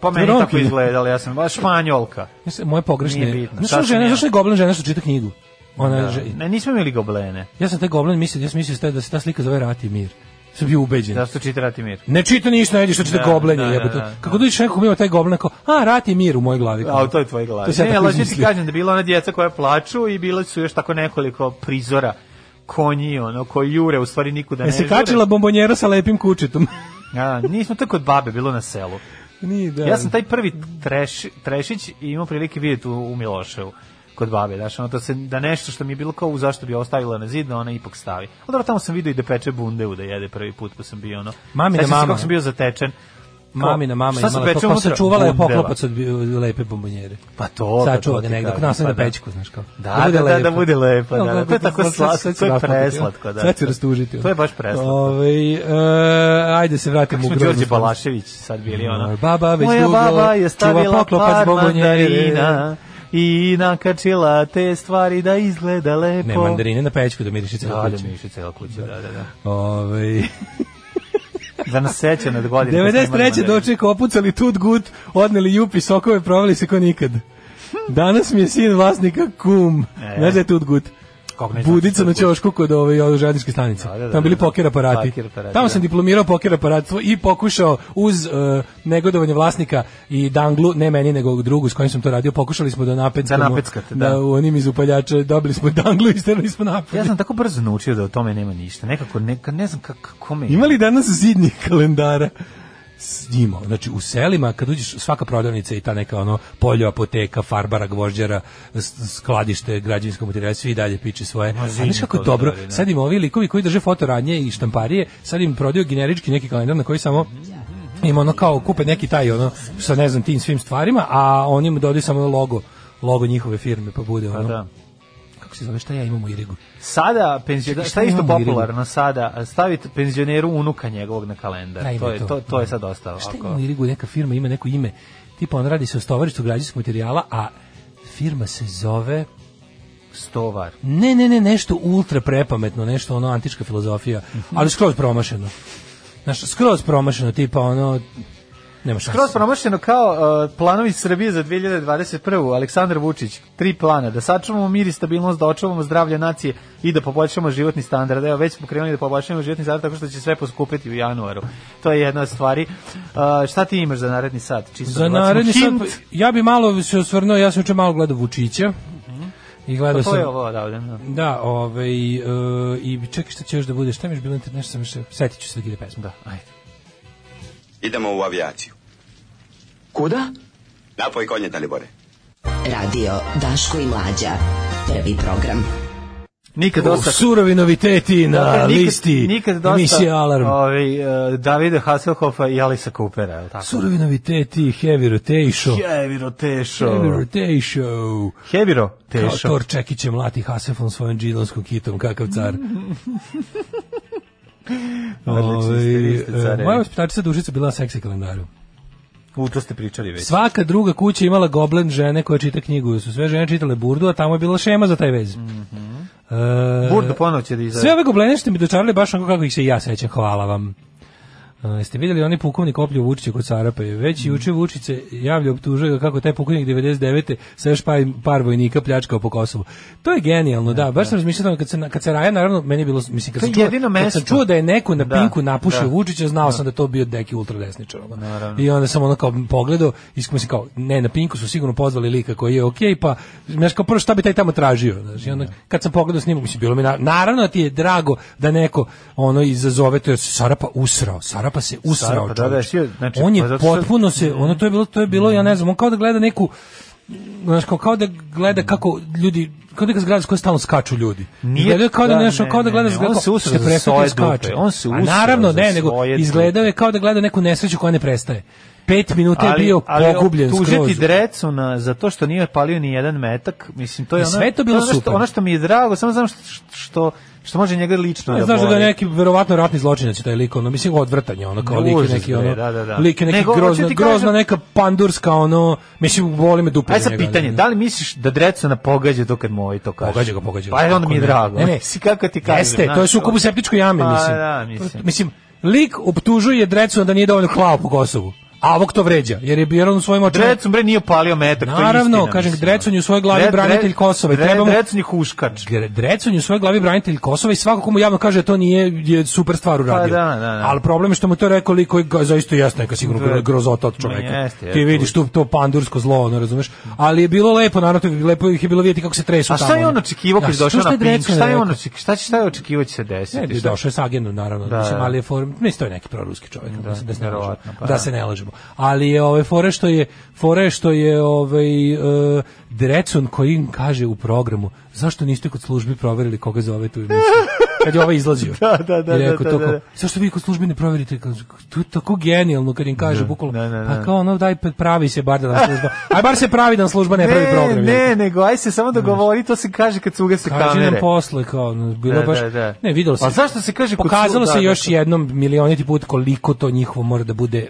G: Pa
F: To je
G: meni tako
F: romkinja.
G: izgledalo, ja sam baš španjolka.
F: Mislim, Moje pogrešne.
G: Nije bitno,
F: Znaš, ona
G: sasvim
F: žena,
G: ja.
F: zašto je goblin žena što čita knjigu? Ona je-
G: Ne, nismo imali goblene.
F: Ja sam taj goblin mislio, ja sam mislio da se ta- da se ta slika zove Rat i mir. Sam bio ubeđen.
G: Zašto čita Ratimir?
F: Ne čita ništa, ne vidi što čita
G: Da,
F: goblen
G: da,
F: je
G: da,
F: jebote.
G: da, da.
F: Kako dođeš nekog ima taj goblen kao, a rat i mir u mojoj glavi.
G: A, to je tvoj glavi.
F: To sam ja
G: ne,
F: tako
G: ali hoću ti
F: izmislio.
G: kažem da bila ona djeca koja plaču i bilo su još tako nekoliko prizora konji, ono, koji jure, u stvari nikuda ne
F: Ja se
G: jure.
F: kačila bombonjera sa lepim kučetom.
G: A, nismo to kod babe, bilo na selu.
F: Ni da.
G: Ja sam taj prvi treš, trešić imao prilike vidjeti u, u Miloševu kod babe, znaš, ono, da, se, da nešto što mi je bilo kao u zašto bi ovo stavila na zid, da ona ipak stavi. Ali dobro, tamo sam vidio i da peče bundevu da jede prvi put, pa sam bio ono...
F: Mamina
G: Sećam se
F: mama.
G: kako sam bio zatečen.
F: Mamina mama
G: Šta
F: je
G: se
F: imala pa to,
G: peče
F: kao
G: unutra?
F: sačuvala je
G: Bundeva.
F: poklopac od bi- lepe bombonjere.
G: Pa to, pa
F: Sačuva
G: to
F: ga
G: ti
F: negde,
G: kažem,
F: kao nastavio
G: pa
F: na
G: da.
F: pećku, znaš kao.
G: Da, da, da, da bude lepa, da, da, to je tako slatko, to je preslatko, da.
F: Sad ću rastužiti.
G: To je baš preslatko.
F: Ove, ajde se
G: Kako
F: vratimo u
G: smo
F: groznu
G: Đorđe
F: stvarnost.
G: Balašević sad bili ono.
F: Baba već
G: Moja
F: dugo
G: baba je
F: čuva
G: stavila
F: poklopac
G: par
F: bombonjere.
G: mandarina i nakačila te stvari da izgleda lepo.
F: Ne, mandarine na pećku da miriši celo
G: Da, da
F: kuću.
G: mi iši cela kuća, da, da, da.
F: Ovaj,
G: Da nas seća nad godine. kad smo imali
F: 93.
G: mandarine.
F: doček opucali tut gut, odneli jupi sokove, provali se ko nikad. Danas mi je sin vlasnika kum.
G: E.
F: Znaš da je tut gut?
G: Kako ne znaš
F: Budica
G: tut
F: na
G: gut?
F: ćošku kod ove ovaj, žadničke stanice.
G: Da, da, da,
F: Tamo bili
G: da, da.
F: poker aparati.
G: Poker aparati,
F: Tamo sam
G: da.
F: diplomirao poker aparatstvo i pokušao uz eh, negodovanje vlasnika i danglu, ne meni nego drugu s kojim sam to radio, pokušali smo da napeckamo.
G: Da napeckate, da.
F: u onim iz upaljača dobili smo danglu i sterili smo napolje.
G: Ja sam tako brzo naučio da o tome nema ništa. Nekako, neka, ne znam kako, kome
F: Ima li danas zidnih kalendara? S- Ima. Znači, u selima, kad uđeš, svaka prodavnica i ta neka ono poljo, apoteka, farbara, gvožđara, s- skladište, građevinsko materijal, svi dalje piče svoje.
G: Ma,
F: A
G: zidni
F: znaš kako je
G: kalendari,
F: dobro?
G: da.
F: Sad im ovi likovi koji drže fotoradnje i štamparije, sad im prodaju generički neki kalendar na koji samo ima ono kao kupe neki taj ono sa ne znam tim svim stvarima, a oni mu dodaju samo logo logo njihove firme pa bude ono.
G: Da.
F: Kako se zove šta ja imam u Irigu?
G: Sada penzioner,
F: Čekaj,
G: šta
F: šta
G: je isto
F: imamo, Irina?
G: popularno sada, stavite penzioneru unuka njegovog na kalendar.
F: Da, ima
G: to je
F: to.
G: to, to je sad ostalo.
F: Šta
G: Ako-
F: ima u Irigu, neka firma ima neko ime, tipa on radi se o stovarištu građevinskog materijala, a firma se zove
G: Stovar.
F: ne, ne, ne, nešto ultra prepametno, nešto ono antička filozofija,
G: Mhm.
F: ali skroz promašeno. Znaš, skroz promašeno, tipa ono, nema šanse.
G: Kroz promašeno kao uh, planovi Srbije za 2021. Aleksandar Vučić, tri plana, da sačuvamo mir i stabilnost, da očuvamo zdravlje nacije i da poboljšamo životni standard. Evo, već smo krenuli da poboljšamo životni standard tako što će sve poskupiti u januaru. To je jedna od stvari. Uh, šta ti imaš za naredni sat? Čisto da
F: Za
G: bacimo
F: naredni sad,
G: hint.
F: pa- ja bi malo se osvrnuo, ja sam juče malo gledao Vučića, i
G: Pa
F: gledao
G: to
F: sam...
G: je ovo odavde. da.
F: Da, ovaj, e, i čekaj šta će još da bude, šta mi je još bilo, nešto sam još, setit ću se da ide pesma.
G: Da, ajde.
I: Idemo u avijaciju. Kuda? Napoj konje, Dalibore.
E: Radio Daško i Mlađa. Prvi program.
G: Nikad
F: Uh,
G: dosta E,
F: surovi noviteti na
G: Nikad-
F: listi
G: nikad dosta,
F: emisije Alarm.
G: Ovaj uh, Davida Hasselhoffa i Alisa Coopera, je l' tako?
F: Surovi noviteti, heavy rotation.
G: Heviro Tešo.
F: Heavy rotation.
G: Heviro
F: Kao
G: Tešo.
F: Thor Čekić je mlati Hasefom svojim džilonskom kitom, kakav car.
G: Mm, Odlični ste, vi ste
F: Ovaj, e,
G: carevi.
F: Moja vaspitačica Dušica bila na seksi kalendaru.
G: U, to ste pričali već.
F: Svaka druga kuća imala goblen žene koje čita knjigu. Su sve žene čitale burdu, a tamo je bila šema za taj vez.
G: Mhm.
F: E,
G: Burdo ponovo će da izađe.
F: Sve ove goblene ste mi dočarali baš onako kako ih se i ja sećam, hvala vam. E, jeste vidjeli oni pukovnik oplju Vučića kod Sarapeje?
G: Mm.
F: Već juče Vučić se javlja optužuje ga kako taj pukovnik 99. sa još par, par vojnika pljačkao po Kosovu. To je genijalno, da. Baš sam razmišljao o tome, kad se, na- kad se Raja, naravno, meni je bilo, mislim, kad
G: E, To
F: sam,
G: je
F: čuo,
G: jedino
F: kad sam
G: mesto.
F: čuo da je neko na
G: Da,
F: pinku napušio
G: da.
F: Vučića, znao sam da je to bio deki ultradesničar. ono. I onda sam ono kao pogledao i mislim kao, ne, na pinku su sigurno pozvali lika koji je okej, pa znaš kao prvo šta bi taj tamo tražio. Znaš, i onda kad sam pogledao snimak, mislim, bilo mi na, naravno da ti je drago da neko ono izazove to jer se Sarapa usrao, Sarapa se usrao.
G: Sarapa, da, da,
F: čoveče.
G: sio- znači,
F: on
G: pa
F: je
G: zato što-
F: potpuno se, ono to je bilo, to je bilo, ja ne znam, on kao da gleda neku znaš, kao, kao da gleda kako ljudi kao neka zgrada s koje stalno skaču ljudi.
G: Mm. Nije-
F: Izgledao je kao da,
G: da,
F: nešto,
G: ne,
F: kao da
G: ne,
F: gleda
G: ne,
F: zgrada
G: on
F: kao-
G: se usrao
F: što
G: za
F: prefekti
G: svoje
F: skaču.
G: dupe, on se
F: A
G: usrao
F: naravno,
G: za
F: ne, nego
G: svoje
F: izgledao je kao da gleda neku nesreću koja ne prestaje. Pet minuta je bio pogubljen
G: tužiti
F: skroz.
G: drecu na, za to što nije palio ni jedan metak, mislim, to je
F: I
G: ono,
F: sve to bilo
G: ono što,
F: super.
G: Ono što mi je drago, samo znam što, što, što može njega lično da
F: Znaš da ga
G: boli.
F: neki verovatno ratni zločinac je taj lik, ono mislim odvrtanje, ono kao lik je
G: Užas,
F: neki
G: bre,
F: ono.
G: da, da, da.
F: Lik je neki
G: Nego, hoću
F: grozna,
G: ti kažem-
F: grozna neka pandurska ono, mislim boli me dupe.
G: Ajde
F: za
G: sad
F: njega,
G: pitanje,
F: ono.
G: da li misliš da Drecuna pogađa to kad mu ovaj to kaže?
F: Pogađa ga, pogađa ga.
G: Pa ajde, onda mi je
F: Kako ne?
G: drago.
F: Ne, ne.
G: Si kako ti kažem.
F: Jeste,
G: znaš,
F: to je sukob u septičkoj jami,
G: Pa,
F: mislim.
G: da, mislim.
F: Mislim, lik optužuje Drecuna da nije dovoljno klao po Kosovu. A ovog to vređa, jer je bio on u svojim očima.
G: Drecun bre nije palio metak, to je
F: Naravno,
G: istina,
F: kažem,
G: mislim. ono.
F: Drecun je u svojoj glavi
G: Dre-
F: branitelj
G: Dre-
F: Kosova i
G: Dre-
F: trebamo-
G: Drecun je huškač.
F: Gre- Drecun je u svojoj glavi branitelj Kosova i svako komu javno kaže da to nije je super stvar uradio.
G: Pa da, da, da.
F: Ali problem je što mu to rekao lik koji ga- zaista jeste neka sigurno
G: Da.
F: gro- grozota od čoveka.
G: Ma jeste,
F: Ti
G: jeste.
F: vidiš tu to pandursko zlo, ono razumeš? Ali je bilo lepo, naravno, to je lepo ih je bilo vidjeti kako se tresu
G: A
F: tamo.
G: Pa šta je on
F: ono.
G: očekivao
F: Da,
G: kad je
F: što-
G: došao
F: što
G: na Pink?
F: Drecun
G: Šta je
F: rekao?
G: on očekivao? Šta će šta je očekivao će se
F: Ne,
G: desiti?
F: bi
G: Šta-
F: došao je s agendom, naravno,
G: Da,
F: da, mislim,
G: da.
F: ali je for, mislim, to je neki proruski čovjek, da, mislim, da se ne lažemo,
G: verovatno, pa
F: da
G: da.
F: se ne lažemo. Ali je ove fore što je, fore što je ovaj, e, Drecun koji im kaže u programu, zašto niste kod službi proverili koga zove tu emisiju? Kad je ovaj izlazio.
G: Da, da, da,
F: I rekao
G: da, da,
F: to
G: da,
F: kao,
G: da.
F: zašto vi kod službi ne proverite? Kao, To je tako genijalno kad im kaže, bukvalno,
G: da, da, da.
F: pa kao ono, daj, pravi se bar da nam služba, aj bar se pravi da nam služba ne pravi
G: Ne,
F: program. jebote.
G: ne, nego aj se samo dogovori, to se kaže kad se ugase
F: Kaži
G: kamere.
F: nam posle kao ono, bilo
G: Da,
F: je baš
G: da, da.
F: ne videlo se.
G: A zašto se kaže kod
F: pokazalo
G: su-
F: se
G: da,
F: još
G: da.
F: jednom milioniti put koliko to njihovo mora da bude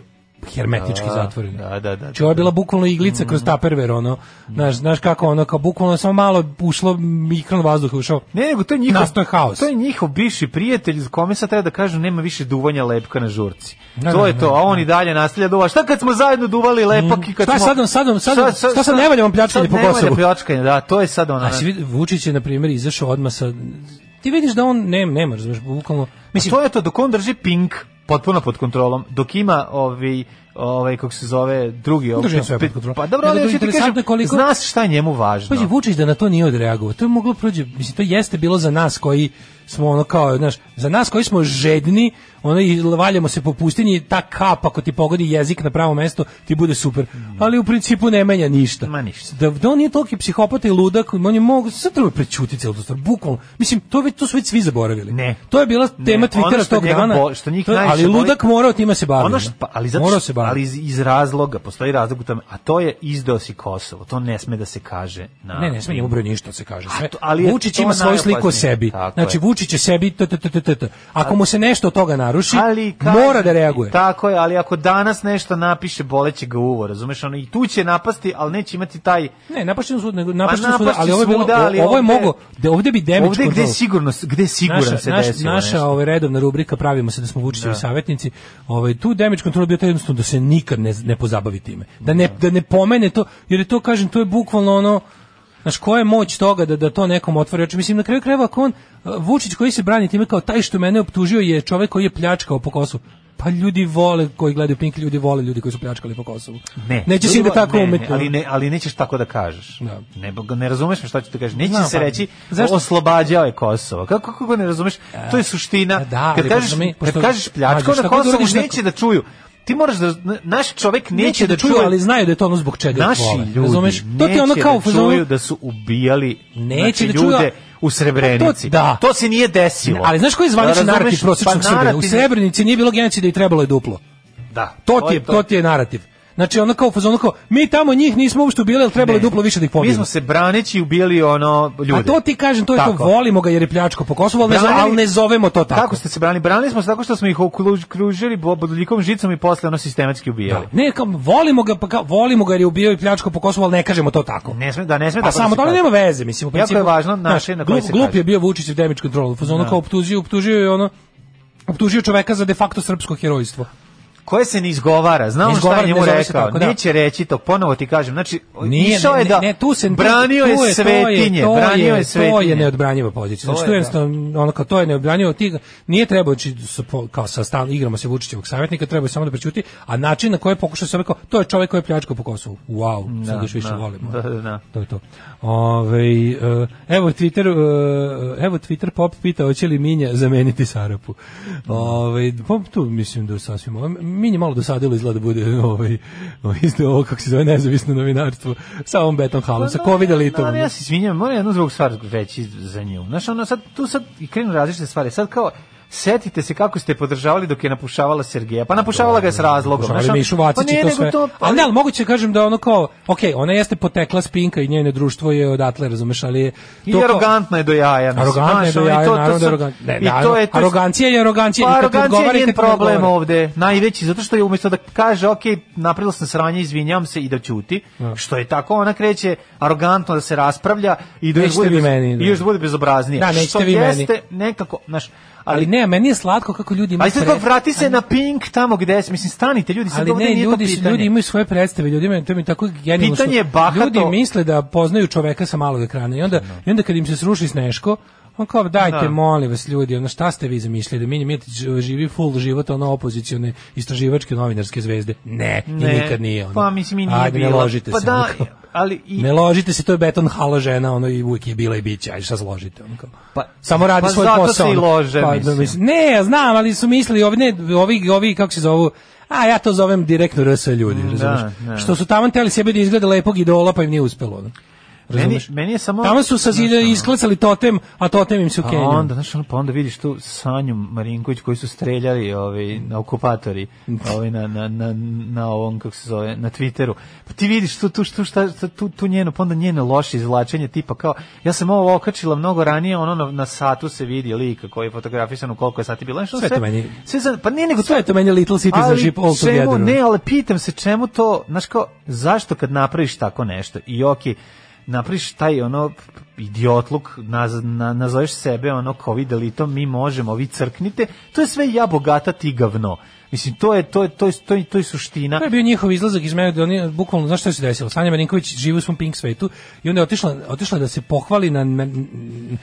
F: hermetički
G: Da,
F: zatvoreni.
G: da, da, da, da.
F: Znači, ovo je bila bukvalno iglica kroz taperver, ono. Znaš, znaš kako, ono, kao bukvalno samo malo ušlo mikron vazduha, ušao.
G: Ne, nego to je njihov,
F: Nastao je haos.
G: To je njihov bivši prijatelj za kome sad treba da kažu nema više duvanja lepka na žurci.
F: Da,
G: to
F: da,
G: je to, a on i dalje nastavlja duva. Šta kad smo zajedno duvali lepak i kad
F: Mm. Šta
G: smo...
F: sad, sad, sad, šta sad ne valja vam pljačkanje
G: sad
F: po
G: ne valja
F: Kosovu?
G: pljačkanje, da, to je sad ona.
F: A si vidi, Vučić je, na primjer, izašao odmah sa... Ti vidiš da on ne, nema, razumiješ, bukvalno... Mislim,
G: to je to, dok on drži pink potpuno pod kontrolom, dok ima ovi ovaj kako se zove drugi ovaj-
F: Drži sve pod kontrolom.
G: Pa dobro,
F: Nego,
G: ali hoću ti
F: interesantno
G: kažem,
F: je koliko-
G: znaš šta je njemu važno.
F: Pazi, Vučić da na to nije odreagovao. To je moglo prođe, mislim, to jeste bilo za nas koji smo ono kao, znaš, za nas koji smo žedni, ono i valjamo se po pustinji, ta kap ako ti pogodi jezik na pravo mesto, ti bude super. Ali u principu ne menja ništa.
G: Ma ništa.
F: Da, da on nije toliki psihopata i ludak, on je mogu, sad treba prećutiti celu tu stvar, bukvalno. Mislim, to, već, to su već svi zaboravili.
G: Ne.
F: To je bila
G: Ne,
F: tema
G: ono
F: Twittera
G: što
F: tog
G: njega
F: dana.
G: bo- što njih
F: To je- ali
G: najviše boli-
F: ludak morao time se baviti.
G: Ono što, pa, ali zato
F: morao
G: što-
F: se baviti.
G: ali iz, iz razloga, postoji razlog u tome, a to je izdao si Kosovo, to ne sme da se kaže. Na,
F: Ne, ne smije njemu bre ništa se kaže. Sve.
G: A to- ali je
F: Vučić
G: to
F: ima svoju sliku o
G: najopasnije.
F: sebi.
G: Tako
F: znači
G: je.
F: Vučić je sebi t, t, t, t, t, t. Ako mu se nešto od toga naruši,
G: ali kažem
F: mora da
G: ti,
F: reaguje.
G: Tako je, ali ako danas nešto napiše, boleće ga uvo, razumeš? Ono, I tu će napasti, ali neće imati taj...
F: Ne, napašten sud, nego napašten sud,
G: napašće
F: ali ovo je bilo,
G: svuda, Pa ali
F: o- ovo je
G: ovde-
F: mogo, da ovde bi damage
G: Ovde gde
F: control.
G: sigurno, gde siguran se
F: naš-
G: desilo
F: naša
G: nešto.
F: ovaj redovna rubrika pravimo se da smo Vučićevi savjetnici. Ovaj tu damage control bio taj jednostavno da se nikad ne, ne pozabavi time. Da ne da ne pomene to jer je to kažem to je bukvalno ono Znaš, koja je moć toga da, da to nekom otvori oči? Mislim, na kraju krajeva, ako on, eh, Vučić koji se brani time kao taj što mene optužio je čovek koji je pljačkao po Kosovu. Pa ljudi vole koji gledaju Pink, ljudi vole ljudi koji su pljačkali po Kosovu.
G: Ne,
F: Neće se da
G: drugo,
F: tako
G: ne, ne,
F: umeti.
G: ali, ne, ali nećeš tako da kažeš.
F: Da.
G: Ne, ne razumeš me šta ću ti kažem. Neće
F: Znam,
G: se
F: pa,
G: reći
F: zašto-
G: oslobađao je Kosovo. Kako, kako ne razumeš? To je suština.
F: da,
G: kad
F: ali
G: kažeš,
F: razumi- pošto-
G: kad kažeš pljačko
F: Mađo, šta
G: na
F: god
G: Kosovu,
F: uradiš neko-
G: neće da čuju. Ti moraš da, naš čovek neće,
F: neće da čuju, ali znaju da je to ono zbog čega ih
G: naši
F: vole.
G: ljudi
F: Razumeš? To ti je
G: neće
F: ono kao u
G: da
F: fazonu-
G: čuju da su ubijali
F: Neće
G: znači,
F: da čuju,
G: ljude
F: a-
G: u Srebrenici.
F: A to- da.
G: To se nije desilo.
F: Ali znaš koji je zvanični
G: Da, razumeš?
F: narativ prosječnog
G: Pa
F: Srbina? U
G: narativ-
F: Srebrenici nije bilo genocida i trebalo je duplo.
G: Da.
F: To ti je,
G: je
F: to ti je narativ. Znači ono kao u fazonu kao, mi tamo njih nismo uopšte ubili, ali trebalo je duplo više da ih
G: Mi
F: pobijemo.
G: smo se braneći ubijali ono ljude.
F: A to ti kažem, to je to,
G: Tako.
F: volimo ga jer je pljačko po Kosovu, ali, ne, zo-
G: Branili-
F: ali ne zovemo to tako.
G: Kako ste se branili? Branili smo se tako što smo ih okružili bodoljikom žicom i posle ono sistematski ubijali.
F: Da. Ne, kao, volimo ga, pa kao, volimo ga jer je ubio i pljačko po Kosovu, ali ne kažemo to tako.
G: Ne sme, da ne sme
F: Pa
G: tako
F: samo
G: da
F: to
G: se
F: ali
G: kaže.
F: nema veze, mislim, u
G: Jako
F: principu.
G: je važno
F: znaš,
G: način na koji
F: glup-
G: se
F: Glup
G: kaže.
F: je bio Vučić u damage control, u ono kao optužio, optužio je ono, optužio čoveka za de facto srpsko herojstvo.
G: Koje se ne izgovara, znam ono
F: Ne
G: šta
F: izgovara,
G: je njemu
F: ne zove se
G: rekao.
F: tako, da.
G: Neće reći to, ponovo ti kažem. Znači,
F: Nije,
G: išao
F: ne,
G: je da
F: ne, ne, tu se
G: branio
F: tu
G: je,
F: to
G: svetinje,
F: to
G: branio je
F: To je
G: svetinje.
F: neodbranjiva pozicija.
G: To
F: Znači,
G: je,
F: to je
G: da.
F: jednostavno, ono kao to je neodbranjivo, ti ga- nije trebao znači, sa po- kao sa stan, igramo se Vučićevog savjetnika, trebao je samo da prećuti, a način na koji je pokušao se rekao, to je čovjek koji je pljačkao po Kosovu. Wow, sad još više ono.
G: da,
F: volimo.
G: da, da, da.
F: To je to. Ove, evo Twitter, e, evo Twitter pop pita hoće li Minja zameniti Sarapu. Ove, pop tu mislim da je sasvim, ovo- Minji malo dosadilo izgleda da bude ovaj, isto ovo kako se zove nezavisno novinarstvo sa ovom beton
G: Pa
F: halom, sa covid elitom.
G: Ali ja se izvinjam, moram jednu drugu stvar reći za nju. Znaš, ono, sad, tu sad i krenu različite stvari. Sad kao, setite se kako ste je podržavali dok je napušavala Sergeja. Pa napušavala ga je s razlogom.
F: Pokušavali
G: ono,
F: Mišu Vacić
G: pa ne,
F: i to
G: nego
F: sve. ali ne, ali moguće kažem da ono kao, ok, ona jeste potekla s Pinka i njene društvo je odatle, razumeš, ali je... to
G: I
F: kao-
G: arogantna je do jaja. mislim,
F: Arogantna je
G: znaš,
F: do
G: ono, i
F: jaja,
G: to- to
F: naravno da je
G: sad-
F: arogantna. Ne,
G: i to
F: naravno,
G: je- to
F: arogancija je arogancija, i
G: Pa
F: kad
G: arogancija
F: odgovara i
G: je njen
F: kad ne
G: problem
F: odgovara.
G: ovde, najveći, zato što je umjesto da kaže, ok, napravila sam sranje, izvinjam se i da ćuti, što je tako, ona kreće arogantno da se raspravlja i da još
F: Nećete
G: bude,
F: vi
G: bez-
F: meni, da.
G: i još da bude bezobraznije.
F: Da, nećete
G: što
F: vi meni.
G: jeste nekako, znaš, ali
F: Ali ne, meni je slatko kako ljudi imaju
G: Ali sad
F: pre-
G: kao vrati se na Pink tamo gde si, mislim stanite ljudi, sad
F: ali
G: ovde
F: ne,
G: nije
F: ljudi,
G: to
F: su-
G: pitanje.
F: ljudi imaju svoje predstave, ljudi imaju, to mi je tako genijalno.
G: Pitanje
F: što
G: je bahato-
F: Ljudi misle da poznaju čoveka sa malog ekrana i onda, i onda kad im se sruši sneško, on kao, dajte,
G: Da.
F: molim vas ljudi, ono, šta ste vi zamislili, da Minja Mijetić živi full život, ono, opozicione, istraživačke novinarske zvezde? Ne, i
G: Ne,
F: nikad nije, ono.
G: Pa mislim i nije
F: Ajde, ne
G: bila.
F: ložite
G: pa
F: se,
G: da,
F: ono, kao.
G: ali i,
F: Ne ložite se, to je beton hala žena, ono i uvijek je bila i biće, ajde šta zložite. Ono kao.
G: Pa-
F: Samo radi
G: pa
F: svoj
G: zato
F: posao.
G: se i
F: ono.
G: lože,
F: Pa,
G: mislim.
F: da, Ne, ja znam, ali su mislili, ovi, ne, ovi, ovi kako se zovu, a ja to zovem direktno RS ljudi, razumiješ?
G: da.
F: Što su tamo teli sebe da izgleda lepog idola, pa im nije uspelo. Ono.
G: Meni,
F: Razumeš?
G: meni je samo...
F: Tamo su sa zida isklacali totem, a totem im se
G: A
F: ukenjao.
G: onda, znaš, ono, pa onda vidiš tu Sanju Marinković koji su streljali ovi, na okupatori ovi, na, na, na, na ovom, kako se zove, na Twitteru. Pa ti vidiš tu, tu, tu, šta, šta- tu, tu njeno, pa onda njeno loše izvlačenje, tipa kao, ja sam ovo okačila mnogo ranije, ono na, na satu se vidi lika koji je fotografisan u koliko je sati bilo. Znaš, ono
F: Sve to meni-
G: sve, za- pa nije nego to
F: Sve je to meni Little Citizenship all
G: čemu,
F: together. ono.
G: Ne, E, ali pitam se čemu to, znaš kao, zašto kad napraviš tako nešto i oki, napraviš taj ono idiotluk, naz, na, nazoveš sebe ono kao videli to mi možemo, vi crknite, to je sve ja bogata ti gavno. Mislim, to je, to je, to je, to je, to je suština.
F: To je bio njihov izlazak iz mene, da oni bukvalno, znaš šta se desilo? Sanja Marinković živi u svom pink svetu i onda je otišla, otišla da se pohvali na... men-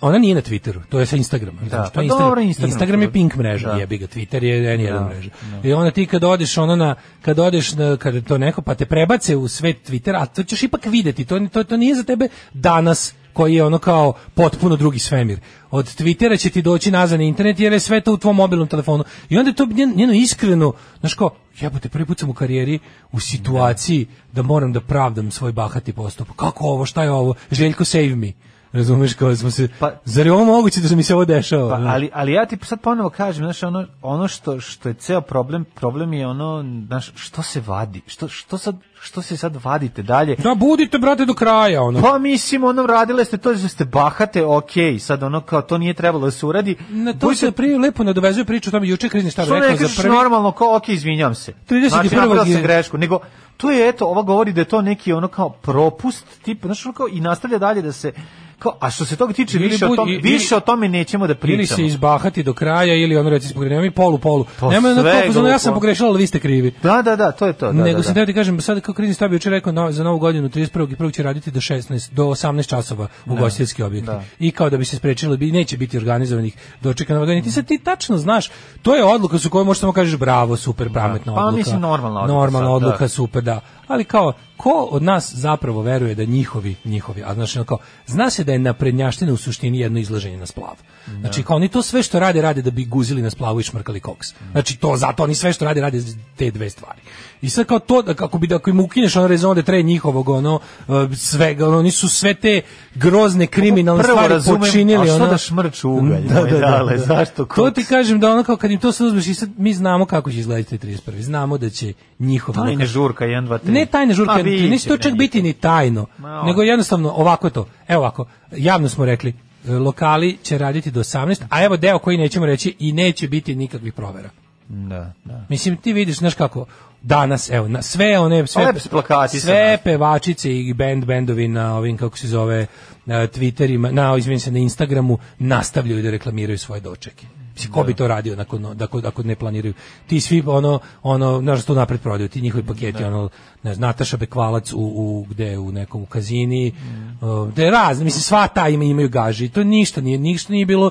F: ona nije na Twitteru, to je sa Instagrama. Znaš, to
G: pa
F: je
G: dobro, Instagram.
F: Instagram je pink mreža,
G: Da.
F: jebi ga, Twitter je N1
G: Da,
F: mreža. I onda ti kad odeš ono na, kad odeš na, kad to neko, pa te prebace u svet Twittera, a to ćeš ipak videti, to, to, to nije za tebe danas koji je ono kao potpuno drugi svemir. Od Twittera će ti doći nazad na internet jer je sve to u tvom mobilnom telefonu. I onda je to njen- njeno iskreno, znaš kao, jebote, prvi put sam u karijeri u situaciji da moram da pravdam svoj bahati postup. Kako ovo, šta je ovo? Željko, save me. Razumeš kao smo se...
G: Pa-
F: zar je ovo moguće da mi se ovo dešava?
G: Pa,
F: Znaš?
G: ali, ali ja ti sad ponovo kažem, znaš, ono, ono što, što je ceo problem, problem je ono, znaš, što se vadi, što, što, sad, što se sad vadite dalje,
F: Da, budite, brate, do kraja, ono.
G: Pa mislim, ono, radile ste to, da ste bahate, okej, sad ono, kao to nije trebalo da se uradi.
F: Na to
G: Budite-
F: se prije lepo nadovezuje priču, to mi juče krizni štab
G: Što ne
F: rekao
G: kažeš
F: za prvi...
G: normalno, kao, okej, izvinjam se.
F: 31.
G: Znači, napravila
F: je-
G: sam grešku, nego, to je, eto, ova govori da je to neki, ono, kao, propust, tip, znaš, ono, kao, i nastavlja dalje da se, kao, a što se toga tiče,
F: Ili
G: više, o
F: budi-
G: tome,
F: ili-
G: više o tome nećemo da
F: Ili
G: pričamo.
F: se izbahati do kraja, ili ono reći spogredio, mi polu, polu.
G: Pa
F: Nema na
G: sve
F: to,
G: glupo.
F: ja sam pogrešila, ali vi ste krivi.
G: Da, da, da, to je to. Da,
F: Nego
G: da,
F: sam
G: da.
F: teo ti kažem, sad kao krizni štab je juče rekao no, za novu godinu 31. i 1. će raditi do 16, do 18 časova ugostiteljski objekti.
G: Da.
F: I kao da bi se sprečilo, bi neće biti organizovanih dočeka nove godine. Ti sad ti tačno znaš, to je odluka su koju možeš samo kažeš bravo, super, pametna
G: Pa,
F: odluka.
G: mislim, normalna odluka
F: Normalna
G: sad,
F: odluka,
G: da.
F: super, da. Ali kao, ko od nas zapravo veruje da njihovi, njihovi, a znaš, ono kao, zna se da je naprednjaština u suštini jedno izlaženje na splav. Znači, kao oni to sve što rade, rade da bi guzili na splavu i šmrkali koks.
G: Mm.
F: Znači, to, zato oni sve što rade, rade te dve stvari. I sad kao to, da kako bi, da ako im ukineš ono rezon de tre njihovog, ono, e, svega, ono, oni su sve te grozne kriminalne
G: Prvo
F: stvari
G: razumem,
F: počinili.
G: a što
F: ono-
G: da šmrč u ugalj,
F: Da,
G: moj
F: da, da,
G: dale,
F: da.
G: zašto
F: To
G: koks?
F: ti kažem da ono kao kad im to sve uzmeš i sad mi znamo kako će izgledati 31. Znamo da će njihov
G: Tajna žurka, 1, 2, 3.
F: ne tajne žurke,
G: ne
F: neće to čak biti ni tajno,
G: Ma,
F: nego jednostavno ovako je to. Evo ovako, javno smo rekli, e, lokali će raditi do 18, a evo deo koji nećemo reći i neće biti nikakvih provera.
G: Da, da.
F: Mislim, ti vidiš, znaš kako, danas, evo, na sve one, sve,
G: Lepi su plakati sa
F: sve
G: nas.
F: pevačice i band bendovi na ovim, kako se zove, na Twitterima, na, izvinim se, na Instagramu, nastavljaju da reklamiraju svoje dočeke. Mislim, ko bi to radio nakon, ako, ako ne planiraju? Ti svi, ono, ono, znaš što napred prodaju, ti njihovi paketi, ono, ne znam, Nataša Bekvalac u, u, gde, u nekom u kazini, uh, gde je razne, mislim, sva ta ima, imaju gaži, to ništa nije, ništa nije bilo,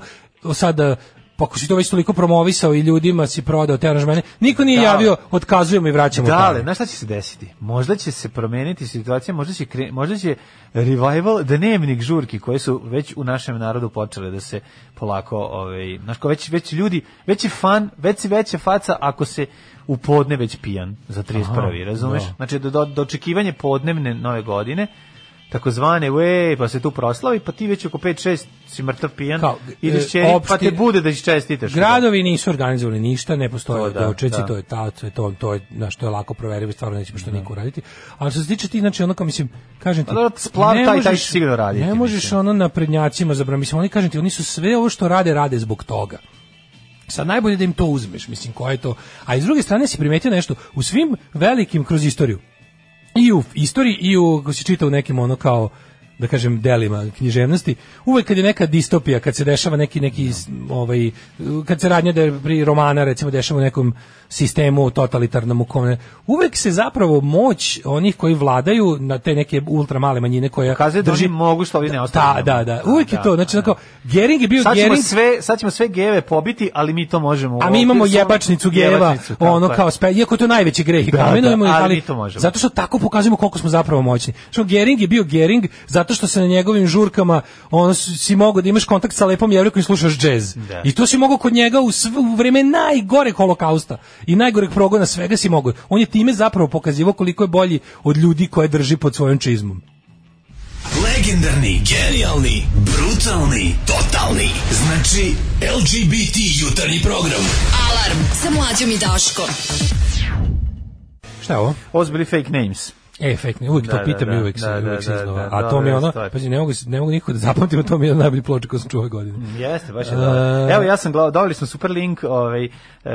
F: sada, pa ako si to već toliko promovisao i ljudima si prodao te aranžmene, niko nije
G: Da.
F: javio, otkazujemo i vraćamo
G: Dale,
F: pare.
G: znaš šta će se desiti? Možda će se promeniti situacija, možda će, kre, možda će revival dnevnik žurki koje su već u našem narodu počele da se polako, ovaj, znaš kao već, već ljudi, već je fan, već si veća faca ako se u podne već pijan za 31. razumeš?
F: da.
G: Znači, do, do, do očekivanje podnevne nove godine, takozvane, ej, pa se tu proslavi, pa ti već oko 5-6 si mrtav pijan,
F: Kao, e,
G: ideš čeri, pa
F: opšti-
G: te bude da čestitaš.
F: Gradovi nisu organizovali ništa, ne postoje
G: To
F: to,
G: da,
F: dočeci,
G: da.
F: to je ta, to je to, to je na što je lako proverivo, i stvarno nećemo što niko uraditi. Ali što se tiče ti, znači onako mislim, kažem ti,
G: Pa dobro, splav taj- taj će sigurno raditi,
F: Ne možeš
G: mislim.
F: ono na prednjacima zabraniti, mislim oni kažem ti, oni su sve ovo što rade rade zbog toga. Sad najbolje da im to uzmeš, mislim, koje je to. A iz druge strane si primetio nešto, u svim velikim kroz istoriju, i u istoriji i u ako se čita u nekim ono kao da kažem delima književnosti uvek kad je neka distopija kad se dešava neki neki s- ovaj kad se radnja da je pri romana recimo dešava u nekom sistemu totalitarnom u kome uvek se zapravo moć onih koji vladaju na te neke ultramale manjine koja
G: Kazuje da oni mogu što ovi ne
F: da
G: ostavljaju.
F: da da uvek je to znači
G: da.
F: tako Gering je bio
G: Sad ćemo,
F: Gering
G: sve, sad ćemo sve geve pobiti, ali mi to možemo. u
F: A mi imamo
G: opisu.
F: jebačnicu geva,
G: Jebačnicu, tako
F: ono
G: je.
F: kao spe, iako je to najveći greh i
G: Da,
F: kamenujemo,
G: da, ali
F: ali
G: mi to možemo.
F: zato što tako pokazujemo koliko smo zapravo moćni. Što Gering je bio Gering zato što se na njegovim žurkama ono s- si mogao da imaš kontakt sa lepom jevrejkom i slušaš džez.
G: Da.
F: I to si mogao kod njega u, sv, u vreme najgoreg holokausta i najgoreg progona svega si mogao. On je time zapravo pokazivao koliko je bolji od ljudi koje drži pod svojom čizmom.
J: Legendarni, genijalni, brutalni, totalni. Znači, LGBT jutarnji program.
E: Alarm sa mlađom i Daškom.
F: Šta je ovo?
G: Ovo su bili fake names.
F: E, fake news, uvijek
G: Da,
F: to
G: da,
F: pitam i
G: da,
F: uvijek se,
G: da, da,
F: uvijek se
G: da,
F: iznova.
G: da,
F: A to mi je
G: dobra
F: ono,
G: stvar.
F: pa ne mogu, ne mogu nikako da zapamtim, a to mi je jedan najbolji ploča koju sam čuo ove godine.
G: Jeste, baš je
F: E,
G: dobro. Evo ja sam gledao, dali smo super link, ovaj eh,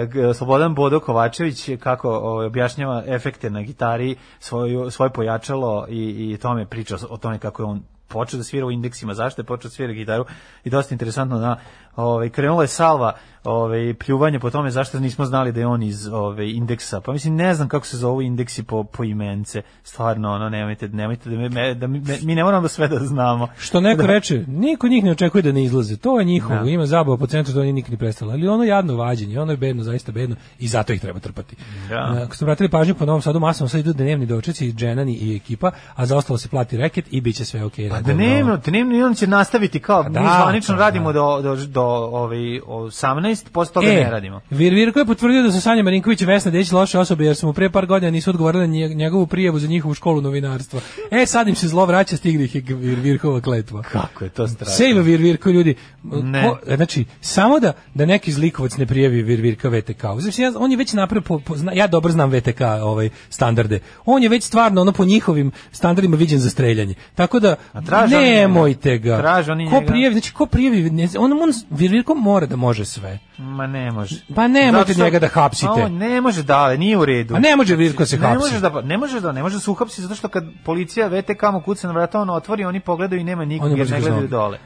G: g- Slobodan Bodo Kovačević je kako ovaj, objašnjava efekte na gitari, svoju svoje pojačalo i i tome priča o tome kako je on počeo da svira u indeksima, zašto je počeo da svira gitaru i dosta interesantno da ovaj krenula je salva ovaj pljuvanje po tome zašto nismo znali da je on iz ovaj indeksa. Pa mislim ne znam kako se zovu indeksi po po imence. Stvarno ono nemojte nemojte da me- me, da mi, mi ne moramo sve da znamo.
F: Što neko reče, niko njih ne očekuje da ne izlaze. To je njihovo,
G: Da.
F: ima zabava po centru, to nije nikad ni prestalo. Ali ono jadno vađenje, ono je bedno, zaista bedno i zato ih treba trpati.
G: Da.
F: E, Ako ste obratili pažnju po Novom Sadu, masno sad idu dnevni dočeci, dženani i ekipa, a za ostalo se plati reket i bit će sve okej.
G: Pa
F: Okay,
G: dnevno, dnevno i on će nastaviti kao, mi
F: da,
G: zvanično
F: pa
G: radimo do, do, do ovaj, 18, posle toga ne radimo.
F: E, Vir Virko je potvrdio da su Sanja Marinković i Vesna Dejić loše osobe jer su mu pre par godina nisu odgovorili na nje- njegovu prijavu za njihovu školu novinarstva. E, sad im se zlo vraća, stigli ih je Vir Virkova kletva.
G: Kako je to strašno.
F: Save Vir Virko, ljudi.
G: Ne.
F: Ko- znači, samo da, da neki zlikovac ne prijavi Vir Virka VTK. Znači, ja, on je već napravio, po, po- zna- ja dobro znam VTK ovaj, standarde. On je već stvarno ono po njihovim standardima viđen za streljanje. Tako da,
G: traže oni njega.
F: nemojte ga.
G: Traže oni
F: ko
G: njega.
F: prijavi, znači, ko prijavi, ne, on, on, Vir Virko mora da može sve.
G: Ma ne može.
F: Pa nemojte
G: Zato što-
F: njega da hapsite.
G: A on ne može da, ali nije u redu.
F: A ne može Virko se
G: Znači, Ne
F: hapsi.
G: može da, pa- ne može da, ne može da se uhapsi zato što kad policija VTK mu kuca na vrata, on otvori, oni pogledaju i nema nikog
F: On je
G: jer
F: baš
G: ne gledaju
F: gaznom.
G: dole.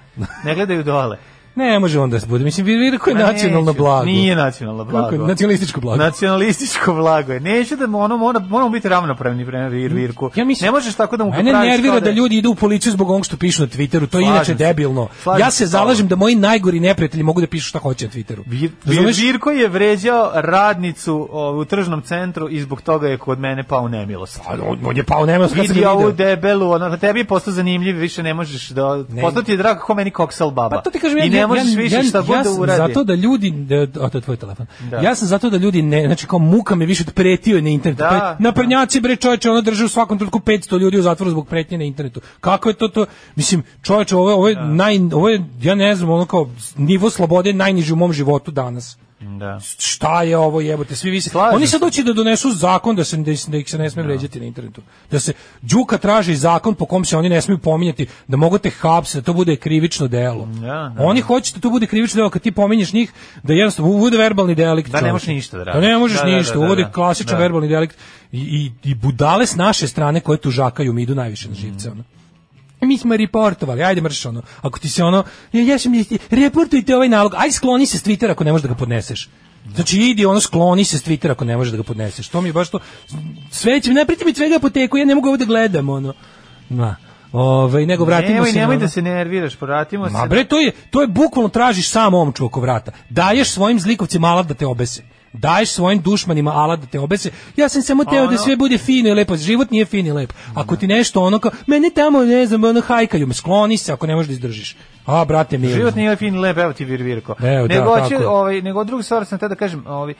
G: Ne gledaju dole.
F: Ne može onda se bude. Mislim, Virko je
G: Ma
F: nacionalno
G: neću.
F: blago.
G: Nije nacionalno blago.
F: Kako je? Nacionalističko blago.
G: Nacionalističko blago je. Neću da mu ono mora moramo biti ravnopravni prema Vir- Virku.
F: Ja mislim,
G: ne možeš tako da mu
F: Mene
G: popraviš kao
F: nervira
G: je-
F: da ljudi idu u policiju zbog onog što pišu na Twitteru. To je
G: Slažem
F: inače
G: se.
F: debilno.
G: Slažem
F: ja
G: se
F: se
G: s tobom.
F: zalažem da moji najgori neprijatelji mogu da pišu šta hoće na Twitteru.
G: Vir,
F: Razumeš?
G: Vir- Virko je vređao radnicu o, u tržnom centru i zbog toga je kod mene pao u nemilost.
F: A on, Pa, on je pao nema kad sam
G: Vidi
F: ga
G: ovu
F: video.
G: debelu, ono, tebi je postao zanimljiv, više ne možeš da...
F: Ne.
G: Postao ti je drag ko meni koksal baba.
F: Pa to ti kažem, ja,
G: I ne
F: ja,
G: možeš
F: ja,
G: više
F: ja,
G: šta god
F: ja
G: da
F: sam
G: uradi.
F: Zato da ljudi, da, a to je tvoj telefon.
G: Da.
F: Ja sam zato da ljudi ne, znači kao muka me više od pretio je na internetu.
G: Da.
F: pa, naprednjaci bre čoveče, ono drže u svakom trenutku 500 ljudi u zatvoru zbog pretnje na internetu. Kako je to to? Mislim, čoveče, ovo je, ovo je naj, ovo je, ja ne znam, ono kao nivo slobode je najniži u mom životu danas.
G: Da.
F: šta je ovo jebote svi vi se
G: Slažem
F: oni sad doći da donesu zakon da se da, ih- da ih se ne sme vređati na internetu da se đuka traži zakon po kom se oni ne smiju pominjati da mogu te hapse da to bude krivično delo
G: Da, da.
F: oni hoće da to bude krivično delo kad ti pominješ njih da jednostavno bude verbalni delikt
G: Da ne
F: čoveče.
G: možeš ništa da
F: da ne
G: radiš.
F: možeš
G: Da, da,
F: ništa
G: da, da,
F: uvodi
G: da.
F: klasičan
G: Da.
F: verbalni delikt I, i, i budale s naše strane koje tužakaju mi idu najviše na živce ono mi smo reportovali, ajde mrš ono. Ako ti se ono, ja, ja sam, jesti- reportujte ovaj nalog, aj skloni se s Twittera ako ne možeš da ga podneseš. Znači idi ono skloni se s Twittera ako ne možeš da ga podneseš. To mi je baš to, sve će mi, napriti mi svega apoteku, ja ne mogu ovo da gledam ono. Na, ovaj, nego vratimo
G: Nemoj,
F: se. na
G: nemoj
F: ono-
G: da se nerviraš, povratimo
F: Pa Ma
G: se.
F: bre, to je, to je bukvalno tražiš sam omču oko vrata. Daješ svojim zlikovcima alat da te obese. Daješ svojim dušmanima alat da te obese. Ja sam samo teo da
G: Ono-
F: sve bude fino i lepo. Život nije fin i lep. Ako ti nešto ono kao, mene tamo, ne znam, ono hajkaju, me skloni se ako ne možeš da izdržiš. A, brate, mi
G: Život nije fin i lep, evo ti Vir Virko.
F: Evo, da,
G: nego, hoću,
F: tako je.
G: ovaj, nego drugu stvar sam tada da kažem, ovaj,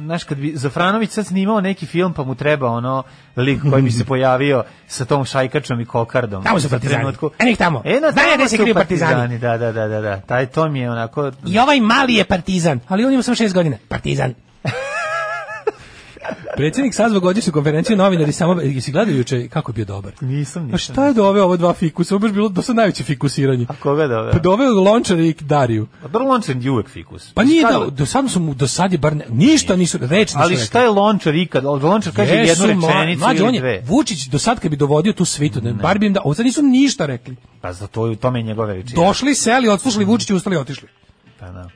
G: znaš, kad bi Zafranović sad snimao neki film, pa mu treba ono lik koji bi se pojavio sa tom šajkačom i kokardom.
F: Tamo su
G: U
F: partizani.
G: trenutku-
F: E, nek tamo.
G: E, no,
F: Znaju
G: tamo
F: gde se
G: su
F: kriju partizani.
G: Da, da, da, da, da. Taj, to mi je onako...
F: I ovaj mali je partizan, ali on ima samo šest godina. Partizan. Predsjednik sazvao godišnju konferenciju novinari samo, jesi gledao juče kako je bio dobar?
G: Nisam,
F: A
G: nisam.
F: Pa šta je doveo ovo dva fikusa? Ovo je baš bilo do sad najveće fikusiranje.
G: A koga doveo?
F: Pa doveo Lončara i Dariju.
G: Pa dobro, Lončar je uvek fikus.
F: Pa nije
G: Šta
F: da, do sad su mu, do sad je bar, ne- ništa nisu, reč nisu
G: Ali
F: rekli.
G: šta je Lončar ikad? Lončar kaže
F: Jesu,
G: jednu
F: mla-
G: rečenicu
F: mlađe, on
G: ili
F: je-
G: dve.
F: Vučić do sad kad bi dovodio tu svitu, ne, bar bi im da, ovo sad nisu ništa rekli.
G: Pa za to, je- u tome je njegove veličine.
F: Došli, seli,
G: Mm.
F: odslušali Vučića, ustali, i otišli.
G: Pa, da.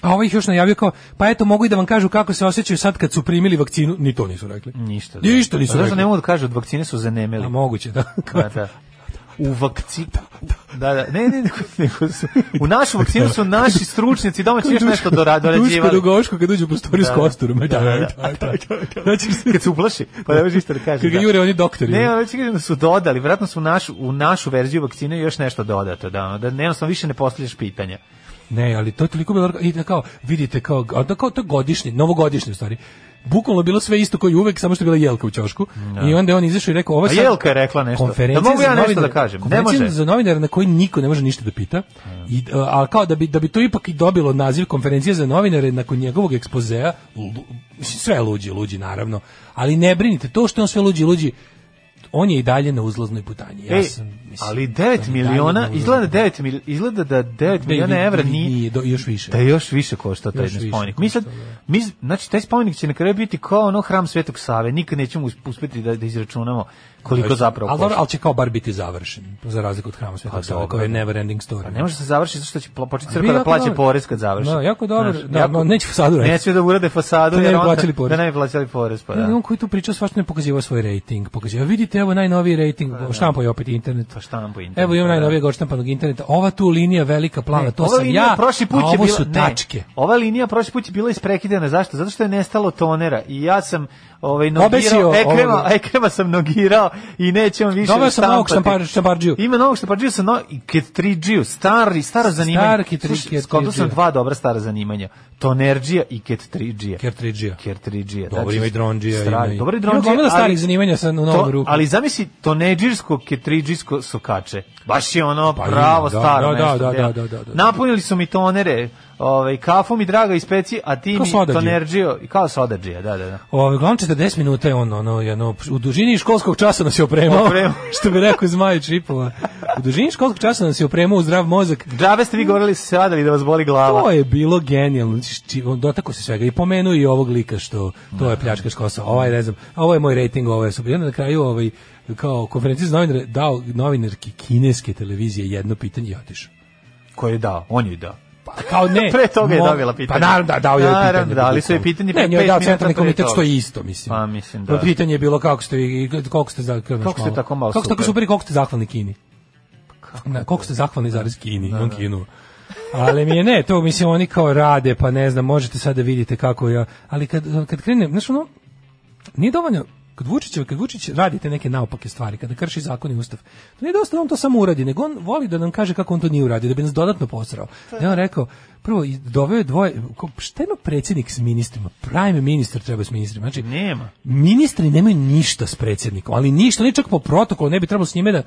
F: A ovaj ih još najavio kao, pa eto mogu i da vam kažu kako se osjećaju sad kad su primili vakcinu, ni to nisu rekli.
G: Ništa.
F: Ništa
G: Pa
F: nisu
G: Zašto
F: rekli.
G: ne mogu da kažu, od vakcine su zanemeli.
F: A moguće, da.
G: Da, da. Dakle, U vakcinu. Da, da. Ne, ne, nego- nego su- u našu vakcinu su naši stručnjaci domaći još nešto dorad-
F: Duško
G: dorađivali.
F: Dugoško kad uđe u prostoriju s kosturom. Da, da, da. Znači,
G: Kad se uplaši, pa ne može ništa da kaže.
F: Kad ga
G: da.
F: jure oni doktori.
G: Ne, ali ti kažem da su dodali, verovatno su u našu, u našu verziju vakcine još nešto dodato, da, ono, da jednostavno više ne postavljaš pitanja.
F: Ne, ali to je toliko bilo i da kao vidite kao a da kao to je godišnje, novogodišnje u stvari. Bukvalno bilo sve isto kao i uvek, samo što je bila jelka u ćošku. I onda je on izašao i rekao ova
G: A Jelka je rekla nešto.
F: Konferencija
G: Da mogu ja
F: za
G: nešto
F: novinare-
G: da kažem? Ne
F: konferencija
G: može.
F: za novinare na koji niko ne može ništa da pita. I a kao da bi da bi to ipak i dobilo naziv konferencije za novinare nakon njegovog ekspozea, lu- mislim, sve je luđi, luđi naravno. Ali ne brinite, to što je on sve luđi, luđi on je i dalje na uzlaznoj putanji. Ja
G: Ej,
F: sam, mislim,
G: E, ali
F: on je
G: 9
F: i
G: miliona,
F: dalje na
G: izgleda
F: uzlaznoj-
G: 9 mil, izgleda da 9
F: Da, i
G: miliona
F: vi-
G: evra
F: vi-
G: nije
F: nije do, još više.
G: da je još više košta taj
F: Još više
G: spomenik. Mi sad, mi, z- znači, taj spomenik će na kraju biti kao ono hram Svetog Save. Nikad nećemo us- uspeti da, da izračunamo koliko zapravo
F: ali, dobro,
G: košta.
F: ali će kao bar biti završen, za razliku od hrama Svetog Save,
G: dobro.
F: koji je never ending story.
G: Pa ne može se završiti zato što će pla- početi crkva
F: Bio
G: da
F: jako
G: plaća
F: dobar.
G: porez kad završi.
F: Da, jako dobar.
G: Znaš,
F: Da, no, neće fasadu raditi.
G: Ne smije da urade fasadu
F: Da ne
G: jer
F: bi
G: onda
F: plaćali porez.
G: da ne bi plaćali porez, pa da.
F: On koji tu priča svašta ne pokazivao svoj rating. Pokazivao, vidite, evo najnoviji rating, štampo je opet internet.
G: Pa štampu internet.
F: Evo imam
G: da.
F: najnovijeg odštampanog interneta. Ova tu linija velika plava,
G: Ne,
F: to
G: ova
F: sam
G: linija
F: ja,
G: prošli put
F: a
G: je
F: ovo
G: bila,
F: su
G: ne,
F: tačke.
G: ova linija prošli put je bila isprekidana. Zašto? Zato što je nestalo tonera. I ja sam ovaj,
F: Obesio
G: nogirao, ekrema,
F: ovoga.
G: ekrema sam nogirao i neće on više
F: Doveo sam novog
G: štampati.
F: štampar- štamparđiju.
G: Ima novog štamparđiju sa no, i Ket3G, stari, staro zanimanje.
F: Star Ket3G.
G: Slušaj, skontao sam dva dobra stara zanimanja. Tonerđija i Ket3G.
F: Kertridžija.
G: Ker3G.
F: Dobro, ima i Drondžija, ima i-
G: znači, Dobro i
F: Ima
G: Drondžija.
F: gomila starih
G: ali-
F: zanimanja sa novom
G: to-
F: rukom.
G: Ali zamisli toneđirsko Ket3G sokače. Baš je ono
F: Pa ima,
G: pravo
F: da,
G: staro
F: da, da,
G: nešto.
F: da,
G: gde-
F: da, da, da, da.
G: Napunili su mi tonere, ovaj kafom i draga i speci, a ti
F: Kao
G: mi
F: sodađija.
G: tonerđio i kao sodađija, da, da, da.
F: Ovaj uglavnom 40 minuta je on ono jedno u dužini školskog časa nas je opremao,
G: Opremao.
F: što bi rekao Zmaj Čipova. U dužini školskog časa nas je opremao u zdrav mozak.
G: Džabe ste vi govorili se sadali da vas boli glava.
F: To je bilo genijalno. Znači, či- on Dotako se svega i pomenuo i ovog lika što to je pljačkaš Kosova. Ovaj ne znam, a ovo je moj rating, ovo je super. I onda na kraju ovaj kao konferencija za novinare dao novinarki kineske televizije jedno pitanje i otišao.
G: Ko je dao? On je dao.
F: Pa kao ne.
G: Pre toga je
F: mo-
G: dobila pitanje.
F: Pa naravno da, dao je
G: Naravno,
F: pitanje.
G: dali su joj pitanje
F: Ne,
G: pre
F: njoj je
G: pet
F: dao
G: minuta
F: centralni
G: pre
F: komitet
G: toga.
F: što je isto, mislim. Ono
G: Pa, mislim, da.
F: Pitanje je bilo kako ste, vi- koliko ste, za, kako,
G: Kako ste tako malo
F: kako ste tako
G: super. Pa
F: super i koliko ste zahvalni Kini. Na, koliko ste zahvalni zarez Kini, on Kinu. Ali mi je ne, to mislim oni kao rade, pa ne znam, možete sad da vidite kako ja, ali kad, kad krenem, znaš ono, nije dovoljno kad Vučić, kad Vučić radi te neke naopake stvari, kada krši zakon i ustav, to nije dosta da on to samo uradi, nego on voli da nam kaže kako on to nije uradio, da bi nas dodatno posrao. Da je on rekao, prvo, i doveo je dvoje, ko- šta ima predsjednik s ministrima? Prime ministar treba s ministrima. Znači,
G: Nema.
F: ministri nemaju ništa s predsjednikom, ali ništa, ni čak po protokolu, ne bi trebalo s njime da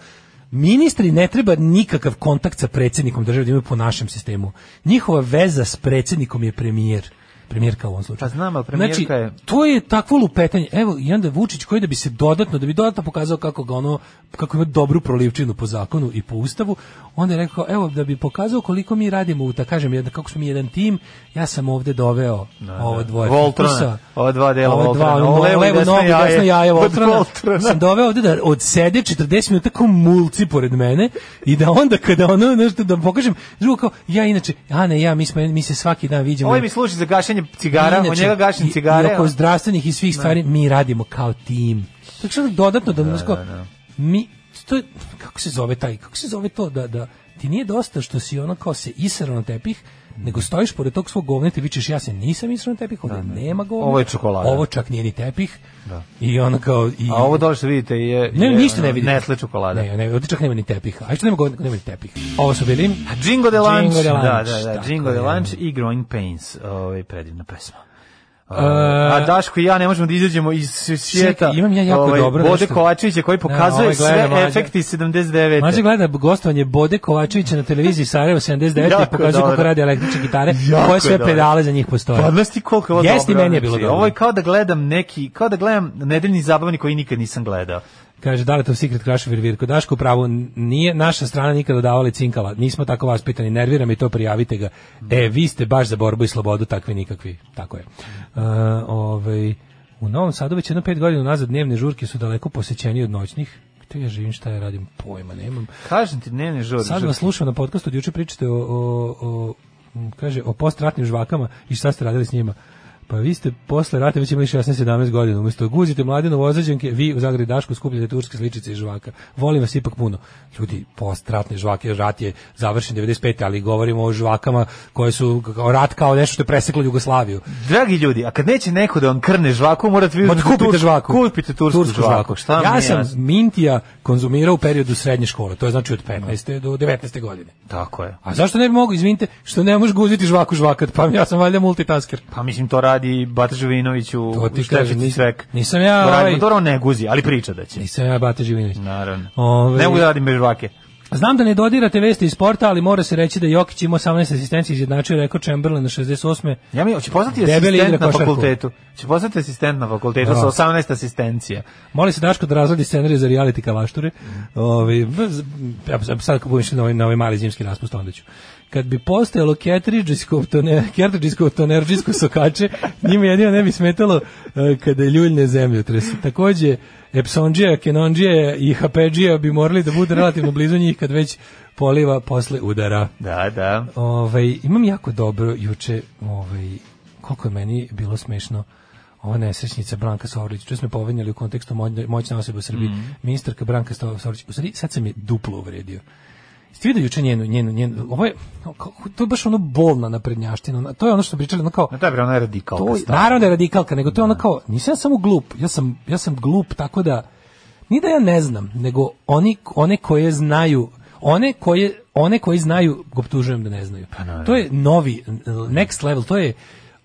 F: Ministri ne treba nikakav kontakt sa predsjednikom države da imaju po našem sistemu. Njihova veza s predsjednikom je premijer. Premijerka u ovom slučaju.
G: Pa znam, ali premijerka
F: znači,
G: je-
F: to je takvo lupetanje. Evo, i onda Vučić koji da bi se dodatno, da bi dodatno pokazao kako ga ono, kako ima dobru prolivčinu po zakonu i po ustavu, onda je rekao, evo, da bi pokazao koliko mi radimo u, da kažem, jedan, kako smo mi jedan tim, ja sam ovde doveo ovo dvoje
G: Voltrona.
F: kupusa.
G: Ova dva dela
F: Ova
G: Voltrona.
F: ono,
G: Ovo
F: moje
G: levo i
F: levo
G: desno
F: nogu,
G: jaje
F: desno jaje
G: od
F: Voltrona.
G: Voltrona.
F: Sam doveo ovde da odsede 40 minuta kao mulci pored mene i da onda kada ono nešto da vam pokažem, drugo kao, ja inače, Ana i ja, mi, smo, mi se svaki dan viđemo.
G: Ovo Ovaj mi služi za gašenje cigara,
F: Inače,
G: od njega gašim
F: i-
G: cigare.
F: I oko zdravstvenih i svih stvari mi radimo kao tim. Tako što dodatno da, znaš kao, mi to je, kako se zove taj, kako se zove to da da ti nije dosta što si ono kao se isero na tepih, nego stojiš pored tog svog govneta i vičeš ja se nisam isro na tepih, ovdje nema govna.
G: Ovo je čokolada.
F: Ovo čak nije ni tepih. I ono kao i
G: A ovo dole što vidite je...
F: Ne,
G: je,
F: ništa ne
G: ono,
F: vidite.
G: Nestle čokolada.
F: Ne, ne, ovdje čak nema ni tepiha. A što nema govna, nema ni tepih. Ovo su bili
G: Džingo de Lunch.
F: Džingo de Lunch,
G: Da, da, da.
F: tako
G: Džingo de
F: je.
G: Lunch i Growing Pains. Ovo je predivna pesma.
F: E,
G: Ovaj, a Daško i ja ne možemo da izađemo iz svijeta.
F: Čekaj, imam ja jako dobro
G: Bode
F: nešto.
G: Kovačevića koji pokazuje
F: ovaj gleda
G: sve
F: mlađa.
G: efekti 79.
F: Mađe gleda gostovanje Bode Kovačevića na televiziji Sarajevo 79 i
G: Jako
F: pokazuje kako
G: dobro.
F: radi električne gitare,
G: Jako
F: koje sve
G: je dobro.
F: pedale za njih postoje.
G: Pa znaš ti koliko je ovo
F: Jeste, i
G: dobro.
F: meni je bilo
G: znači,
F: dobro.
G: Ovo je kao da gledam neki, kao da gledam nedeljni zabavni koji nikad nisam gledao.
F: Kaže, da li to Secret Crush Virvirko? Daško, pravo, nije naša strana nikada davala cinkala. Nismo tako vaspitani, nervira me to, prijavite ga. E, vi ste baš za borbu i slobodu, takvi nikakvi. Tako je. E, ovaj, u Novom Sadu već jedno pet godina nazad dnevne žurke su daleko posećeniji od noćnih. Gde ja živim, šta ja radim, pojma nemam.
G: Kažem ti, ne, ne, žur.
F: Sad vas slušam na podcastu, od juče pričate o, o, o, m, kaže, o postratnim žvakama i šta ste radili s njima. Pa vi ste posle rata već imali 16-17 godina. Umesto guzite mlade novozađenke, vi u Zagradi Dašku skupljate turske sličice i žvaka. Volim vas ipak puno. Ljudi, postratne žvake, rat je završen 95. ali govorimo o žvakama koje su kao rat kao nešto što je preseklo Jugoslaviju.
G: Dragi ljudi, a kad neće neko da vam krne žvaku, morate vi
F: Ma
G: uzmete
F: kupite
G: tursku-
F: žvaku.
G: Kupite tursku, žvaku. Šta vam
F: ja
G: nije
F: sam
G: jasno?
F: mintija konzumirao u periodu srednje škole. To je znači od 15. do 19. godine.
G: Tako je.
F: A zašto ne bi mogu, izvinite, što ne možeš guziti žvaku žvakat, pa ja sam valjda multitasker.
G: Pa mislim to radi Bata Živinović u
F: To ti
G: u Štefici
F: kažem, nis-
G: Cvek.
F: nisam ja,
G: Radi,
F: ovaj-
G: Dobro, on ne guzi, ali priča da će.
F: Nisam ja Bate Živinović.
G: Naravno.
F: Ovaj-
G: Ne mogu da radim bez žvake.
F: Znam da ne dodirate vesti iz sporta, ali mora se reći da je Jokić ima 18 asistencija izjednačio rekord Chamberlain na 68.
G: Ja mi hoće poznati
F: Debeli igra
G: asistent na
F: košarku.
G: fakultetu. Će poznati asistent na fakultetu
F: Da.
G: sa 18 asistencija.
F: Moli se Daško da razradi scenarij za reality kalašture. Ovi, ja sam- sad kad budem išli na ovaj, na ovaj mali zimski raspust, onda ću. Kad bi postojalo ketridžijsko, tone- ketridžijsko, tonerđijsko sokače, njima jedino ne bi smetalo e, kada je ljuljne zemljotres. Takođe, Epsonđija, Kenonđija i Hapeđija bi morali da bude relativno blizu njih kad već poliva posle udara.
G: Da, da.
F: Ovaj imam jako dobro juče, ovaj koliko je meni bilo smešno ova nesrećnica Branka Savrić, često smo povenjali u kontekstu moć- moćne osobe u Srbiji, ministarka Branka Savrić, u Srbiji sad sam je duplo uvredio. Jeste vidio juče njenu, njenu, njenu, ovo je, kako- to je baš ono bolna naprednjaština, ona- to je ono što bi pričali, ono kao,
G: Na taj bre ona je radikalka.
F: to je,
G: stara.
F: naravno da je radikalka, nego to je ono kao, nisam ja samo glup, ja sam, ja sam glup, tako da, ni da ja ne znam, nego oni, one koje znaju, one koje, one koji znaju, optužujem da ne znaju.
G: Pa
F: to je novi, next level, to je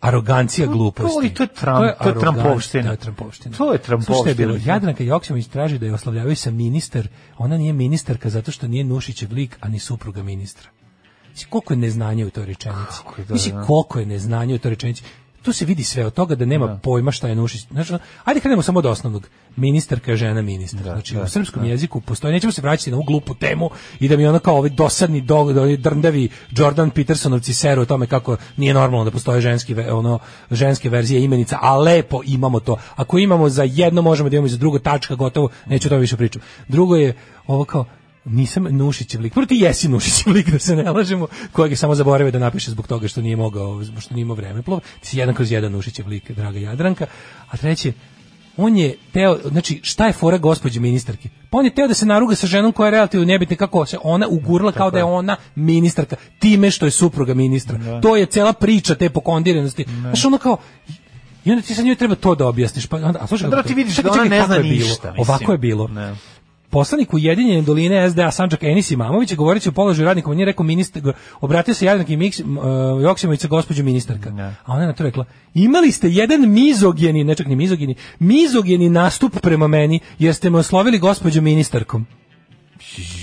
F: arogancija gluposti.
G: to je Trump- to je
F: arogancija,
G: Trumpovština.
F: To je Trumpovština.
G: To je Trumpovština.
F: Slušaj, šta je bilo? Jadranka Joksimović traži da je oslavljavaju sa ministar, ona nije ministarka zato što nije Nušićev lik, a ni supruga ministra. Mislim, Znači, koliko je neznanja u toj rečenici.
G: Kako je, da,
F: Mislim,
G: da.
F: koliko je neznanja u toj rečenici. Tu se vidi sve od toga da nema pojma šta je Nušić. Znači, ono, ajde krenemo samo od osnovnog. Ministarka je žena ministar. znači, u srpskom jeziku postoji, nećemo se vraćati na ovu glupu temu i da mi ono kao ovaj dosadni dog, da oni drndavi Jordan Petersonovci seru o tome kako nije normalno da postoje ženski, ve- ono, ženske verzije imenica, a lepo imamo to. Ako imamo za jedno, možemo da imamo i za drugo, tačka, gotovo, neću o tome više pričam. Drugo je ovo kao, nisam Nušićev lik. Prvo ti jesi Nušićev lik, da se ne lažemo, kojeg je samo zaboravio da napiše zbog toga što nije mogao, zbog što nije imao vremeplov. Ti si jedan kroz jedan Nušićev lik, draga Jadranka. A treće, on je teo, znači šta je fora gospođe ministarke? Pa on je teo da se naruga sa ženom koja je relativno nebitna kako se ona ugurla
G: Mm,
F: kao da je ona ministarka time što je supruga ministra. To je cela priča te pokondiranosti. Znaš ono kao, I onda ti sa njoj treba to da objasniš. Pa onda, a slušaj,
G: Dobro,
F: kako
G: ti
F: to-
G: vidiš
F: čekaj,
G: da ona
F: čekaj,
G: ne
F: kako
G: zna
F: je bilo?
G: ništa, mislim.
F: Ovako je bilo.
G: Ne.
F: Poslanik Ujedinjene doline SDA Sanđak Enis Imamović je govoreći o položaju radnika, on nije rekao ministar, go- obratio se Jadranki Miks, m, e, Joksimović sa gospođu ministarka.
G: Ne.
F: A ona je na to rekla, imali ste jedan mizogeni, ne čak ni mizogeni, mizogeni nastup prema meni, jer ste me oslovili gospođu ministarkom.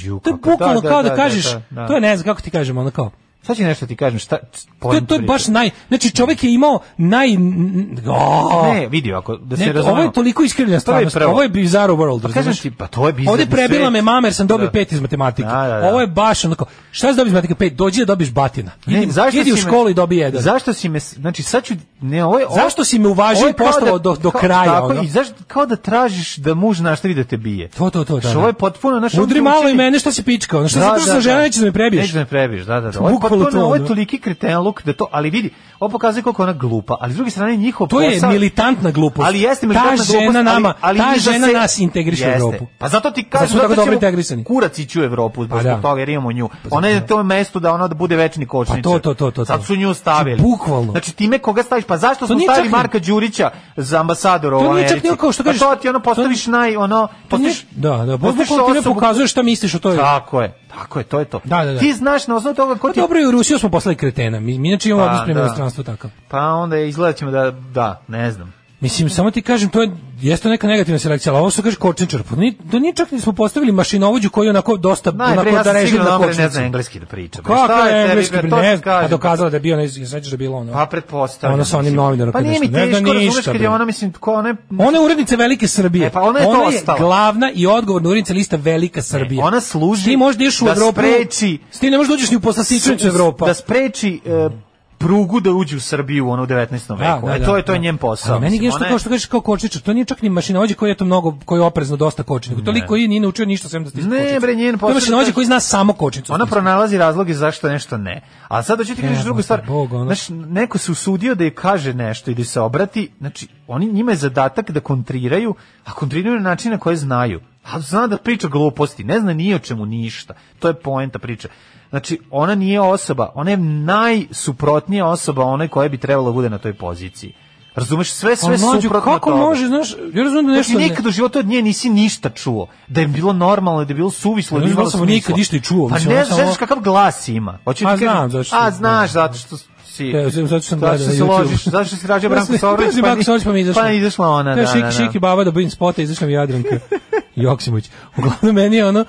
G: Ju,
F: To je
G: kako-
F: bukvalno kao da, kažeš,
G: Pa da.
F: to je ne znam kako ti kažem, ono kao,
G: Sad ću nešto ti kažem, šta...
F: to je, to je baš naj, znači čovek je imao naj, n- o,
G: Ne, vidi, ako da se
F: ne,
G: razumemo.
F: ovo je toliko iskrivljena
G: To je
F: stvarnost,
G: prvo.
F: ovo je bizarro world,
G: Pa kažem
F: razumeš?
G: ti, pa to je bizarni
F: Ovde prebila
G: svet.
F: me mama jer sam dobio
G: Da.
F: pet iz matematike.
G: Da, da, da.
F: Ovo je baš onako, šta si dobio iz matematike? Pet, dođi da dobiš batina.
G: Pa Ne,
F: Idi,
G: zašto
F: idi
G: si
F: u
G: me-
F: školu i dobi jedan.
G: Zašto si me, znači sad ću, ne, ovo je... ovo-
F: Zašto si me uvažio
G: ovo
F: i
G: je kao
F: poštovao do- do
G: kao-
F: kraja,
G: Tako,
F: ono?
G: i zašto, kao da tražiš da muž nastavi da te bije.
F: To, to, to, da,
G: Znaš,
F: da.
G: Ovo je potpuno, znaš... on
F: Udri
G: te
F: malo i
G: učini-
F: mene što si pičkao. Ono, Šta da, zato što sam žena neće da me prebiješ?
G: Neće da me prebiješ, da, da, da. Ovo je,
F: Bukvalno
G: potpuno,
F: to,
G: ovo je
F: ono.
G: toliki kretenluk da to, ali vidi, ovo pokazuje koliko je ona glupa, ali s druge strane njihov
F: To je
G: posao-
F: militantna glupost.
G: Ali jeste militantna
F: ta
G: glupost.
F: žena
G: ali-
F: nama,
G: ali
F: ta
G: iza
F: žena
G: se-
F: nas integriše u
G: Jeste.
F: Evropu.
G: Pa zato ti
F: Zato
G: kažem,
F: smo tako
G: zato
F: dobro
G: ćemo
F: integrisani.
G: kurac ići u Evropu zbog
F: Pa da.
G: toga jer imamo nju. Ona je na tom mestu da ona da bude večni kočničar.
F: Pa to, to, to, to, to.
G: Sad su nju stavili.
F: Znači, bukvalno.
G: Znači time koga staviš? Pa zašto smo
F: nije čak
G: stavili
F: ni-
G: Marka Đurića za ambasadora u
F: To nije
G: Americi?
F: čak ni ono kao što kažeš-
G: Pa to ti ono
F: to-
G: postaviš naj, ono...
F: To nije-
G: Postaviš,
F: Pa Da, da,
G: postaviš
F: bukvalno ti ne
G: osobu-
F: pokazuješ šta misliš o toj.
G: Tako je, tako je, to je to.
F: Da, da, da.
G: Ti znaš na osnovu toga ko
F: Pa
G: ti...
F: dobro, i u Rusiju smo poslali kretena. Mi, mi inače imamo
G: Pa,
F: odnos prema
G: da.
F: inostranstvu takav.
G: Pa onda je, izgledat ćemo da, da, ne znam.
F: Mislim, samo ti kažem, to je, jeste neka negativna selekcija, ali ovo što kaže Kočničar, pa ni, da ni čak nismo postavili mašinovođu koji je onako dosta,
G: Najprej, ja
F: onako da
G: sam
F: reži
G: sigurno
F: na
G: da ne zna
F: kočnicu.
G: engleski da priča. bre.
F: Kako
G: Šta
F: je
G: tebi,
F: engleski,
G: bre,
F: bre,
G: to
F: ne
G: ti
F: znam, a
G: kažem.
F: dokazala da je bio, ne sećaš da je bilo ono.
G: Pa pretpostavljam.
F: Ona sa onim
G: mislim.
F: novinarom
G: Pa
F: kad
G: nije mi
F: nešto- ne zna
G: teško razumeš
F: ništa,
G: kad
F: bre.
G: je ona, mislim, ko ona...
F: Ona je urednica Velike Srbije.
G: E, pa ona je to ostala. E,
F: glavna i odgovorna urednica lista Velika Srbija.
G: ona služi
F: Ti možeš da ideš u
G: da
F: Evropu.
G: spreči-
F: S tim ne možeš da uđeš ni u poslasičnicu Evropa.
G: Da spreči e, prugu da uđe u Srbiju ono u 19. veku. e, to je to je njen posao.
F: A meni
G: mislim,
F: je što
G: ona
F: kao što kažeš kao kočičar, to nije čak ni mašinovođa koji je to mnogo koji je oprezno dosta kočnik. Toliko i nije naučio ništa sem da stiže.
G: Ne, bre, njen
F: To je
G: posao-
F: mašinovođa koji zna samo kočnicu.
G: Ona pronalazi razloge zašto nešto ne. A sad hoću ti kažeš
F: Jebote,
G: drugu stvar.
F: E, Bog, ono-
G: Znaš, neko se usudio da je kaže nešto ili se obrati, znači oni njima je zadatak da kontriraju, a kontriraju na način na koje znaju. A zna da priča gluposti, ne zna ni o čemu ništa. To je poenta priče. Znači, ona nije osoba, ona je najsuprotnija osoba onoj koja bi trebala da bude na toj poziciji. Razumeš, sve,
F: sve
G: sve
F: Pa mlađu,
G: suprotno
F: Ono, kako
G: toga.
F: može, znaš, ja razumem da
G: Znači,
F: nešto ne-
G: nikad u životu od nje nisi ništa čuo. Da je bilo normalno, da je bilo suvislo, da je
F: Ja
G: imalo
F: nisam
G: smisla.
F: nikad ništa i čuo,
G: Pa
F: mislim,
G: ne
F: ono
G: znaš
F: samo-
G: kakav glas ima. Hoću
F: A,
G: ti kažem-
F: znam zašto.
G: A, znaš, zato što si...
F: Ja, zato što sam gledao
G: Zašto se
F: YouTube.
G: ložiš, zašto si rađao Branko Sorović,
F: pa Branko Sorović pa mi je izašla.
G: Pa je izašla ona, da,
F: Kaže,
G: da,
F: šiki,
G: da.
F: šiki, baba da budem spota, izašla mi Jadranka. Joksimović. Uglavnom, meni je ono,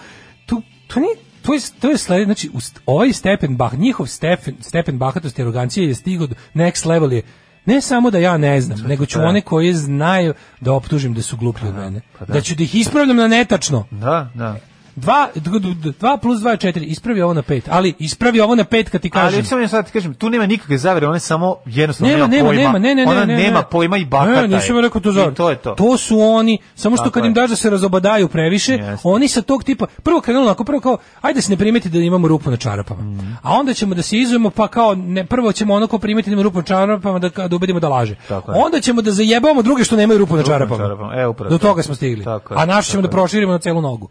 F: tu, to nije, to je, to je slede, znači, u st- ovaj stepen bah, njihov stepen, stepen bahatosti i arogancije je stigao do next level je, ne samo da ja ne znam, nego ću one koje znaju da optužim da su gluplji
G: Pa
F: od mene. da. ću da ih ispravljam na netačno.
G: Da, da.
F: Dva, d- d- d- dva plus dva je četiri, ispravi ovo na pet, ali ispravi ovo na pet kad ti
G: Ali
F: kažem.
G: ja samo sad ti kažem, tu nema nikakve zavere, ona je samo jednostavno
F: Nema,
G: nema,
F: nema, nema,
G: pojma.
F: ne, ne, ne,
G: ona
F: ne, ne.
G: nema pojma i bakata.
F: Ne, nisam
G: je.
F: rekao to
G: I
F: za.
G: To je to.
F: To su oni, samo što
G: Tako
F: kad
G: je.
F: im daš da se razobadaju previše,
G: Jeste.
F: oni sa tog tipa, prvo krenulo onako, prvo kao, ajde da se ne primeti da imamo rupu na čarapama.
G: Mm.
F: A onda ćemo da se izujemo, pa kao, ne, prvo ćemo onako primeti da imamo rupu na čarapama da, da ubedimo da laže.
G: Tako je.
F: Onda ćemo da zajebamo druge što nemaju rupu na
G: na
F: čarapama.
G: čarapama, e, upravo
F: Do
G: to.
F: toga smo stigli.
G: Tako je,
F: A naš ćemo
G: tako
F: da
G: je.
F: proširimo na celu nogu.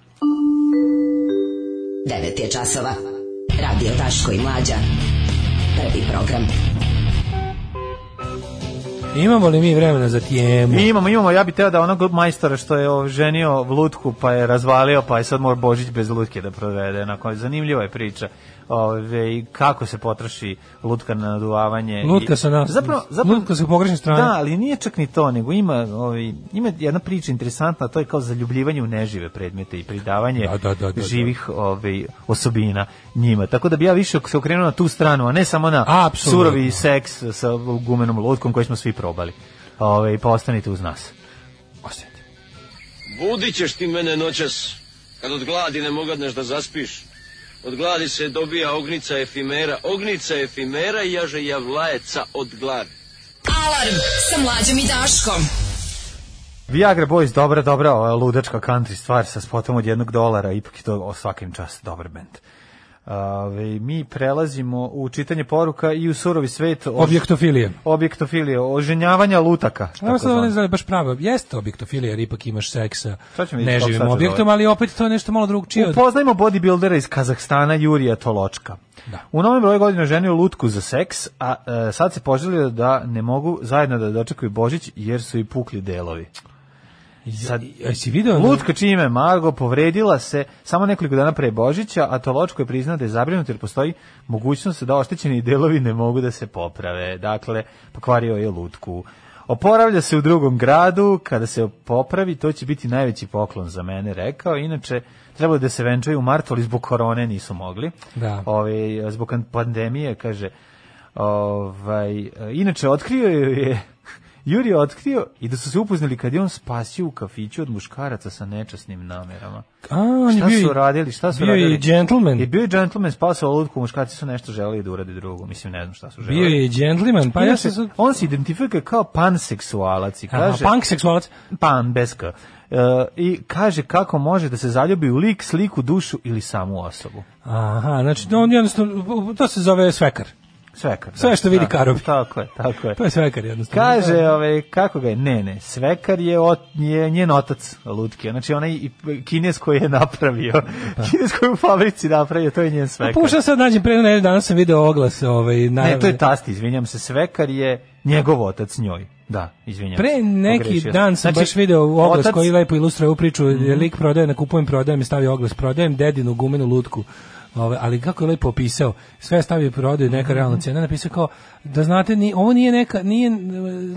E: 9 je časova. Radio Daško i Mlađa. Prvi program.
F: Imamo li mi vremena za tijemu?
G: Mi imamo, imamo, ja bih teo da onog majstora što je o, ženio lutku pa je razvalio, pa je sad mora Božić bez lutke da provede. Onako, zanimljiva je priča. Ove, i kako se potroši lutka na naduvavanje.
F: Lutka
G: I-
F: sa nas.
G: Zapravo, zapravo,
F: Lutka sa pogrešne strane.
G: Da, ali nije čak ni to, nego ima, ovaj, ima jedna priča interesantna, to je kao zaljubljivanje u nežive predmete i pridavanje
F: Da, da, da, da, da.
G: živih ovaj, osobina njima. Tako da bi ja više se okrenuo na tu stranu, a ne samo na
F: Apsolutno.
G: surovi seks sa gumenom lutkom koji smo svi probali. Ove, pa ostanite uz nas.
F: Osjeti.
B: Budit ćeš ti mene noćas, kad od gladi ne mogadneš da zaspiš. Od gladi se dobija ognica efimera, ognica efimera i jaže javlajeca od gladi.
E: Alarm sa Mlađom i Daškom.
G: Viagra Boys, dobra, dobra, ova ludačka country stvar sa spotom od jednog dolara, ipak je to o svakim čast dobar band. Ove, mi prelazimo u čitanje poruka i u surovi svet o-
F: Objektofilije.
G: objektofilije, oženjavanja lutaka.
F: Ovo sad ovo ne
G: takozvano.
F: znam baš pravo. Jeste objektofilija, jer ipak imaš seksa
G: Sad ćemo vidjeti kako
F: neživim
G: sad će
F: objektom,
G: doći.
F: ali opet to je nešto malo drugčije. od-
G: Upoznajmo bodybuildera iz Kazahstana Jurija Toločka. U novom broju godina ženio lutku za seks, a e, sad se poželio da ne mogu zajedno da dočekaju Božić jer su i pukli delovi. Sad,
F: Jesi si video? ono-
G: Lutka čime Margo povredila se samo nekoliko dana pre Božića, a Toločko je priznao da je zabrinut jer postoji mogućnost da oštećeni delovi ne mogu da se poprave. Dakle, pokvario je lutku. Oporavlja se u drugom gradu, kada se popravi, to će biti najveći poklon za mene, rekao. Inače, trebalo je da se venčaju u martu, ali zbog korone nisu mogli.
F: Da.
G: Ove, Ovaj, zbog kan- pandemije, kaže. Ovaj, e, inače, otkrio ju je... Juri je otkrio i da su se upoznali kad je on spasio u kafiću od muškaraca sa nečasnim namerama.
F: A, on je
G: Šta
F: bio i-
G: su radili? Šta su
F: bio
G: radili?
F: je i gentleman.
G: Je bio je gentleman, spasao lutku, muškarci su nešto želeli da urade drugo. Mislim, ne znam šta su želeli.
F: Bio je i gentleman, pa ja
G: Inače,
F: sam sad...
G: on se identifikuje kao panseksualac i
F: Aha,
G: kaže...
F: punk seksualac.
G: Pan, bez K. E, I kaže kako može da se zaljubi u lik, sliku, dušu ili samu osobu.
F: Aha, znači on jednostavno, to se zove svekar.
G: Svekar. da.
F: Sve što vidi
G: Da,
F: karovi.
G: Tako je, tako je.
F: To je svekar jednostavno.
G: Kaže, ove, kako ga je? Ne, ne, svekar je, ot, je njen otac lutke. Znači, onaj i- kines koji je napravio.
F: Pa.
G: Kines koji je u fabrici napravio, to je njen svekar.
F: Pokušao sad nađem pre ne, danas sam video oglas, ovaj na
G: Ne, to je tasti, izvinjam se. Svekar je njegov otac njoj. Da, izvinjam se.
F: Pre neki
G: pogrešio sam.
F: dan sam
G: Znači,
F: baš video oglas
G: otac-
F: koji lepo ilustruje ovu priču, jer lik prodaje na kupujem, prodajem i stavio oglas, prodajem dedinu gumenu lutku. Ove, ali kako je lepo opisao, sve je stavio i prodaju neka realna cena, napisao kao da znate, ni, ovo nije neka, nije, e,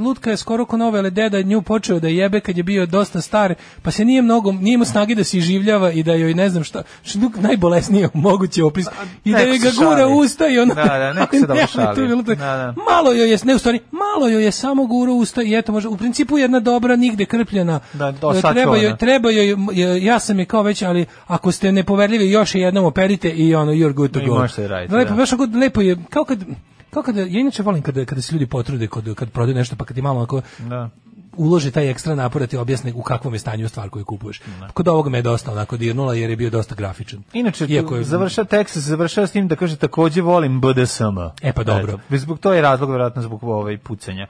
F: lutka je skoro ko nove, ali deda je nju počeo da jebe kad je bio dosta star, pa se nije mnogo, nije imao snage da se iživljava i da joj ne znam šta, što najbolesnije mogući opis, i da
G: neko
F: joj
G: se
F: ga gura
G: šali.
F: u usta i ona,
G: Da, da, neko se dobro
F: nema,
G: šali.
F: to je bilo tako-
G: Da, da.
F: malo joj je, ne u stvari, malo joj je samo guro usta i eto može, u principu jedna dobra nigde krpljena.
G: Da, do
F: E,
G: sad
F: treba
G: čuvena.
F: joj, treba joj, e, ja sam je kao već, ali ako ste nepoverljivi još je jednom operite i ono, you're good to
G: I
F: go.
G: možete raditi,
F: Lepo,
G: da.
F: baš onako lepo je, kao kad, Kao kada, ja inače volim kada, kada se ljudi potrude kod, kad prodaju nešto, pa kad ti malo ako
G: Da.
F: uloži taj ekstra napor da ti objasne u kakvom je stanju stvar koju kupuješ. Kod ovoga me je dosta onako dirnula jer je bio dosta grafičan.
G: Inače,
F: Iako je-
G: završa tekst, završava s tim da kaže takođe volim BDSM.
F: E, pa dobro.
G: Eto, bez- zbog to je razlog, vjerojatno, zbog ovaj pucanja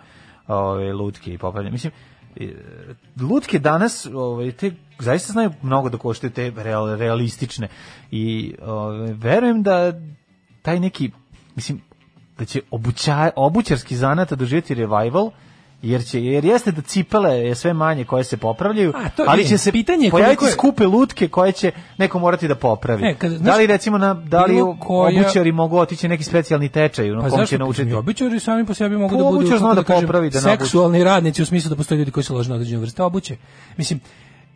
G: ovaj, lutke i popravljanja. Mislim, e, lutke danas ovaj, te, zaista znaju mnogo da koštaju te real, realistične i ovaj, verujem da taj neki, mislim, da će obuća, obućarski zanat doživjeti revival, jer će jer jeste da cipele je sve manje koje se popravljaju,
F: A, to je-
G: ali
F: ne,
G: će se
F: pitanje je
G: pojaviti
F: koliko je-
G: skupe lutke koje će neko morati da popravi.
F: Ne, E, kad-
G: da
F: znaš-
G: li recimo na da li
F: Bilo koja-
G: obućari mogu otići na neki specijalni tečaj na
F: Pa
G: kom će
F: zašto
G: naučiti?
F: naučiti? Obućari sami po sebi mogu
G: Pa
F: da budu
G: obućar zna
F: kako
G: da popravi, da nabuči.
F: seksualni radnici u smislu da postoje ljudi koji se lože na određene vrste obuće. Mislim,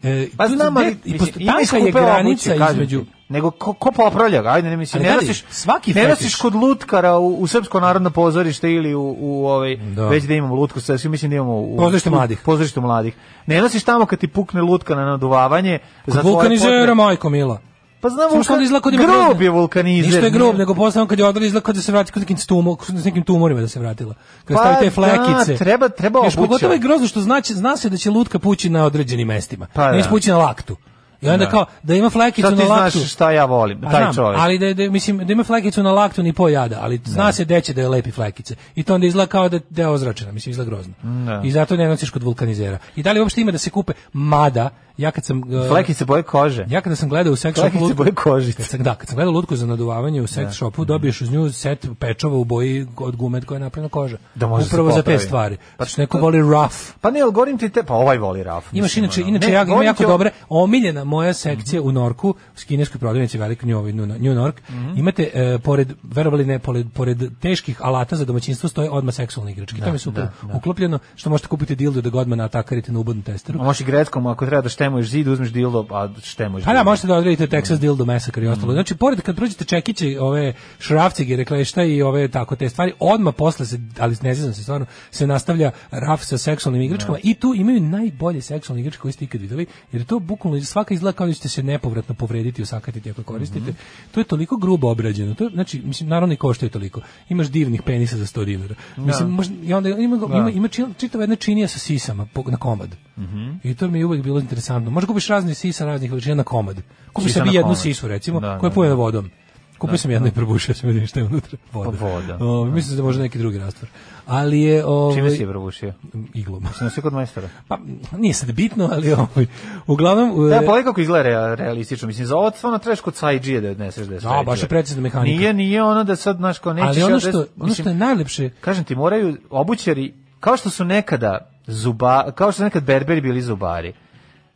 F: e,
G: Pa
F: tu
G: znam,
F: ne-
G: ali
F: i
G: mislim,
F: posto-
G: ima
F: tanka je
G: skupe
F: granica
G: obuće, kažem
F: između
G: ti. Nego ko, ko popravlja ga? Ajde, ne mislim,
F: Ali
G: ne
F: da li,
G: nosiš,
F: svaki
G: ne
F: fetiš-
G: nosiš kod lutkara u, u Srpsko narodno pozorište ili u, u ovaj,
F: Da.
G: već da imamo lutku, sad svi mislim da imamo u,
F: Pozorište mladih.
G: Pozorište mladih. Ne nosiš tamo kad ti pukne lutka na naduvavanje. za
F: Kod
G: tvoje
F: vulkanizera,
G: potrebe.
F: majko mila.
G: Pa znam,
F: Samo što onda izgleda kod ima
G: grob
F: groblje.
G: je vulkanizer.
F: Ništa je grob,
G: nije-
F: nego posle on kad je odali izgleda kod da se vrati kod nekim tumor, s nekim tumorima da se vratila. Kad
G: Pa
F: stavi te
G: da,
F: flekice.
G: treba- treba
F: Još
G: obuća.
F: pogotovo je grozno što znači, zna se da će lutka pući na određenim mestima.
G: Pa da.
F: Neće pući na laktu. I onda
G: Da.
F: kao da ima flekicu
G: Sad ti
F: na
G: znaš
F: laktu.
G: šta ja volim,
F: Pa
G: taj
F: znam,
G: čovjek.
F: Ali da, je- da je, mislim da ima flekicu na laktu ni po jada, ali zna se deće da je lepi flekice. I to onda izgleda kao da, da je ozračena, mislim izgleda grozno.
G: Da.
F: I zato ne nosiš kod vulkanizera. I da li uopšte ima da se kupe mada? Ja kad sam e,
G: Flekice boje kože.
F: ja kada sam gledao u sex shopu
G: Flekice
F: lutku-
G: boje kožice.
F: Kad sam, da, kad sam gledao lutku za naduvavanje u sex shopu, dobiješ uz nju set pečova u boji od gume koja je napravljena koža.
G: Da može se
F: Upravo za te
G: popravi.
F: stvari.
G: Pa
F: Pa što neko voli rough.
G: Pa ne, ali govorim ti te, pa ovaj voli raf.
F: Imaš
G: mislim,
F: inače,
G: ono.
F: inače
G: Ne,
F: ja imam
G: govorim
F: jako
G: ti o-
F: dobre, omiljena moja sekcija u Norku, u kineskoj prodavnici veliko New, New, New Nork,
G: Mhm.
F: imate e, pored, verovali ne, pored, pored teških alata za domaćinstvo stoje odmah seksualne igračke. to mi je super uklopljeno, što možete kupiti dildo da ga odmah natakarite na ubodnom testeru.
G: A Možeš i greckom, ako treba da štemuješ zid, uzmeš dildo, a štemuješ
F: Pa da,
G: dildo.
F: možete da odredite Texas Dildo Massacre i ostalo. Znači, pored kad prođete čekiće, ove šrafcige, reklešta i ove tako te stvari, odmah posle se, ali ne znam se stvarno, se nastavlja raf sa seksualnim igračkama i tu imaju najbolje seksualne igračke koje ste ikad videli, jer to bukvalno svaka izgleda kao da ćete se nepovratno povrediti i usakatiti ako koristite. To je toliko grubo obrađeno. To, je- znači, mislim, naravno i koštaju toliko. Imaš divnih penisa za 100 dinara. Mislim, možda, i onda ima, ima, ima čil- čitava jedna činija sa sisama po- na komad.
G: Mhm.
F: I to mi je uvijek bilo interesantno. Možeš kupiš razne sisa raznih veličina na komad. Kupiš
G: Sisa
F: sebi
G: na
F: jednu
G: komad.
F: sisu, recimo,
G: Da,
F: koja je
G: da,
F: pojena vodom. Kupio sam jednu i probušio sam vidim šta je unutra. Voda.
G: Pa voda.
F: O, mislim da može neki drugi rastvor. Ali je... Ovaj,
G: Čime si je probušio?
F: Iglom.
G: Na sve kod majstora.
F: Pa, nije sad bitno, ali ovaj, uglavnom...
G: Da, pa-
F: e,
G: pogledaj kako izgleda rea- realistično. Mislim, za ovo stvarno trebaš kod sajđije da odneseš da je
F: Da,
G: sajđija.
F: baš je precizna mehanika.
G: Nije, nije ono da sad, znaš, kao nećeš...
F: ali
G: ja
F: ono
G: da-
F: što, ono
G: mislim,
F: što je najlepše,
G: Kažem ti, moraju obućari, kao što su nekada zuba, kao što su nekad berberi bili zubari.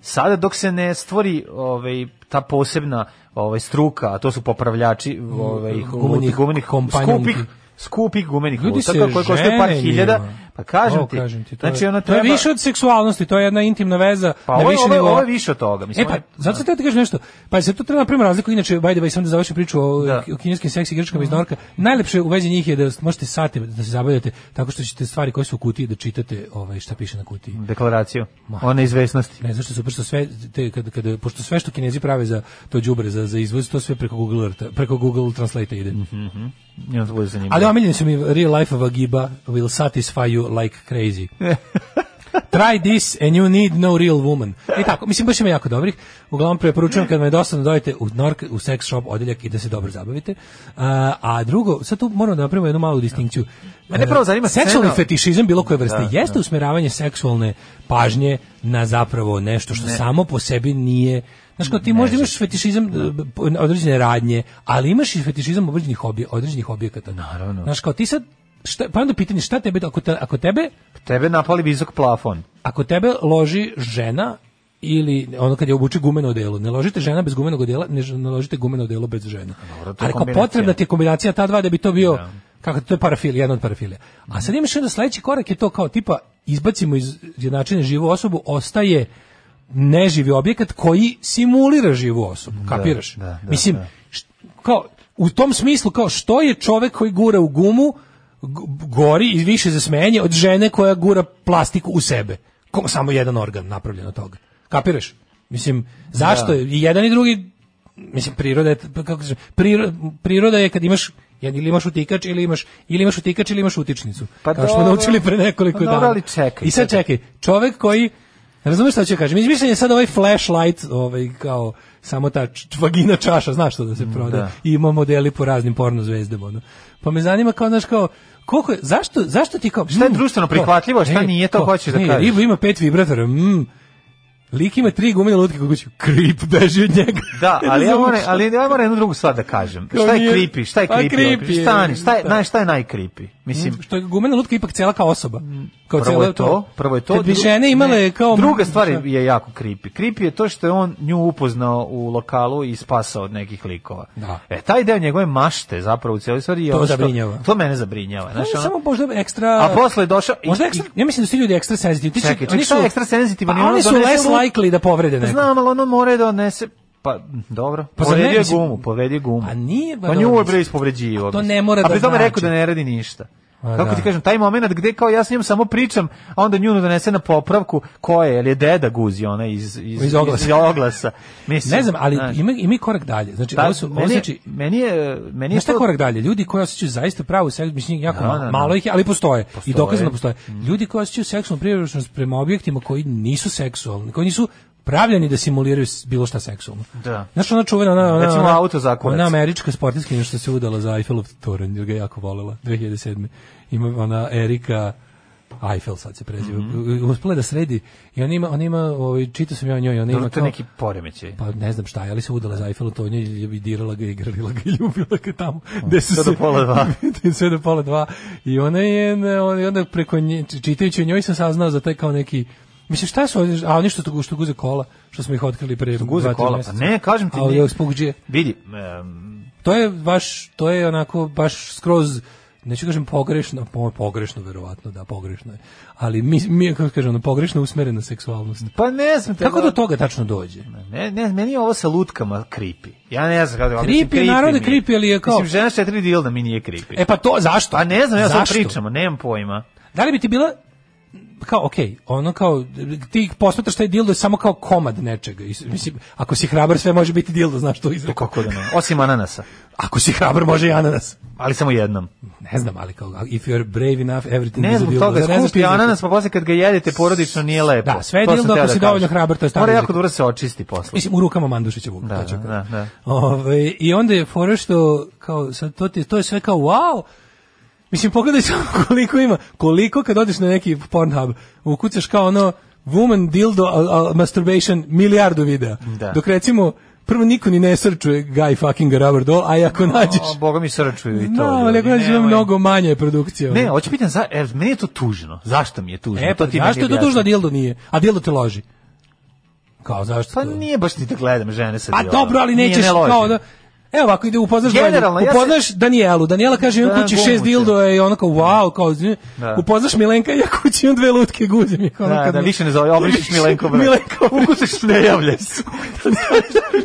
G: Sada dok se ne stvori ovaj ta posebna ovaj struka, a to su popravljači ovaj
F: Gumenih
G: gumenih
F: kompanjonki.
G: skupih skupih gumenih
F: Ljudi
G: lutaka
F: se
G: koje koštaju par
F: žene
G: hiljada,
F: njima.
G: pa kažem
F: Ovo
G: ti,
F: kažem ti, to
G: znači
F: je,
G: ona
F: to
G: treba
F: je više od seksualnosti, to je jedna intimna veza
G: Pa
F: na
G: ovo je-
F: više
G: ovo je-
F: nivoa.
G: ovo je više od toga, mislim,
F: E pa,
G: ovo je-
F: zato sam teo ti kažem nešto. Pa se tu treba napravimo razliku, inače, by the way, sam da završim priču o,
G: Da. Mhm.
F: o kineskim seks igračkama iz Norka. Najlepše u vezi njih je da možete sati da se zabavljate tako što ćete stvari koje su u kutiji da čitate ovaj, šta piše na kutiji.
G: deklaraciju o neizvesnosti.
F: Ne, zašto super što sve te kad kad pošto sve što Kinezi prave za to đubre za za izvoz to sve preko Google preko Google Translate ide.
G: I onda bude zanimljivo.
F: Ali omiljeni su mi real life vagiba will satisfy you like crazy. Try this and you need no real woman. I tako, mislim, baš ima jako dobrih. Uglavnom, preporučujem kad me je dosadno dojete u Nork, u sex shop odeljak i da se dobro zabavite. A, a drugo, sad tu moram da napravimo jednu malu distinkciju.
G: Mene prvo zanima
F: E, Seksualni
G: scena-
F: fetišizam bilo koje vrste jeste usmeravanje seksualne pažnje na zapravo nešto što samo po sebi nije Znaš, kao ti možda imaš fetišizam e, po- na određene radnje, ali imaš i fetišizam određenih, obje, određenih objekata.
G: Naravno.
F: Znaš, kao ti sad, šta, pa onda pitanje šta tebe, ako, te- ako tebe
G: Tebe napali visok plafon.
F: ako tebe loži žena ili ono kad je obuče gumeno odelo, ne ložite žena bez gumenog odela, ne, ž- ne ložite gumeno odelo bez žena.
G: Dobro, to je
F: Ali kao
G: kombinacija.
F: potrebna ti je kombinacija ta dva da bi to bio kako to je parafil, jedan od parafilija. A sad imaš onda sledeći korak je to kao tipa izbacimo iz jednačine živu osobu, ostaje neživi objekat koji simulira živu osobu, kapiraš?
G: da, da,
F: Mislim,
G: da.
F: št- kao u tom smislu kao što je čovek koji gura u gumu g- gori i više za smenje od žene koja gura plastiku u sebe. Ko, samo jedan organ napravljen od toga. Kapiraš? Mislim, zašto je i jedan i drugi mislim priroda je kako se priroda, priroda je kad imaš Jer Ili imaš utikač ili imaš ili imaš utikač ili imaš utičnicu. Pa
G: Pa
F: kao smo
G: dobro.
F: naučili pre nekoliko
G: Pa
F: dana.
G: dobro, ali čekaj,
F: I sad čekaj, čovek koji Razumeš šta ću kažem? Izmišljen je sad ovaj flashlight, ovaj kao samo ta č- vagina čaša, znaš što da se proda.
G: Mm, da.
F: I ima modeli po raznim porno zvezdama. Ono. Pa me zanima kao, znaš, kao, koliko je, zašto, zašto ti kao...
G: Šta je
F: mm,
G: društveno
F: kao,
G: prihvatljivo, a šta
F: ej,
G: nije, to
F: kao,
G: hoćeš da
F: ne,
G: kažeš.
F: Riba ima pet vibratora, mm. Lik ima tri gumene lutke kako će, krip, beži od njega.
G: Da, ali ja
F: Razumeš?
G: moram, ali ja moram jednu drugu stvar da kažem.
F: Kao
G: Šta je
F: nije-
G: creepy? Šta je
F: Pa creepy
G: creepy?
F: je,
G: Stani, šta je,
F: da.
G: naj, šta je najcreepy? Mislim, Mm.
F: što je gumena lutka ipak cela kao osoba. Kao
G: prvo
F: cela
G: je to, prvo je to.
F: Kad bi
G: dru-
F: žene imale
G: ne,
F: kao
G: Druga stvar je- je jako creepy. Creepy je to što je on nju upoznao u lokalu i spasao od nekih likova.
F: Da.
G: E, taj deo njegove mašte zapravo u cijeloj stvari je...
F: To
G: ono što-
F: zabrinjava.
G: To mene zabrinjava.
F: Znaš,
G: Znaš, ono-
F: samo možda ekstra...
G: A posle je došao... i-
F: Možda
G: i-
F: ekstra, ja mislim da su ti ljudi ekstra senzitivni. Ti će-
G: Čekaj, čekaj,
F: oni
G: šta
F: su-
G: je ekstra senzitivan?
F: Pa
G: Ono
F: oni su
G: donese
F: less
G: luk-
F: likely da povrede neko.
G: Znam, ali ono mora da odnese... Pa, dobro.
F: Pa
G: Pa
F: zar ne,
G: povredio je
F: mislim-
G: gumu, povredio je gumu.
F: A nije, ba,
G: Pa
F: dobro,
G: nju je
F: mislim.
G: bre ispovređivao.
F: A to
G: mislim.
F: ne mora
G: A pri
F: da
G: tome
F: znači.
G: rekao da ne radi ništa.
F: A,
G: Kako
F: da.
G: ti kažem, taj moment gde kao ja s njim samo pričam, a onda nju donese na popravku, ko je, jel je deda guzi ona iz, iz,
F: Iz oglasa.
G: oglasa. Mislim,
F: Ne znam, ali
G: znaš.
F: ima, ima i korak dalje. Znači,
G: Da,
F: ovo su, ovo
G: meni, je-
F: znači,
G: meni je, meni je
F: Znaš šta je
G: to-
F: korak dalje? Ljudi koji osjećaju zaista pravu seksualnu, mislim njih jako
G: Da,
F: ma-
G: da, da.
F: malo ih je, ali postoje. I
G: Postoje.
F: dokazano postoje. Ljudi koji osjećaju seksualnu privrženost prema objektima koji nisu seksualni, koji nisu pravljeni da simuliraju s- bilo šta seksualno.
G: Da.
F: Znaš ona čuvena, ona, ona,
G: Recimo
F: ona,
G: auto zakurac.
F: ona američka sportiskinja što se udala za Eiffelov toranj, jer ga je jako volela, 2007. Ima ona Erika Eiffel sad se preziva.
G: Mhm.
F: Uspela je da sredi i ona ima, ona ima, ovaj, čitao sam ja o njoj, ona ima
G: Dobro, to je
F: kao,
G: neki poremećaj.
F: pa ne znam šta, je, ali se udala za Eiffel Antonija i ljubi- dirala ga, igrala ga, ljubila ga tamo. Gde su
G: Sve do
F: se-
G: pola dva.
F: sve do pola dva. I ona je, na- on- i onda preko nje, či- čitajući o njoj sam saznao za taj kao neki, Mislim, šta su, ovdje- a oni što, tu- što guze kola, što smo ih otkrili pre
G: Što guze
F: dva, tri
G: kola, pa
F: meseca.
G: ne, kažem ti,
F: A ovdje
G: ne.
F: spugdžije.
G: Vidi, em,
F: To je baš, to je onako baš skroz neću kažem pogrešno, po, pogrešno verovatno, da, pogrešno je. Ali mi, mi kako kažem, ono, pogrešno usmerena seksualnost.
G: pa ne znam. te-
F: Kako do toga tačno dođe?
G: Ne, ne, meni je ovo sa lutkama kripi. Ja ne znam kada,
F: Creepy, narode, creepy, ali je kao-
G: Mislim, žena s četiri dilda mi nije kripi.
F: E pa to, zašto?
G: pa ne znam, ja sad
F: Zašto?
G: pričamo, nemam pojma.
F: Da li bi ti bila kao okej, ono kao ti posmatraš taj dildo je samo kao komad nečega. I s- Mislim, ako si hrabar sve može biti dildo, znaš to
G: To
F: izreko.
G: kako da ne. Osim ananasa.
F: Ako si hrabar može i ananas.
G: Ali samo jednom.
F: Ne znam, ali kao if you're brave enough everything
G: Ne
F: is a
G: zbog
F: dildo. Zar ne
G: toga,
F: znaš
G: skupi
F: ti za-
G: ananas, pa posle kad ga jedete porodično nije lepo.
F: Da, sve je
G: To sam
F: dildo
G: teo
F: ako
G: da
F: si dovoljno
G: kažem.
F: hrabar, to je stari
G: Mora
F: jezik.
G: jako dobro se očisti posle.
F: Mislim, u rukama Mandušića Vuka.
G: Da,
F: to ću-
G: da, da.
F: Ovaj, I onda je fora što, kao, sad to, ti, to je sve kao, wow, Mislim, pogledaj samo koliko ima, koliko kad odeš na neki Pornhub, ukucaš kao ono woman dildo a, a, masturbation milijardu videa.
G: Da.
F: Dok recimo, prvo niko ni ne srčuje guy fucking a rubber doll, a i ako nađeš...
G: O, Boga mi srčuju i
F: No,
G: to.
F: ali
G: ljudi,
F: ako nađeš ima
G: nemoj.
F: mnogo manje je produkcija.
G: Ne,
F: ono.
G: hoću pitan, za, e, meni je to tužno. Zašto mi je tužno?
F: e, pa,
G: to ti meni
F: zašto je to
G: objasni.
F: dužno, a dildo nije? A dildo te loži. Kao, zašto
G: Pa
F: to?
G: nije baš ni da gledam žene sa
F: Pa
G: dilom.
F: dobro, ali
G: Nije,
F: nećeš
G: ne ložim.
F: kao da... Evo ovako ide upoznaš
G: Generalno,
F: Generalno,
G: ja se-
F: upoznaš Danijelu. Daniela kaže imam
G: Da,
F: kući
G: gumu
F: šest
G: će.
F: dildo i ona kao wow, kao zna-
G: Da.
F: upoznaš Milenka ja kući imam dve lutke guze mi. Kao, ono
G: Da,
F: kad
G: da,
F: mi-
G: više ne zove, obrišiš Milenko broj.
F: Milenko broj.
G: Ukusiš, ne javlja se.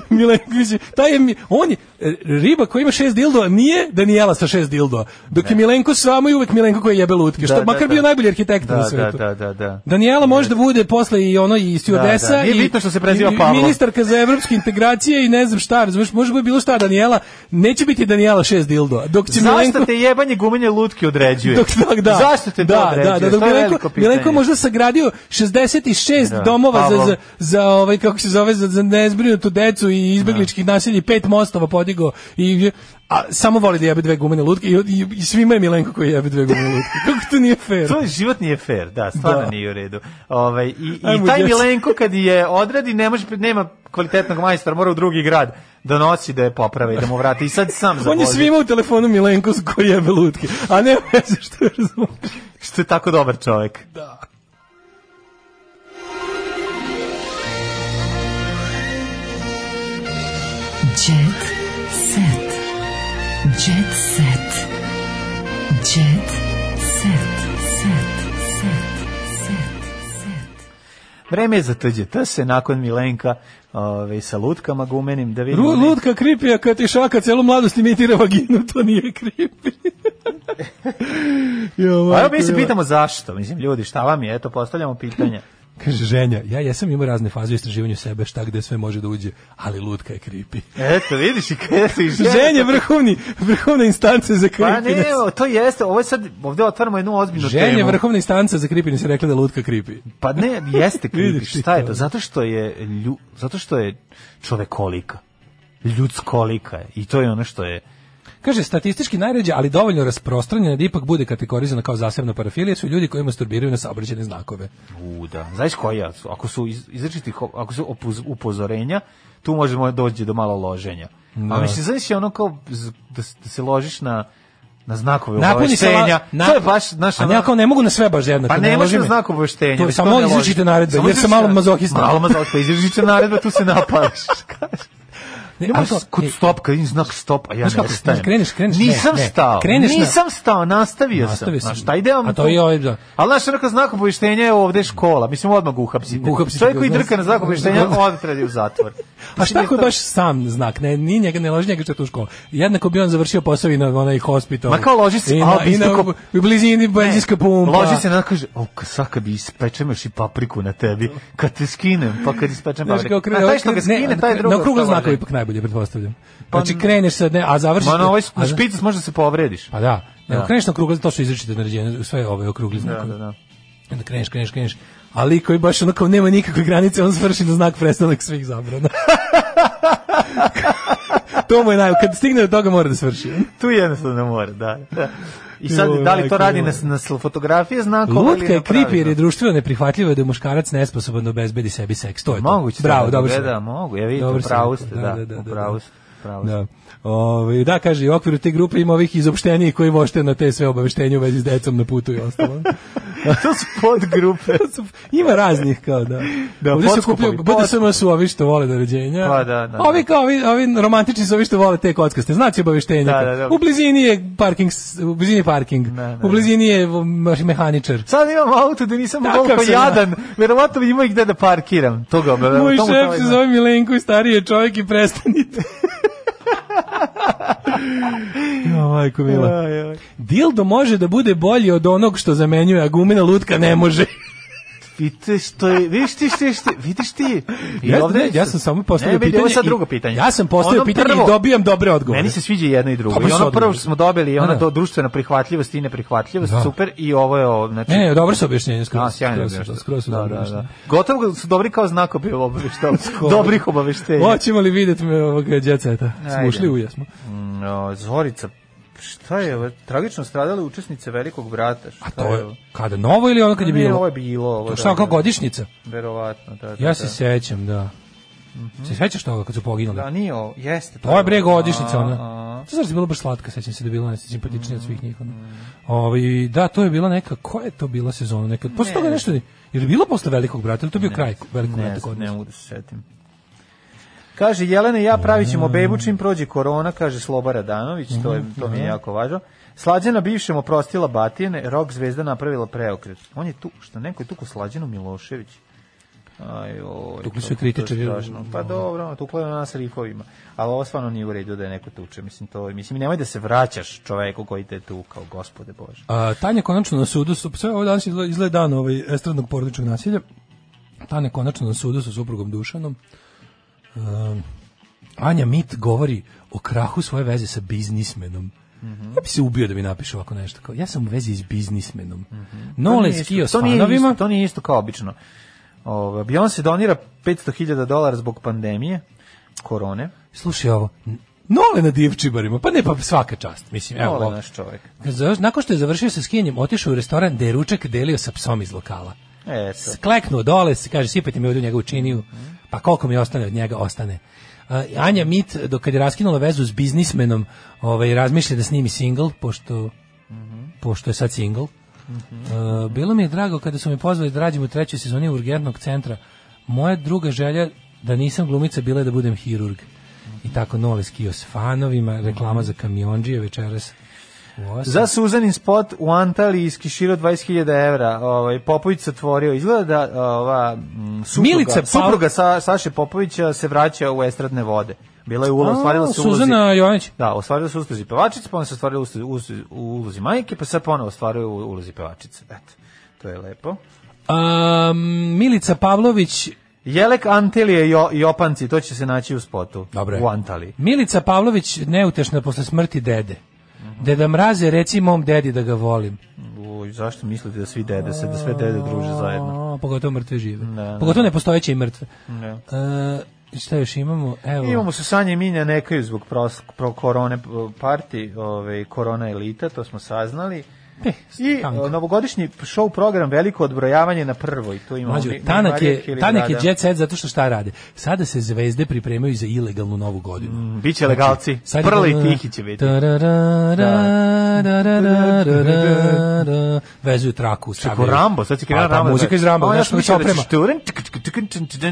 F: Milenko, mislim, taj je, mi- on je, e, riba koja ima šest dildo nije Danijela sa šest dildo. Dok je Milenko samo i uvek Milenko koji jebe lutke. Što
G: Da, da,
F: makar
G: da.
F: bio najbolji arhitekt
G: Da,
F: na
G: da,
F: svetu.
G: da, da, da.
F: Daniela može da bude posle i ono i stewardesa
G: Da, da. Nije
F: i
G: bitno što se preziva
F: i- i
G: Pavlo.
F: Ministarka za evropske integracije i ne znam šta, razumeš, može biti bilo šta Daniela. Neće biti Daniela šest dildo. Dok će Milenko
G: Zašto te jebanje gumenje lutke određuje?
F: Dok, da, da.
G: Zašto te to
F: da,
G: određuje?
F: da, da, dok
G: to je
F: Milenko,
G: veliko pitanje.
F: Milenko je možda sagradio 66
G: Da,
F: domova za,
G: Pavlo.
F: za, za ovaj, kako se zove, za, za nezbrinutu decu i izbegličkih naselja i pet mostova podigao i a samo voli da jebe dve gumene lutke i, i, i svima je Milenko koji jebe dve gumene lutke. Kako to nije fair?
G: To je život nije fair, da, stvarno
F: Da.
G: nije u redu. Ovaj, i, I
F: Ajmo,
G: taj
F: djeca.
G: Milenko kad je odradi, ne može, nema kvalitetnog majstora, mora u drugi grad da nosi, da je poprave i da mu vrati. I sad sam za
F: On je svima u telefonu Milenko s koji jebe lutke, a ne veze što je razumio.
G: Što je tako dobar čovjek.
E: Jet set. Jet set. Jet set. Set. Set. Set. Set.
G: Vreme je za TGT se nakon Milenka ovaj, sa lutkama gumenim da vidimo.
F: Ru- Lutka kripija kad ti šaka celu mladost imitira vaginu, to nije kripi. jo,
G: A evo
F: majko,
G: mi se
F: jo. Pa
G: pitamo zašto, mislim ljudi, šta vam je, eto postavljamo pitanja.
F: Kaže ženja, ja jesam imao razne faze u istraživanju sebe, šta gde sve može da uđe, ali lutka je kripi.
G: Eto, vidiš i kada su išli.
F: Ženja vrhovni, vrhovna instanca za
G: Pa
F: kripines.
G: ne, o, to jeste, ovo je sad, ovde otvaramo jednu ozbiljnu
F: Ženja
G: temu.
F: vrhovna instanca za kripines je rekla da lutka kripi.
G: Pa ne, jeste kripi,
F: Vidiš ti
G: šta je
F: to?
G: to? Zato što je, lju, zato što je čovekolika. Ljudskolika je. I to je ono što je...
F: Kaže, statistički najređe, ali dovoljno rasprostranjena da ipak bude kategorizana kao zasebna parafilija su ljudi koji masturbiraju na saobraćene znakove.
G: U, da. Znaš koja? su? Ako su iz- izričiti, ho- ako su opuz- upozorenja, tu možemo doći do malo loženja. A mislim, znaš je ono kao z- da, s- da se ložiš na na znakove
F: Napuni se la-
G: obaveštenja.
F: na-
G: To je baš ono- naš...
F: A ne, ako ne mogu na sve baš jednako.
G: Pa ne može
F: loži
G: na
F: me.
G: znak obaveštenja.
F: To je
G: već
F: samo
G: ne loži.
F: izričite naredbe,
G: Samo
F: jer sam
G: izričite-
F: malo mazohista.
G: Malo mazohista, izričite naredbe, tu se napadaš.
F: Ne,
G: Ne,
F: ali
G: ali
F: to-
G: kod
F: e,
G: stop, kad im znak stop, a ja
F: Znaš
G: ne
F: kako,
G: stajem.
F: kreneš, kreneš, ne,
G: Nisam
F: ne.
G: stao,
F: Kreneš na-
G: nisam stao, nastavio,
F: Nastavio
G: sam.
F: sam.
G: Znaš, taj deo mi
F: A to je ovaj, da.
G: Ali znaš, onako znak obaveštenja je ovde škola, mislim odmah ga uhapsite.
F: Uhapsite
G: Čovjek
F: ga,
G: koji
F: znaš.
G: drka na znak obaveštenja, odmah treba da je u zatvor.
F: A
G: Mislim,
F: šta
G: je
F: ako je
G: to-
F: baš sam znak? Ne, ni njega ne loži njega što je tu u školu. Jednako bi on završio posao i na onaj hospital.
G: Ma kao loži se,
F: I na,
G: a,
F: i na,
G: isto
F: u blizini benzinska pumpa.
G: Loži se na kaže, o, saka bi ispečem još i papriku na tebi. Kad te skinem, pa kad ispečem
F: Znaš,
G: papriku.
F: kao krene,
G: a taj što ga skine,
F: ne,
G: taj drugo.
F: Na krugle
G: ostalo
F: znakove
G: je.
F: ipak najbolje, pretpostavljam.
G: Pa-
F: Znači, kreneš sa ne, a završiš...
G: Ma ovaj na ovoj s-
F: a za-
G: špicu možda se povrediš.
F: Pa da, nego
G: Da.
F: kreneš na krugle, to su izričite naređenje, sve ove okrugli
G: Da,
F: znakovi.
G: da, da.
F: I onda kreneš, kreneš, kreneš. Ali koji baš onako nema nikakve granice, on svrši na znak prestanak svih zabrana. to mu je naj... Kad stigne do toga mora da svrši.
G: Tu jednostavno mora, da. da. I sad,
F: Joj,
G: da li to
F: majko
G: radi
F: moja.
G: na, s- na s- fotografije znakova ili
F: Lutka je
G: na
F: creepy jer
G: pravilno?
F: je društveno neprihvatljivo da je muškarac nesposoban da obezbedi sebi seks. To je to.
G: Moguće.
F: Bravo,
G: da,
F: dobro
G: da,
F: si
G: da,
F: rekao.
G: mogu. Ja vidim,
F: Dobro
G: u
F: si
G: pravu
F: rekao,
G: ste, da, u pravu ste. u pravu ste.
F: Da. Ove, da, kaže, i u okviru te grupe ima ovih izopštenijih koji vošte na te sve obaveštenje u vezi s decom na putu i ostalo.
G: to su podgrupe.
F: Ima raznih kao da.
G: Da,
F: Ovdje se
G: podskupovi,
F: kupljaju, BDSM su ovi što vole naređenja.
G: Pa, da, da.
F: Ovi kao ovi, ovi romantični su ovi što vole te kockaste. Znači obaveštenje.
G: Da, da, da.
F: U blizini je parking, s- u blizini je parking.
G: Da, da,
F: u blizini je um, mehaničar.
G: Sad imam auto da nisam
F: Takav
G: toliko
F: sam ja.
G: jadan. Verovatno ima i gde da parkiram. Toga obavljam.
F: Moj šef se zove Milenko i stariji je čovjek i prestanite. jo, majko mila. Dildo može da bude bolji od onog što zamenjuje, a gumena lutka ne može.
G: Vidiš što je, vidiš ti što je, što je- vidiš ti. I
F: Ja,
G: ovde
F: ne, ja
G: su-
F: sam samo postavio
G: Ne, vidi,
F: pitanje.
G: Ovo je sad
F: i-
G: drugo pitanje.
F: Ja sam postavio
G: Ono
F: pitanje
G: prvo-
F: i dobijam dobre odgovore.
G: Meni se sviđa i jedno i drugo.
F: Dobro
G: I
F: su
G: ono
F: odgovori.
G: prvo što smo dobili je ono
F: Pa Da.
G: to društvena prihvatljivost i neprihvatljivost,
F: Da.
G: super, i ovo je ovo, znači...
F: Ne, ne, dobro su objašnjenje. Skoro,
G: A, sjajno
F: skoro su,
G: objašnjenje.
F: skoro su
G: da,
F: dobro
G: da, da.
F: objašnjenje.
G: Gotovo su dobri kao znakovi obaveštenja. Dobrih obaveštenja.
F: Hoćemo li vidjeti me ovoga djeceta? Smo
G: Ajde.
F: ušli u jesmo.
G: Mm, o, Zorica, šta je ovo? Tragično stradale učesnice Velikog brata. Šta
F: A to je
G: ovo?
F: kada? Novo ili ono kad je
G: Pa Ne, Ovo
F: bilo?
G: je bilo. Ovo,
F: To šta, kao godišnjica?
G: Verovatno, da, da.
F: Ja se
G: da. Mhm.
F: sećam, da. Se sećaš toga kad su poginuli?
G: Da, nije ovo, jeste. pa,
F: To je bre godišnjica
G: A,
F: ona.
G: a.
F: To znači bila baš slatka, sećam se da je bila najsimpatičnija od
G: Mhm.
F: svih njih. Ona. Ovaj, da, to je bila neka, koja je to bila sezona neka? Posle toga nešto, je li bilo posle Velikog brata, ili to bio kraj Velikog brata
G: Ne,
F: kod
G: znam,
F: nas?
G: ne mogu da se setim. Kaže, Jelena i ja pravit
F: Mm.
G: ćemo bebu čim prođe korona, kaže Sloba Radanović, to, je, to
F: Mhm.
G: mi je jako važno. Slađana bivšem oprostila batine, rock zvezda napravila preokret. On je tu, što neko je tu ko Slađanu Milošević. Aj, oj,
F: Tukli su Mhm.
G: to-
F: i kritičari.
G: to je strašno. Pa dobro, tukla je na nas rifovima. Ali ovo stvarno nije u redu da je neko tuče. Mislim, to, je- mislim, nemoj da se vraćaš čoveku koji te je tukao, gospode Bože.
F: A, Tanja konačno na sudu su, sve ovo danas izgleda izgleda dan ovaj, estradnog porodičnog nasilja, Tanja konačno na sudu sa suprugom Dušanom, Um, Anja Mit govori o krahu svoje veze sa biznismenom.
G: Mhm.
F: Ja bi se ubio da mi napiše ovako nešto. Kao, ja sam u vezi s biznismenom. Nole
G: Mhm. nije isto-
F: skio s
G: to nije isto-
F: fanovima.
G: To nije isto kao obično. Ove, Beyoncé donira 500.000 dolara zbog pandemije, korone.
F: Slušaj ovo. n- Nole na divčibarima. Pa ne, pa svaka čast. Mislim, evo,
G: Ovo
F: ovo.
G: je naš čovjek.
F: Kad završ- Nakon što je završio sa skijanjem, otišao u restoran gde je ručak delio sa psom iz lokala.
G: Eto.
F: Skleknuo dole, se kaže, sipajte mi ovdje u njega učiniju, pa koliko mi ostane od njega, ostane. A, Anja Mit, dok kad je raskinula vezu s biznismenom, ovaj, razmišlja da snimi single, pošto, pošto je sad single.
G: Mhm.
F: E, bilo mi je drago kada su mi pozvali da radim u trećoj sezoni urgentnog centra. Moja druga želja da nisam glumica bila je da budem hirurg. I tako Nole skio s fanovima, reklama za kamionđije večeras. u osam.
G: Za Suzanin spot u Antaliji iskiširao 20.000 evra. Ovaj, Popović se otvorio. Izgleda da ova, mm, supruga,
F: Milica Pau-
G: supruga Sa, Saše Popovića se vraća u estradne vode. Bila je ulo,
F: A,
G: ostvarila se u ulozi-
F: Suzana Jović.
G: Da, ostvarila se u usluzi pevačice, pa onda se ostvarila u usluzi- u ulozi majke, pa sad ponovo ostvaruje u ulozi pevačice. Eto, to je lepo.
F: Um, Milica Pavlović
G: Jelek Antelije jo, i Opanci, to će se naći u spotu.
F: Dobro je.
G: U Antali.
F: Milica Pavlović neutešna posle smrti dede.
G: Mhm.
F: Deda mraze, reci mom dedi da ga volim.
G: Uj, zašto mislite da svi dede se, da sve dede druže zajedno?
F: A, pogotovo mrtve žive.
G: Da, da.
F: Pogotovo nepostojeće i mrtve.
G: Ne.
F: E, šta još imamo? Evo.
G: Imamo su Sanja i Minja nekaju zbog pros, pro korone eh, parti, ovaj, korona elita, to smo saznali.
F: Eh,
G: I
F: tanko.
G: eh, novogodišnji show program Veliko odbrojavanje na prvoj. Tu imamo
F: Mlađo,
G: Mi- Mi-
F: tanak
G: Marija
F: je,
G: Hilibrada.
F: tanak je jet set zato što šta rade. Sada se zvezde pripremaju za ilegalnu novu godinu.
G: Biće legalci.
F: Znači, Sad je
G: Mm, Prli
F: bilo-
G: i Tihi će biti.
F: Tararara, tararara, Vezuju traku.
G: Čeko
F: stavljaju.
G: Rambo, sad si krenuo
F: Pa, pa,
G: Rambo. Ono
F: muzika iz Ramba, znaš, već oprema.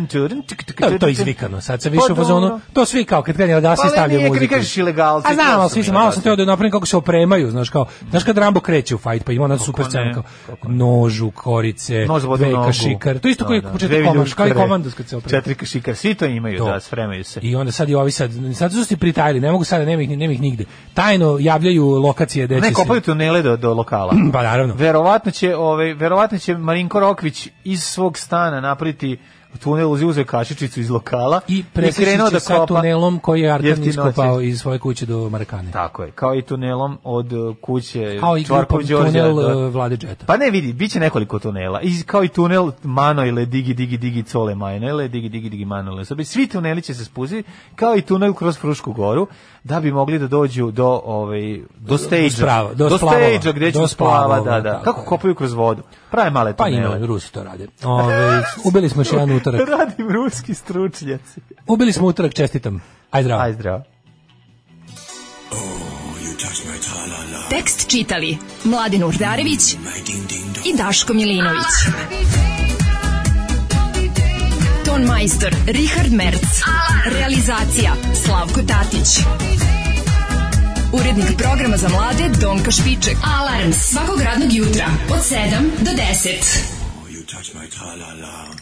F: To, to je izvikano, sad se više u fazonu, to svi kao kad krene da se
G: Pa, ali
F: stavlja
G: nije, kad
F: muzika.
G: kažeš ilegalci,
F: A
G: to
F: znam, ali
G: su
F: svi se malo
G: ilegalci.
F: sam teo da napravim kako se opremaju, znaš kao, znaš kad Rambo kreće u fight, pa ima ona super scena
G: ne,
F: kao
G: kako ne.
F: nožu, korice,
G: Nož za vodu nogu.
F: dve kašikar, to isto koji
G: Da, da.
F: početak
G: Dve
F: komandos, kao i
G: viljuškare.
F: komandos kad se opremi.
G: Četiri kašikar, svi to imaju,
F: To.
G: da, spremaju se.
F: I onda sad i ovi sad, sad su se pritajili, ne mogu sada, nema ih, nema ih nigde. Tajno javljaju lokacije gde će
G: Ne,
F: se-
G: kopaju tunele do, do lokala.
F: Pa naravno.
G: Verovatno će, ovaj, verovatno će Marinko Rokvić iz svog stana napraviti tunel, uzi uzeo kašičicu iz lokala
F: I presjeći
G: krenuo
F: će sa tunelom koji je Arkan
G: jeftino
F: iskopao
G: će-
F: iz svoje kuće do Marakane.
G: Tako je, kao i tunelom od uh, kuće
F: Kao i
G: Čvarkov
F: grupom
G: Đorđa
F: tunel
G: do-
F: e, Vlade Džeta.
G: Pa ne vidi, bit će nekoliko tunela. I kao i tunel Manojle, digi, digi, digi, cole Manojle, digi, digi, digi, Manojle. Sad bi svi tuneli će se spuziti, kao i tunel kroz Frušku goru, da bi mogli da dođu do, ovaj, do stage
F: sprava- do
G: do
F: splavova.
G: stage gde će
F: Do
G: splava, da,
F: splavova,
G: da.
F: tako
G: Kako
F: je.
G: kopaju kroz vodu? Prave male
F: Pa
G: tunele.
F: ima, Rusi to rade. Ove, ubili smo još jedan utorak.
G: Radim ruski stručnjaci.
F: Ubili smo utorak, čestitam. Aj zdravo.
G: Aj, zdravo.
E: Tekst čitali Mladin Urdarević i Daško Milinović. Ton majstor Richard Merc. Realizacija Slavko Tatić. Urednik programa za mlade Donka Špiček. Alarms svakog radnog jutra od 7 do 10.
J: Oh, you touch my tra-la-la.